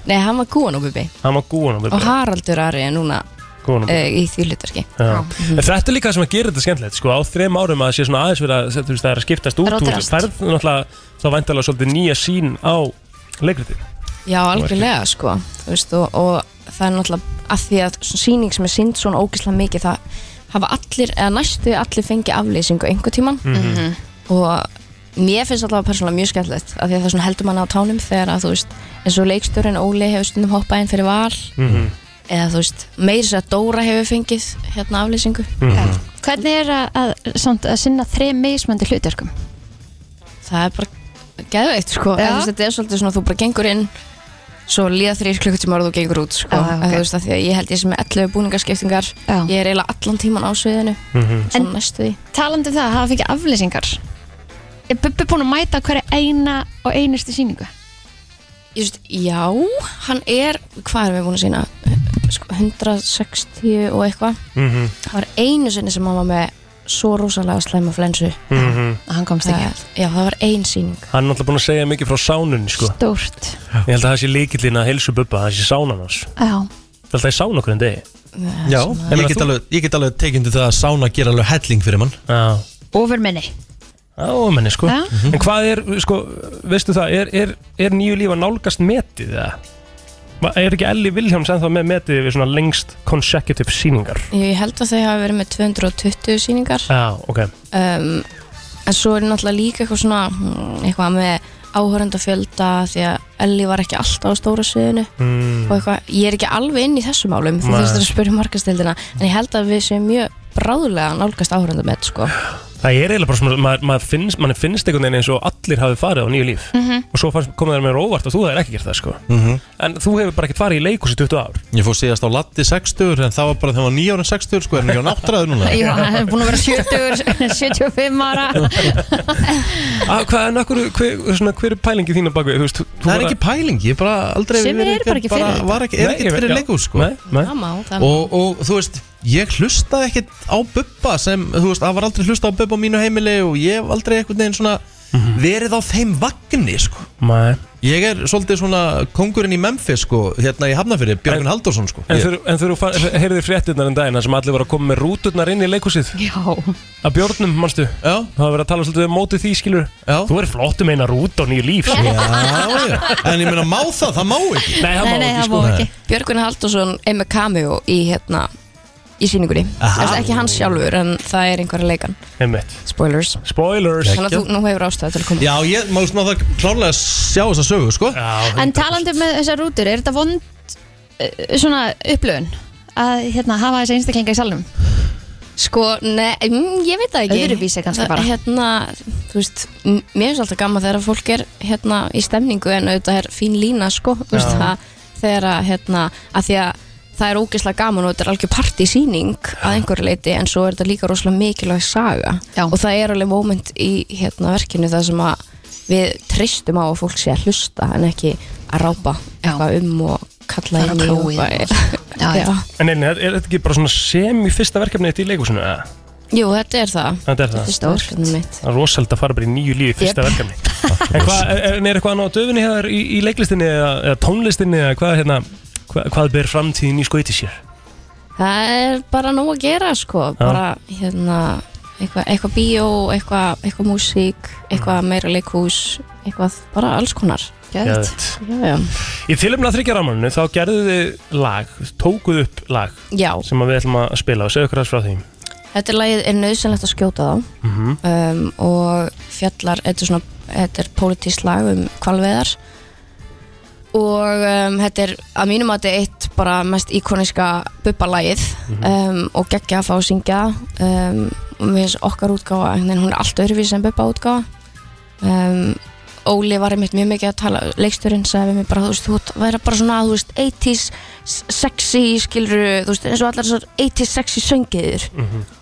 Nei, hann var gúan og bubi Hann var gúan og og bubbi Haraldur Ari er núna Gúan og uh, í því hlutverki Já. En þetta er líka það sem að gera þetta skemmtilegt sko, á þrem árum að það sé svona aðeins verið að þú veist, það er að skiptast út úr Róterast. færð náttúrulega þá væntalega svolítið nýja sín á leikritin Já, algjörlega sko Þú veist, og, og það er náttúrulega að því að svona síning sem er sínd svona ógislega mikið það hafa allir, eða næstu allir fengið aflýsingu einhver tíman Mhm. og mér finnst allavega persónulega mjög skemmtilegt af því að það svona heldur manna á tánum þegar að þú veist eins og leikstjórin Óli hefur stundum hoppað inn fyrir val eða þú veist, meiri sér að Dóra hefur fengið hérna aflýsingu Mhm. Hvernig er að, að, samt, að sinna þrem meismöndi hlutverkum? það er bara geðveikt sko Já. eða, þú veist, þetta er svolítið svona þú bara gengur inn svo líða þrýr klukkutíma og þú gengur út sko. ah, okay. veist, að því að ég held ég sem er 11 búningarskiptingar ég er eiginlega allan tíman á sviðinu En svona næstu því talandi um það, hafa fengið aflýsingar Er Bubbi búinn að mæta á hverja eina og einustu síningu? ég veist, já, hann er hvað erum við búin að sína sko, 160 og eitthvað Mm. Mhm. það var einu sinni sem hann var með svo rosalega slæma flensu Mhm. hann komst ekki að já, það var ein síning Hann er náttúrulega búin að segja mikið frá sánunni sko. Stórt Ég held að það sé líkillin að heilsu bubba, það sé sánan hans Já Það held að ég sána okkur en degi Já, En ég get, þú- alveg, ég get alveg tekindu það að sána gera alveg helling fyrir mann Já, Overminni Já, menni sko Já. Mhm. En hvað er, sko, veistu það, er, er, er nýju lífa nálgast metið eða? Ma- Er ekki Ellie Vilhjáms ennþá með metið við svona lengst consecutive síningar? ég held að þau hafa verið með 220 síningar Já, ok um, en svo er náttúrulega líka eitthvað svona mm, eitthvað með áhörendafjölda því að Ellie var ekki alltaf á stóra sviðinu Mm. og eitthvað, ég er ekki alveg inn í þessum málum þú Nei. þurftur að spyrja markastildina en ég held að við séum mjög bráðulega að nálgast áhörendamett sko. Það er eiginlega bara svona, maður, maður finnst, mann finnst einhvern veginn eins og allir hafi farið á nýju líf Mhm. og svo fannst- kom það mér á óvart og þú hefur ekki gert það sko Mhm. En þú hefur bara ekkert farið í leikus í 20 ár Ég fór síðast á Latti 60 en það var bara þegar hann var 9 ára 60 sko, er hann ekki á náttúræður núna Já, hann er búinn að vera 70, 75 ára ah, Hvað, en akkur, hver, svona, hver er pælingi þín að baka við? Þú veist, þú- þú Það er bara- ekki pæling, ég er bara aldrei Sumir eru bara ekki fyrir þetta. var ekki, er Nei, ekki ég- fyrir já. leikus sko. Nei, nei. Það má, það má. og, og þú veist, ég hlustaði ekkit á Bubba sem, þú veist, það var aldrei hlustað á Bubba á mínu heimili og ég hef aldrei einhvern veginn svona Mhm. verið á þeim vagni sko. Nei. Ég er svolítið svona kongurinn í Memphis sko, hérna í Hafnafyrir, Björgun Halldórsson sko. En Ég- þegar- en þegar þú heyrðir fréttirnar en dagina sem allir voru að koma með rúturnar inn í leikusið Já Að björnum, manstu? Já Það var verið að tala svolítið um mótið því, skilur Já Þú er flott um eina rút á nýju líf, skilur Já, já En ég meina, má það? Það má ekki Nei, það má ekki, sko Björgvin Haldursson er með cameo í hérna í síningunni, Aha. Þess, ekki hans sjálfur en það er einhverja leikan Einmitt. Spoilers Spoilers þannig að þú nú hefur ástöða til að koma Já, ég, maður veist, maður þarf klárlega að sjá þessa sögu, sko En talandi um með þessar rútur, er þetta vond eh, svona upplöfun að hérna, hafa þessa einstaklinga í salnum? Sko, ne, mm, ég veit það ekki Öðruvísi kannski Það- bara. Hérna, þú veist, m- mér finnst alltaf gaman þegar fólk er hérna í stemningu en auðvitað er fín lína, sko Þú veist Já. það, þegar að, hérna, að því að það er ógeðslega gaman og þetta er algjör partysýning að einhverju leiti en svo er þetta líka rosalega mikilvæg saga Já. og það er alveg moment í hérna verkinu það sem að við tristum á að fólk sé að hlusta en ekki að rápa eitthvað um og kalla Fara á inn í og klóið bara- og Já, já. En einu, er, er þetta ekki bara svona sem í fyrsta verkefni þetta í leikusinu, eða? Jú, þetta er það Þetta er það. Fyrsta verkefnið mitt Það er rosalega að fara bara í nýju lífi fyrsta Jep. verkefni En hvað, er, er- er eitthvað annað á döfinni hér í, í leiklistinni eða, eða tónlistinni eða hvað, hérna, hvað, hvað ber framtíðin í skoiti sér? Það er bara nóg að gera sko bara hérna eitthvað eitthva bíó, eitthvað eitthva músík, eitthvað meira leikhús eitthvað bara alls konar Geðveikt. Já, já. Í tilumna þryggja rámaninu þá gerðu þið lag, tókuð upp lag Já. sem að við ætlum að spila og segja okkur aðeins frá því Þetta er lagið er nöðsynlegt að skjóta þá Mhm. um, og fjallar þetta er svona, þetta er pólitísk lag um kvalveðar og um, þetta er að mínum að þetta er eitt bara mest íkoniska bubbalagið um, og geggja að fá að syngja það. um, og mér finnst okkar útgáfa en hún er allt öðruvísi en bubba útgáfa um, Óli var einmitt mjög mikið að tala leiksturinn sagði við mig bara, þú veist, þú ert- væri bara svona þú veist, 80s s- sexy skilur, þú veist, eins og allar svona 80s sexy söngiður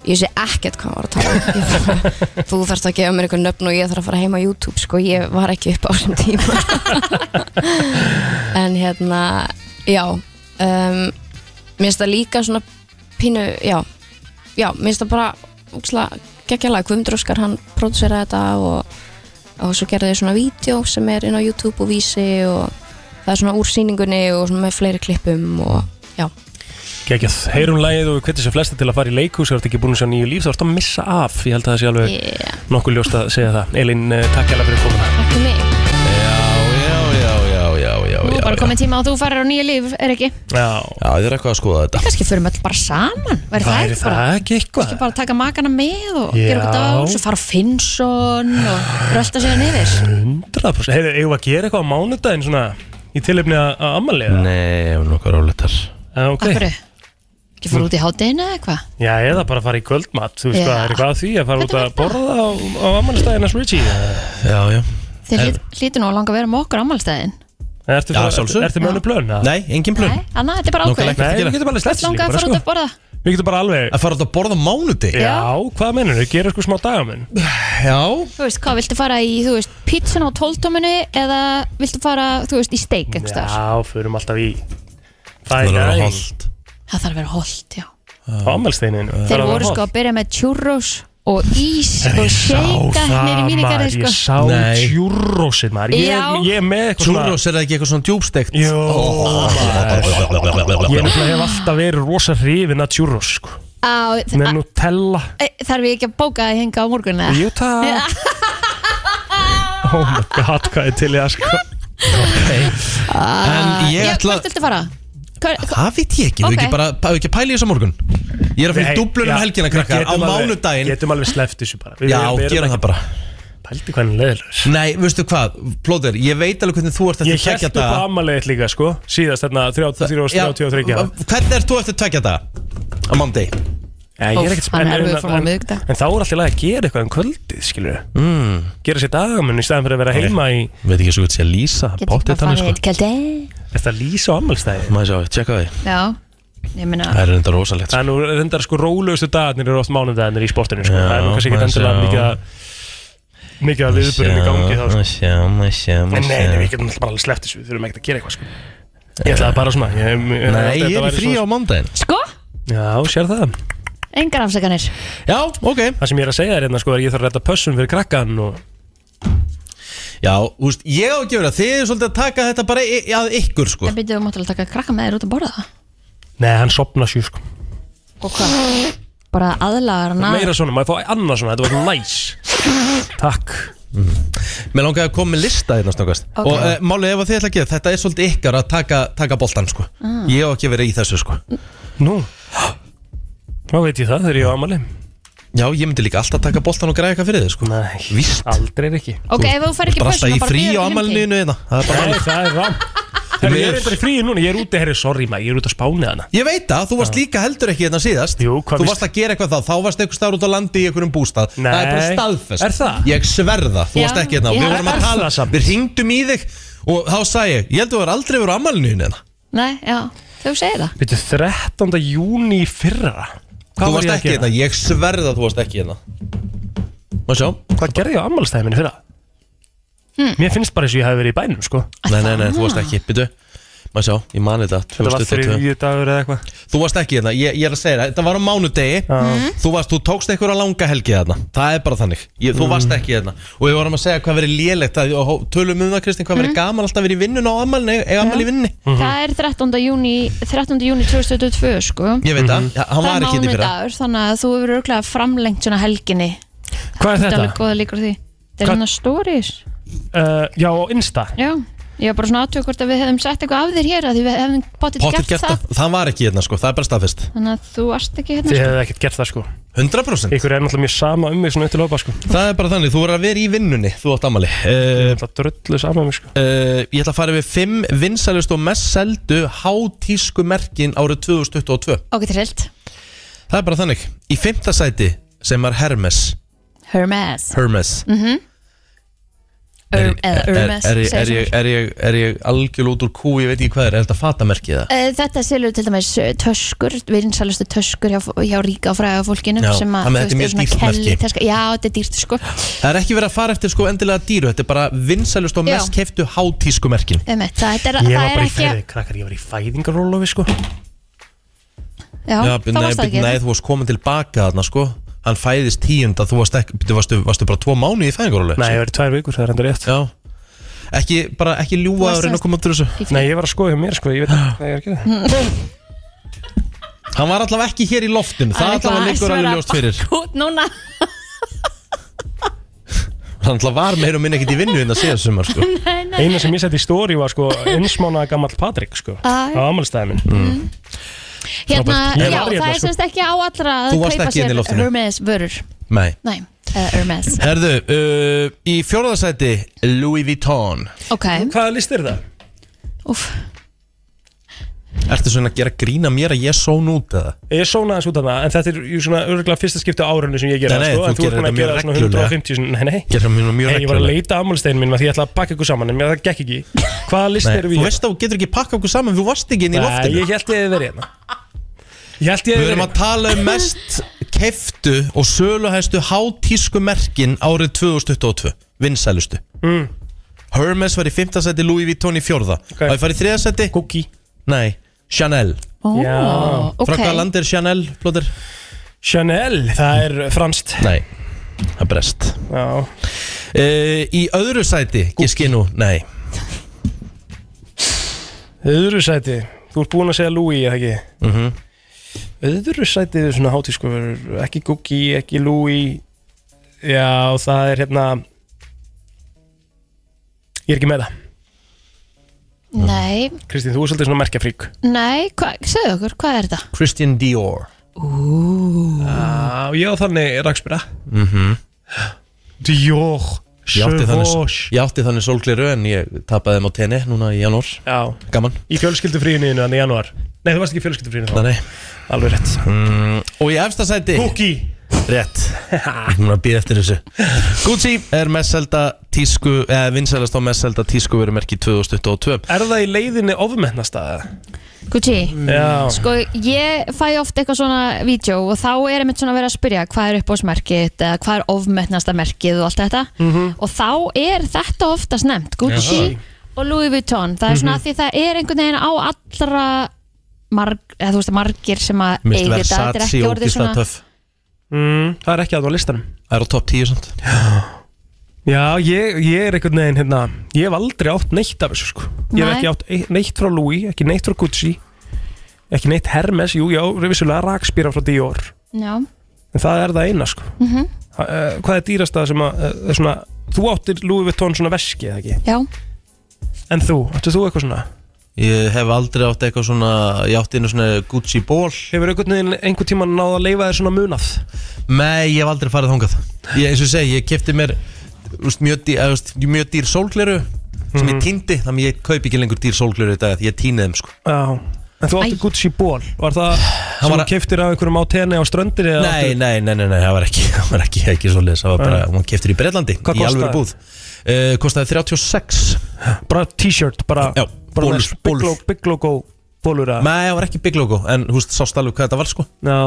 ég sé ekkert hvað hann var að tala um. Ég bara, þú þarfst að gefa mér einhver nöfn og ég þarf að fara heima á YouTube sko, ég var ekki upp á þessum tíma en hérna já um, mér finnst það líka svona pínu, já já, mér finnst það bara geggjala, Guðmundur Óskar hann pródúsera þetta og, og svo gerði ég svona vídeo sem er inn á YouTube og vísi og það er svona úr sýningunni og svona með fleiri klippum og já, Gekkjað, heyrum um lagið og við hvetjum sér flesta til að fara í leikhús og ert ekki búin að sjá nýju líf, þá ertu að missa af ég held að það sé alveg Yeah. nokkuð ljóst að segja það Elin, eh, takk hella fyrir komuna Takk fyrir mig já, já, já, já, Nú er já. bara komið tíma og þú farir á nýja líf, er ekki? Já, þið er eitthvað að skoða þetta Kanski förum öll bara saman Væri það Væri ekki bara það ekki eitthvað? Kanski bara taka makana með og Já. gera okkur dag Svo fara á Finnsson og rölda sér niður 100% Heyrðu, eigum við að gera eitthvað á mánudaginn svona í tilefni að að ammaliða? Nei, ég var nokkuð róletar Ok, Akkur Ekki fara út í hátinu eða eitthvað já, eða bara fara í kvöldmat þú veist Já. hvað, er eitthvað að því að fara út að borða á, á ammaliðstæðin hans Richie Já, já Þið hlýt, hlýtur nú að langa að vera með okkur ámálstæðin Ertu, Já, það, ertu, sjálfsögðu. ertu með hennu plön? eða? Nei, engin plön Anna, þetta er bara Nákvæmlega ákveð ekkert að gera. Nei, við getum alveg sleppt þessu Langa líka að bara, sko. fara út að borða Við getum bara alveg Að fara út að borða mánuði? Já, hvað mennur þau? Gera sko smá dagaminn? Já Þú veist, hvað, viltu fara í, þú veist, pizzun á tóltóminu eða viltu fara, þú veist, í steik einhvers staðar? Já, förum alltaf í Það er Það er að vera gæn. hollt. Það þarf að vera holdt, já Á ammaliðstæðinu Þeir voru sko að byrja með churros og ís og shake neyri mínigarði Ég sko sá tjúrósið maður Ég- Já. Ég er með eitthvað svona- Churros er það ekki eitthvað svona djúbstekt? Jó Ég er nefnilega hef alltaf verið rosa hrifin að tjúrós sko. Á, þ- Með Nutella Æ, Þarf ég ekki að bóka að henga á morgun eða? Jú, takk. Oh my god, hvað er til ég að sko En ég Ah. Já, ætla hvert viltu fara? Hver, Það veit ég ekki, við Ok. ekki bara, við ekki að pæla í þessu á morgun Ég er að fyrir Nei, dublunum já, um helgina við krakkar á getum alveg- mánudaginn Getum alveg sleppt þessu bara Já, gerum það bara Pældi hvernig leður Nei, veistu hvað, Plóður, ég veit alveg hvernig þú ert eftir Ég held tveggja upp á daga ammaliðið líka sko Síðast þarna 33 og 33 ára. Hvernig ert þú eftir tveggja daga? Á mándi Já, ég er ekkert Hann er en- erfiður en- fór hann en- miðvikudag. En þá er alltaf að gera eitthvað um kvöldið, skilur mm. Gera sér dagamunni í staðan fyrir að vera heima í Veit ekki svo hvað sé að lýsa Getur Pottið bara þannig farið sko eitt keldi Þetta lýsa á ammaliðstæði Má ég sjá, tjekka því Já, ég meina Það er enda rosalegt Það er nú reyndar sko rólegustu dagarnir eru oft mánudagarnir í sportinu sko. Já, Það er nú kannski maður ekkert endilega sjá. mikið að mikið að viðbörjum í gangi þá sko. Sjá, má sjá, má En sjá nei, nei, við getum alltaf bara alveg sleppt þessu, við þurfum ekkert að gera eitthvað sko. Ég ætlaði bara svona ég, ég, Eh. Nei, þetta ég er í væri frí á svona- mándaginn Sko, Já, sér það engar afsakanir Já, ok Það sem ég er að segja er hérna sko að ég þarf að redda pössun fyrir krakkan og Já, þú veist, ég á ekki verið að þið er svolítið að taka þetta bara í, í- að ykkur sko Það byrjuðu máttalega taka krakka með þér út að borða það Nei, hann sopna sjúr sko Og hvað? Bara aðlagar hann að Meira svona, maður fá annað svona, þetta var næs Takk Mér langaði að koma með lista hérna snakast Ok. Og uh, málið ef að þið ætla að gera þetta er svolítið ykkar að taka, taka boltan sko Mm. Ég á ekki verið í þessu sko Nú Þá veit ég það þegar ég á amali Já, ég myndi líka alltaf taka boltan og græða eitthvað fyrir þið sko Nei, Víst aldrei ekki Ok, ef þú fær ekki Brasta pössuna, í bara frí á bíður til amalinu helgi. hérna Það er bara Nei, það er rann Herri, ég er eitthvað í fríi núna, ég er úti, herri, sorry maður, ég er úti að spáni hérna. hana Ég veit það, þú varst líka heldur ekki hérna síðast Jú, hvað Þú varst að gera eitthvað þá, þá varst eitthvað starf út á landi í einhverjum bústað Nei. Það er bara staðfest Er það? Ég sverða, þú Já. varst ekki Já. hérna Við vorum Er að tala, það samt? við hringdum í þig Og þá sagði ég, ég held að þú var aldrei verið á amalinu hérna Nei, já, þú segir það Veitu, 13. júni í fyrra Hvað var Þú ég varst að ekki gera? hérna, ég sverða þú varst ekki hérna Má sjá Hvað gerði ég á ammálstæði minni fyrra? Hmm. Mér finnst bara eins og ég hef verið í bænum, sko Nei, nei, nei, þú varst ekki, byrju Má sjá, ég mani þetta Þetta var 2022. þriðju dagur eða eitthvað Þú varst ekki hérna, ég, ég er að segja það, þetta var á mánudegi Mhm. Þú varst, þú tókst einhverja langa helgi þarna Það er bara þannig, ég, Mhm. þú varst ekki hérna Og við vorum að segja hvað verið lélegt að, og, hó- Tölum um það Kristinn, hvað verið gaman alltaf verið í vinnun og ammali, eða ammali í vinnunni Mhm. Það er 13. júni 13. júni 2022 sko Ég veit Mhm. það, ja, hann Það var er ekki hérna í fyrra mánudagur þannig að þú hefur örglega framlengt svona helginni Hvað er Þetta er þetta? alveg góða líkur á því Það er Hvað- svona stories Uh, já, á Insta Já, ég var bara svona aðtöku hvort að við hefðum sett eitthvað af þér hér að því við hefðum potið Pottur gert, gert það það, það var ekki hérna sko, það er bara staðfest Þannig að þú varst ekki hérna Þið sko. hefði ekkert gert það, sko 100% Ykkur er náttúrulega mjög sama um mig svona upp til hópa, sko Það er bara þannig, þú voru að vera í vinnunni, þú átt ammali uh, Það drullu saman mig sko Ég ætla að fara við fimm vinsælust og mest seldu hátísku merkin árið 2022 Ok, trillt Það er bara þannig Í fimmta sæti sem var Hermes Hermes Hermes Mhm. Ur- eða Er, Urmes er, ég- segir er, ég, svona. er, ég, er ég algjörl út úr kú, ég veit ekki hvað er, er þetta fatamerkið það? Eh, Þetta selur til dæmis eh, töskur, vinsalustu töskur hjá, hjá ríka og fræga fólkinu Já, sem að, þannig að þú þetta er veist, mjög eru svona dýrt merki. kelli- Já, þetta er dýrt sko Það er ekki verið að fara eftir sko endilega dýru, þetta er bara vinsælust og Já. mest keftu hátísku merkin. um, Það Ég er, það var er bara í ekki fæði. Krakkar, ég var í fæðingarólofi sko Já, það nei, varst það bíddu, ekki hérna. Nei, þú varst komin tilbaka þarna sko Hann fæðist tíunda, þú varst ekki bíddu, varstu, varstu bara tvo mánu í fæðingarólu Nei, ég var í tvær vikur, það er hendur rétt Já Ekki, bara ekki ljúga að reyna að koma út úr þessu Nei, ég var að skoða hjá mér sko, ég veit ekki hvað ég er að gera Hann var allavega ekki hér í loftinu Það allavega liggur alveg ljóst fyrir Kút núna Hann allavega var meira og minna ekkert í vinnu en að segja sumar sko Nei, nei. Einu sem ég sett í stóri var sko einsmána gammal Patrik sko Ah, já. á amalstæði minn mm. Hérna, Frábært. Ég já, var hérna, það er sko. semst ekki á allra að Þú varst kaupa ekki sér hérna í loftinu. Hermes vörur Nei Nei, uh, Hermes Herðu, uh, í fjórðarsæti Louis Vuitton Ok, Hvaða list er það? Ertu svona að gera grína mér að ég són út eða? Ég sóna þessu út af það, en þetta er jú svona örgulega fyrsta skipti á árunni sem ég gera Nei, nei, sko, þú en þú ert búin gerir að þetta mjög gera það svona reglulega. 150 sinni- Nei, nei, Gera mér mjög nei ég var að reglulega. leita amalstæðin minn því ég ætlaði að pakka ykkur saman en mér það gekk ekki Hvaða list Nei, erum við? þú veist að þú getur ekki pakka okkur saman, þú varst ekki inn í Nei, loftinu ég held ég að vera hérna Ég held ég Við erum að tala um mest keftu og söluhæstu hátísku merkin árið 2022 vinsælustu mm. Hermes var í 5. seti, Louis Vuitton í 4. Okay. Það var í 3. seti Cookie Nei, Chanel Ó, Já. Frá ok. hvaða land er Chanel, Plóter? Chanel, það er franskt Nei, það er brest Já Í öðru sæti, giski nú, nei Öðru sæti, þú ert búin að segja Louis, eða ekki? Mhm. Öðru sætið er svona hátískuverur Ekki Gucci, ekki Louis Já, það er hérna Ég er ekki með það nei, Kristín, þú er svolítið svona merkjafrík nei, hva, segðu okkur, hvað er þetta? Christian Dior Ú, Já, Ah, já, þannig rakspyrra mm -hmm. Dior Ég átti þannig, Chevaux. ég átti þannig sólgleru en ég tapaði þeim á tenni núna í janúar Já Gaman Í fjölskyldufríinu þannig í januar Nei, þú varst ekki í fjölskyldufríinu þá Nei, nei. Alveg rétt mm, Og í efsta sæti Gucci Rétt Núna býð eftir þessu Gucci er mest selda tísku eða vinsælast á mest selda tísku verið merki 2022 Er það í leiðinni ofmennast að Gucci Já. Sko, ég fæ oft eitthvað svona vídeo og þá er einmitt svona að vera að spyrja hvað er uppbóðsmerkið eða hvað er ofmetnasta merkið og allt þetta Mm. Mhm. og þá er þetta oftast nefnt Gucci Já. og Louis Vuitton það er svona Mhm. að því það er einhvern veginn á allra marg, eða, þú veist, margir sem að Mér eigi finnst þetta þetta er Versace ekki orðið ógislega svona töff mm, Það er ekki að á listanum Það er á topp 10 samt Já, ég, ég er einhvern veginn hérna Ég hef aldrei átt neitt af þessu sko Ég hef Nei. ekki átt ei- neitt frá Louis, ekki neitt frá Gucci Ekki neitt Hermes, jú, já, vissulega rakspýra frá Dior Já, En það er það eina sko mm Ha- eh, Hvað er dýrasta sem að eh, er svona, Þú áttir Louis Vuitton svona veski eða ekki? já En þú, áttu þú eitthvað svona? Ég hef aldrei átt eitthvað svona Ég átti einu svona Gucci ból Hefur einhvern veginn einhvern tíman náð að leifa þér svona munað? Nei, ég hef aldrei farið þangað ég, Eins og ég segi, ég kefti mér úst, mjög, dýr, eða, úst, mjög dýr sólgleru sem Mhm. ég týndi, þannig ég kaupi ekki lengur dýr sólgleru í dag, því ég týni þeim sko Já En þú átti Gucci ból Var það sem var þú keftir af einhverjum á tenni á ströndinni? eða Nei, áttu- nei, nei, nei, nei, það var ekki, það var ekki, ekki svo það var bara, Nei. hún keftir í Breitlandi Hvað í kostaði? alvöru búð uh, Kostaði 36 Bara t-shirt, bara, Já, bara bólur, með big, bólur logo, big logo bólur að Nei, það var ekki big logo, en þú veist, sást alveg hvað þetta var sko Já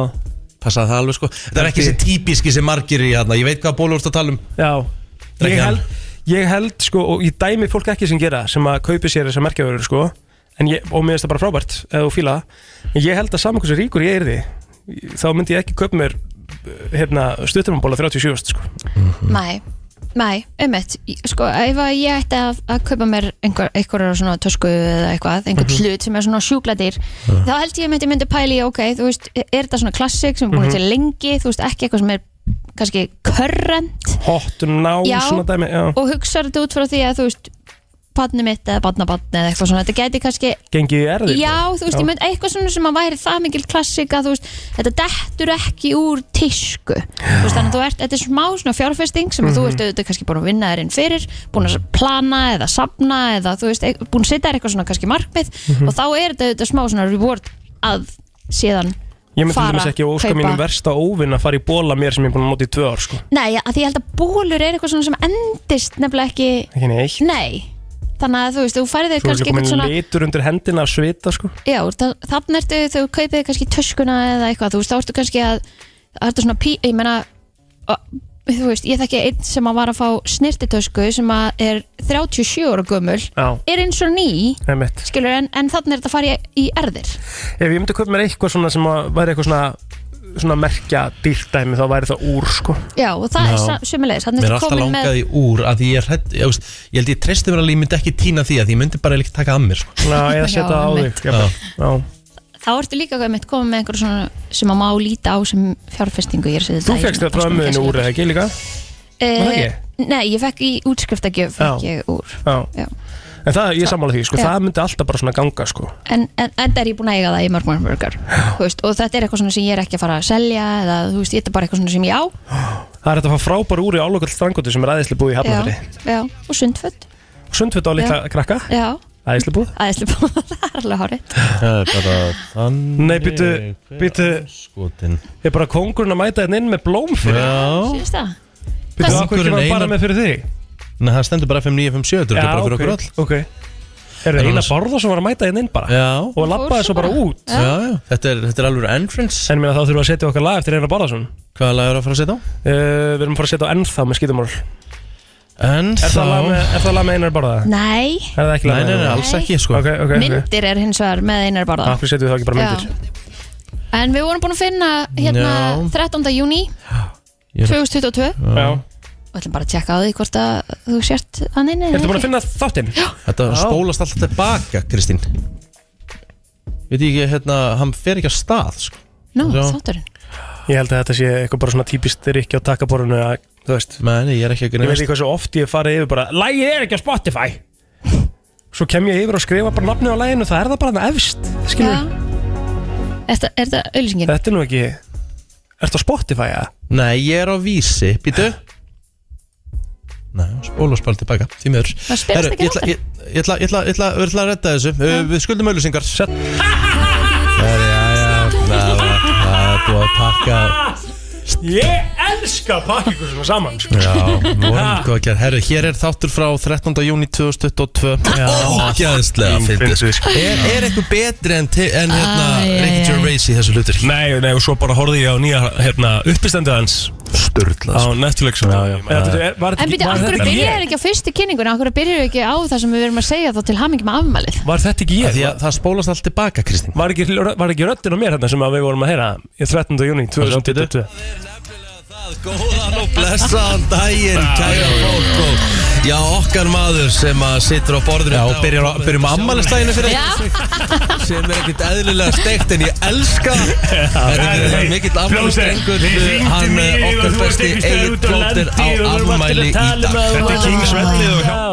Passaði það alveg sko Það er ekki Ekki- þessi típiski sem margir í hérna, ég veit hvað bólur þú ert að tala um Já er Ég ekki hann. held, ég held sko Og ég dæmi fólk ekki sem gera það, Sem að kaupi sér þessar merkjavörur sko en ég, Og mér finnst það bara frábært Ef þú fíla það En ég held að saman hversu ríkur ég er því Þá myndi ég ekki kaupa mér Hérna stuttumambóla 37 sko Nei, nei, einmitt Sko, ef að ég ætti að, að kaupa mér einhver, einhverjar svona tösku eða eitthvað einhvern Mhm. hlut sem er svona sjúkladýr þá held ég einmitt ég myndi pæli, ok, þú veist e, er þetta svona klassik sem er búin Mhm. til lengi þú veist, ekki eitthvað sem er kannski current Hot, ná, Já. svona dæmi Já og hugsa þetta út frá því að þú veist badni mitt eða badnabatni eða eitthvað svona þetta gæti kannski Gengið í sko. erði Já, þú veist, ég myndi eitthvað svona sem að væri það mikil klassika, þú veist, þetta dettur ekki úr tísku þú veist, þannig að þú ert, þetta er smá svona fjárfesting sem að þú Mhm. ert auðvitað kannski búin að vinna þér inn fyrir búin að plana eða safna eða þú veist, e- eit- búin að setja þér eitthvað svona kannski markmið Mhm. og þá er þetta auðvitað smá svona reward að síðan Ég myndi Fara, til dæmis ekki óska kaupa. mínum versta óvinn að fara í bóla mér sem ég er búin að nota í tvö ár sko. Nei, að því ég held að bólur er eitthvað svona sem endist nefnilega ekki Ekki neitt Nei, þannig að þú veist, þú færið þig Þú er kannski komin eitthvað svona litur undir hendina af svita sko. Já, þa- þannig ertu, þú kaupið þér kannski töskuna eða eitthvað, þú veist, þá ertu kannski að það ertu svona pí, ég meina að- þú veist, ég þekki einn sem að var að fá snirtitösku sem að er 37 ára gömul, Já. er eins og ný Einmitt. skilur, en, en þannig er þetta að fara í, í erðir Ef ég myndi köpa mér eitthvað svona sem að væri eitthvað svona svona merkja dýrtæmi þá væri það úr sko. Já, og það Já. er sömulegis, þannig Mér er ertu alltaf komin með langað í úr að því ég er hrædd, ég, veist, ég held ég treysti mér alveg, ég myndi ekki týna því að því ég myndi bara ekki taka að mér sko. Já, eða setja Já, á einmitt. þig Já. Já. þá ertu líka komin komin með einhver svona sem að má líta á sem fjárfestingu ég er að segja Þú þetta, fegst ég meina, þetta bara frá svona ömmuðinu gæsalöpp. úr eða ekki líka Var það Eh, ekki? Nei, ég fekk í útskriftagjöf Já. fekk ég úr Já. Já. En það, ég er sammála því, sko, Já. það myndi alltaf bara svona ganga sko. En, en, en er ég búin að eiga það í mörg mörg mörgar veist, Og þetta er eitthvað svona sem ég er ekki að fara að selja Eða þú veist, þetta er bara eitthvað svona sem ég á Það er hægt að fá frábær úr í álokall strangotu sem er aðeinslega búið í Hafnarfjörði Já, já, og sundföld Sundfjöld á litla Já. krakka, Já, aðeinslega búið aðeinslega búin Það er alveg hárið Það er bara þannig Nei, býtu, býtu Skotin Ég er bara kóngurinn að mæta hérna inn með blóm fyrir Já Sýnst það? Býtu, Hvað- af hverju ekki var hann bara með fyrir þig? Nei, það stendur bara FM957, þetta er bara fyrir okkur öll ok Er það En eina annars- bárða sem var að mæta hérna inn bara? Já Og lappaði svo bara út Já, já, þetta er, þetta er alveg entrance En minna þá þurfum við að setja okkar lag eftir Einar Bárðarsson Hvaða lag er að fara að setja á? Við erum að fara að setja á ennþá með skítumorl Ennþá Er það lag með- er það lag með Einar Bárða? Nei, Er það ekki lag með Nei, nei, nei, Einar? alls ekki, sko. Ok, ok, ok myndir er hins vegar með einar barða Akkur setjum við þá ekki bara myndir En við vorum búin að finna hérna Já. 13. júni Ég er- 2022 Já. Og ætlum bara að tjekka á því hvort að þú sért að neina Ertu búin að finna þáttinn? Þetta Já. spólast alltaf tilbaka, Kristín Veit ég ekki, hérna, hann fer ekki að stað sko. Nú, Já. þátturinn Ég held að þetta sé eitthvað bara svona típist Rikki á takkaborðinu að, þú veist Nei, nei, ég er ekki að Ég veit ekki hvað svo oft ég farið yfir bara Lægið er ekki á Spotify Svo kem ég yfir og skrifa bara nafnið á læginu Það er það bara þarna efst skilur Já. Er þetta- er þetta auðlýsingin? Þetta er nú ekki Ertu á Spotify að? Nei, ég er á vísi, býtu Nei, spóla spála tilbaka, því miður Það spilast Herru, ekki ég ætla- Ég ég ætla ég ætla- ég ætla- ég ætla að redda þessu Ö, Við skuldum auðlusingar Sett Herru, já, já, það var það er búið að pakka Ah, Ég elska að pakka ykkur svona saman sko. Já, vorum góð að gera Herru, hér er þáttur frá 13. júni 2022 Ógæðslega fyndið Er, er eitthvað betri en, te- en hérna Æ, æ, Ricky æ. Gervais í þessu hlutur? Nei, nei, og svo bara horfði ég á nýja hérna, uppistendu hans Sturla sko. Á Netflix Já, já Var En býtu, af hverju byrjar ekki á fyrstu kynninguna, af hverju byrjar ekki á það sem við verum að segja þá til hamingi með afmælið? Var þetta ekki ég? Það, það spólast allt tilbaka, Kristín Var ekki, var ekki röddin á mér hérna sem að við vorum að heyra í 13. júni 2022 Góðan og blessaðan daginn, kæra fólk og Já, okkar maður sem að situr á borðinu hérna Já, og byrjum, byrjum ammælislæginu fyrir sem er ekkert eðlilega steikt en ég elska það Þetta er mikill afmælistrengur hann eh, okkar besti Egil Plóter á afmæli í dag Þetta er King Svelli og hjá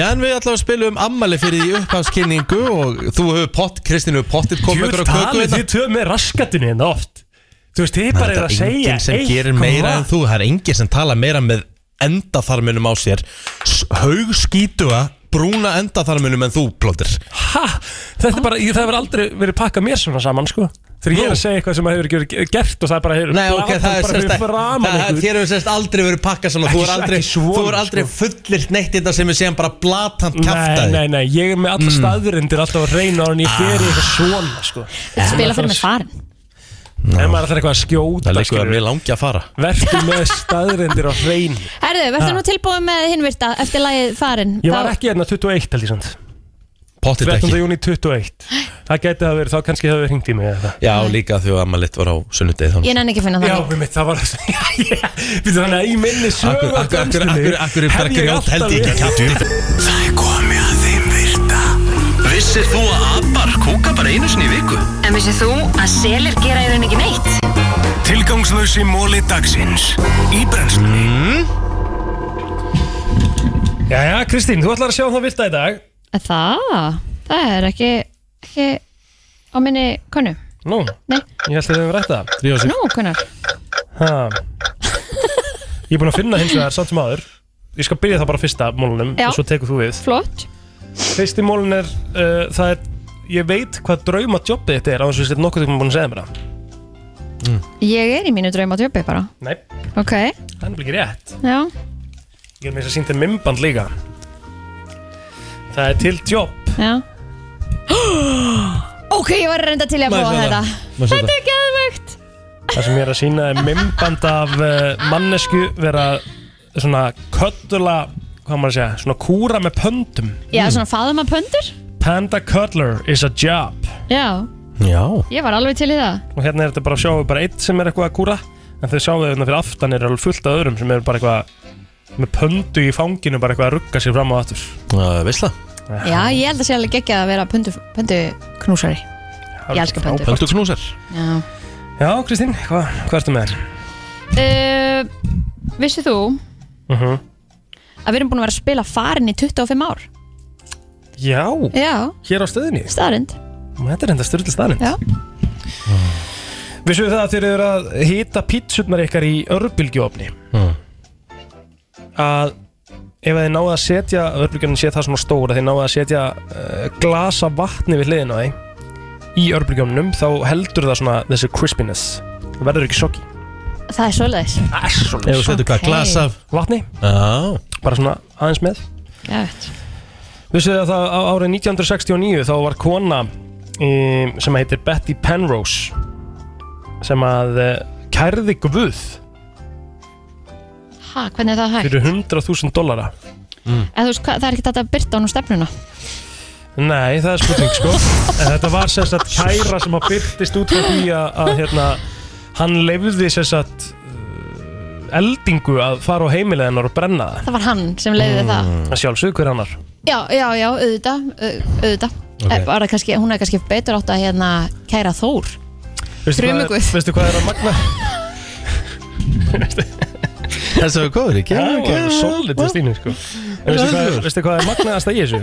Já, en við ætlum að spila um ammæli fyrir því upphafskynningu og þú hefur pott, Kristín hefur pottið komið Jú, ykkur á köku hérna. talið þið tvö með raskatinu hérna oft Þú veist, þið bara Það er að segja enginn sem eitthvað. gerir meira en þú Það er enginn sem tala meira með endaþarminum á sér S- Haugskítuga brúna endaþarminum en þú, plóttir Ha, þetta er bara, ég, það hefur aldrei verið pakkað mér svona saman sko Þegar ég er að segja eitthvað sem hefur ekki verið gert og það er bara hefur Nei, ok, það er sérst að það- að Þér hefur sérst aldrei verið pakkað svona Þú Ekki er s- aldrei, ekki svona, þú er aldrei fullirt neitt þetta sem er séðan bara blatant kæftæði Nei, nei, nei, ég er með alla Mm. Ah. staðurindir alltaf að reyna en ég fer í eitthvað svona sko Þetta spila fyrir með farin. En maður ætlar eitthvað að skjóta Það liggur skilurðu. að mér langi að fara Vertu með staðurindir á hrein Herðu, verður nú tilbúið með hinvirta eftir lagið farin? Ég var ekki hérna 21 held ég samt Pottið 13. ekki júni 21 Það gæti það verið, þá kannski það verið hringt í mig eða eitthvað. Já, líka þegar ammalitt var á sunnudegi Ég nenni ekki að finna Já, það. við mitt, það var Býtu þannig að í minni sögur Akkur- akkur- akkur- akkur- akkur er bara grjót held ég ekki kjafti. Það er komið að þeim virta Vissir þú að abar kúka bara einu sinni í viku? En vissið þú að selir gera í raun ekki neitt? Tilgangslösi móli dagsins Í brennslunni Mm. Jæja, Kristín, þú ætlar að sjá um það virta í dag Það, það er ekki, ekki á minni konu. Nú, Nei. ég held að við höfum rætt það Drífa Nú, konar. Ha. Ég er búinn að finna hins vegar samt sem aður Ég skal byrja það bara á fyrsta mólunum Já. og svo tekur þú við Flott. Fyrsti mólun er, uh, það er Ég veit hvað drauma jobbið þetta er á þess að við sétt nokkuð tíma búin að segja mér það Ég er í mínu draumatjöpi bara Nei, Ok, það er nefnilega ekki rétt já Ég er með þess að sýnda mymband líka Það er til jobb Já Ok, ég var reynda til í að Má ég prófa sjá þetta það? Má ég sjá Þetta það? er geðvögt Það sem ég er að sína er mymband af uh, mannesku vera svona köttula hvað á maður að segja, svona kúra með pöndum Já, svona faðum að pöndur Panda Cuddler is a job Já, Já ég var alveg til í það Og hérna er þetta bara, sjáum við bara eitt sem er eitthvað að kúra en þau sjáum við hérna fyrir aftan er alveg fullt af öðrum sem eru bara eitthvað með pöndu í fanginu bara eitthvað að rugga sér fram og aftur uh, Veist það? Já, ég held að sé alveg geggja að vera pöndu, pöndu knúsari Ég elska pöndur knúsar Já Já, Kristín, hvað hva ertu með þér? uh, Vissi þú Uh -huh. að við erum búin að vera að spila farin í 25 ár Já, Já, hér á stöðinni staðrind Þetta er enda styrla staðrind Já. Vissuðu það að þeir eru að hýta pítsurnar ykkar í örbylgjófni að ef þið náðu að setja örbylgjófnin sé það svona stóra þið náðu að setja uh, glasa vatni við hliðina á því í örbylgjófninum þá heldur það svona þessu crispiness það verður ekki soggi Það er svoleiðis Það er svoleiðis. Ef þú setur hvað, glas af- Vatni Já Bara svona aðeins með Gætt Vissuðu að það á árið 1969 þá var kona um, sem heitir Betty Penrose sem að uh, kærði guð Ha, hvernig er það hægt? fyrir 100.000 dollara Eða, þú veist, hvað, það er ekki þetta að byrta á nú stefnuna Nei, það er spurning sko En Þetta var sem sagt kæra sem að byrtist út frá því að, að hérna, hann leifði sem sagt uh, eldingu að fara á heimilega hennar og brenna það Það var hann sem leiði Ah. það Það sjálfsög hver annar Já, já, já, auðvitað, au- auðvitað Ok. okay. Var það kannski, hún er kannski betur átt að hérna kæra Þór Veistu hvað er- Þrumuguð. Veistu hvað er að magna? Þessi var góður, ekki? Það var solid til stínu sko En Veistu hvað, veistu hvað er magnaðast að í þessu?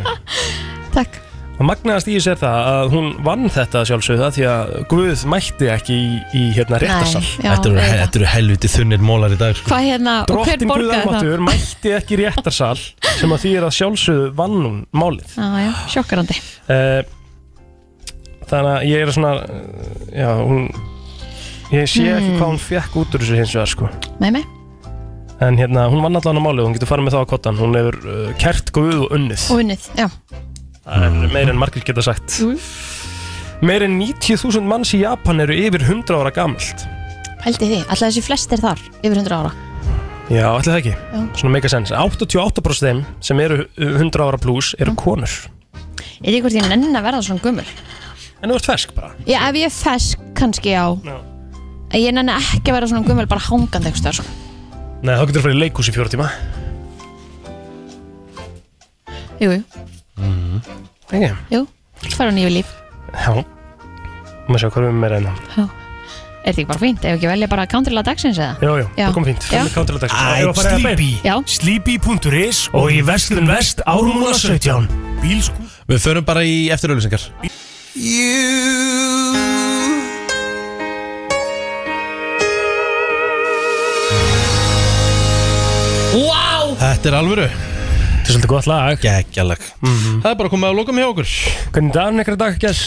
Takk Og magnaðast í þessu er það að hún vann þetta sjálfsögða því að Guð mætti ekki í, í hérna réttarsal Nei, já, Þetta eru- auðvitað. eru helviti þunnir mólar í dag sko. Hvað hérna, og hver Drottin borgaði það? Guðamáttur mætti ekki í réttarsal sem að því er að sjálfsögðu vann hún málið Já, já, sjokkarandi uh, Þannig að ég er svona eh, Já, hún Ég sé ekki Hmm. hvað hún fekk út úr þessu hins vegar sko Nei, nei, En hérna, hún vann allan á málið, hún getur farið með það á kottan Hún hefur uh, kert guð og unnið og unnið, já Það er meir en margir geta sagt Meir en 90.000 manns í Japan eru yfir 100 ára gamalt Pældi því, alltaf þessi flestir þar, yfir 100 ára Já, ætli það ekki Já. Svona make a sense 88% þeim sem eru 100 ára pluss eru konur Ég veit ekki hvort ég nenni að verða svona gummul En þú ert fersk bara Já, ef ég er fesk, kannski já Já. En Ég nenni ekki að vera svona gummul, bara hangandi einhvers þar sko. Nei, þá getur þú farið í leikhús í fjóra tíma Jú, jú, Ekki? jú, fara á nýju líf Já Má sjá hvað við erum meira enn Er þetta ekki bara fínt, ef ekki velja bara countryla dagsins eða? Jú, jú, Já. það kom fínt Já. Fyrir kántilega dags Æ, Sleepy Sleepy.is og í Vestlun Vest ármúla 17 Bílskú Við förum bara í eftirauðlýsingar Wow Þetta er alvöru Þetta er svolítið gott lag Mhm. Gekkjalag Það er bara komið að lokum hjá okkur Hvernig dagan ykkur dag, Gæs?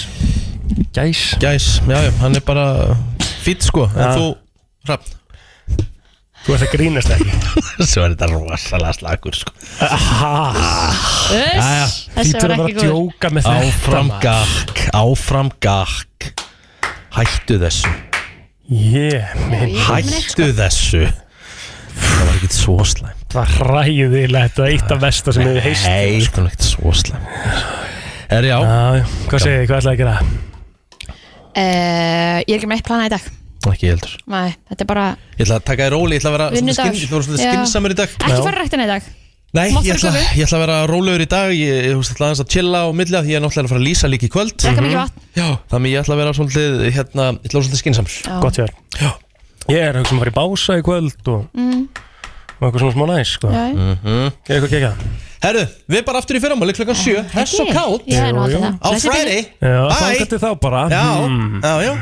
Gæs Gæs, já, já, hann er bara fýtt sko En Já. þú, Hrafn Þú ert að grínast ekki Svo er þetta rosalega slagur sko Ah. Jæja, Þess hlýtur að vera að djóka með þetta Áfram maður. gakk, áfram gakk Hættu þessu Yeah, minn sko. Hættu þessu Það var ekkert svo slæm Það var ræðilegt, það var eitt af besta sem hefur heist sko. Nei, það var ekkert svo slæm Er já Hvað segir þið, hvað ætlaði að gera? Uh, ég er ekki með eitt plana í dag Ekki heldur Nei, þetta er bara Ég ætla að taka þér róli, ég ætla að vera svolítið vinnudagur skinn- ég ætla að vera svolítið Já. skinsamur í dag Ekki fara rættina í dag Nei, Mátt ég vera ætla, gömul. ég ætla að vera rólegur í dag Ég ég, þú veist, ætla aðeins að chilla á milli af Því ég er náttúrulega að fara að lýsa líka í kvöld Drekka mikið vatn. Já, þannig ég ætla að vera svolítið hérna, Ég ætla að vera svolítið skinsamur Já. Gott hjá þér Ég er að hugsa um að fara í bása í kvöld og, mm. og eitthvað svona smá næs sko. Já. Geða eitthvað gegja Herru, við bara aftur í fyrramáli Ah, klukkan 7 Hess og kátt Ég er nú alltaf það. Á Bless í bili. Friday Já, Bye. þangað til þá bara Já, Mm. já, já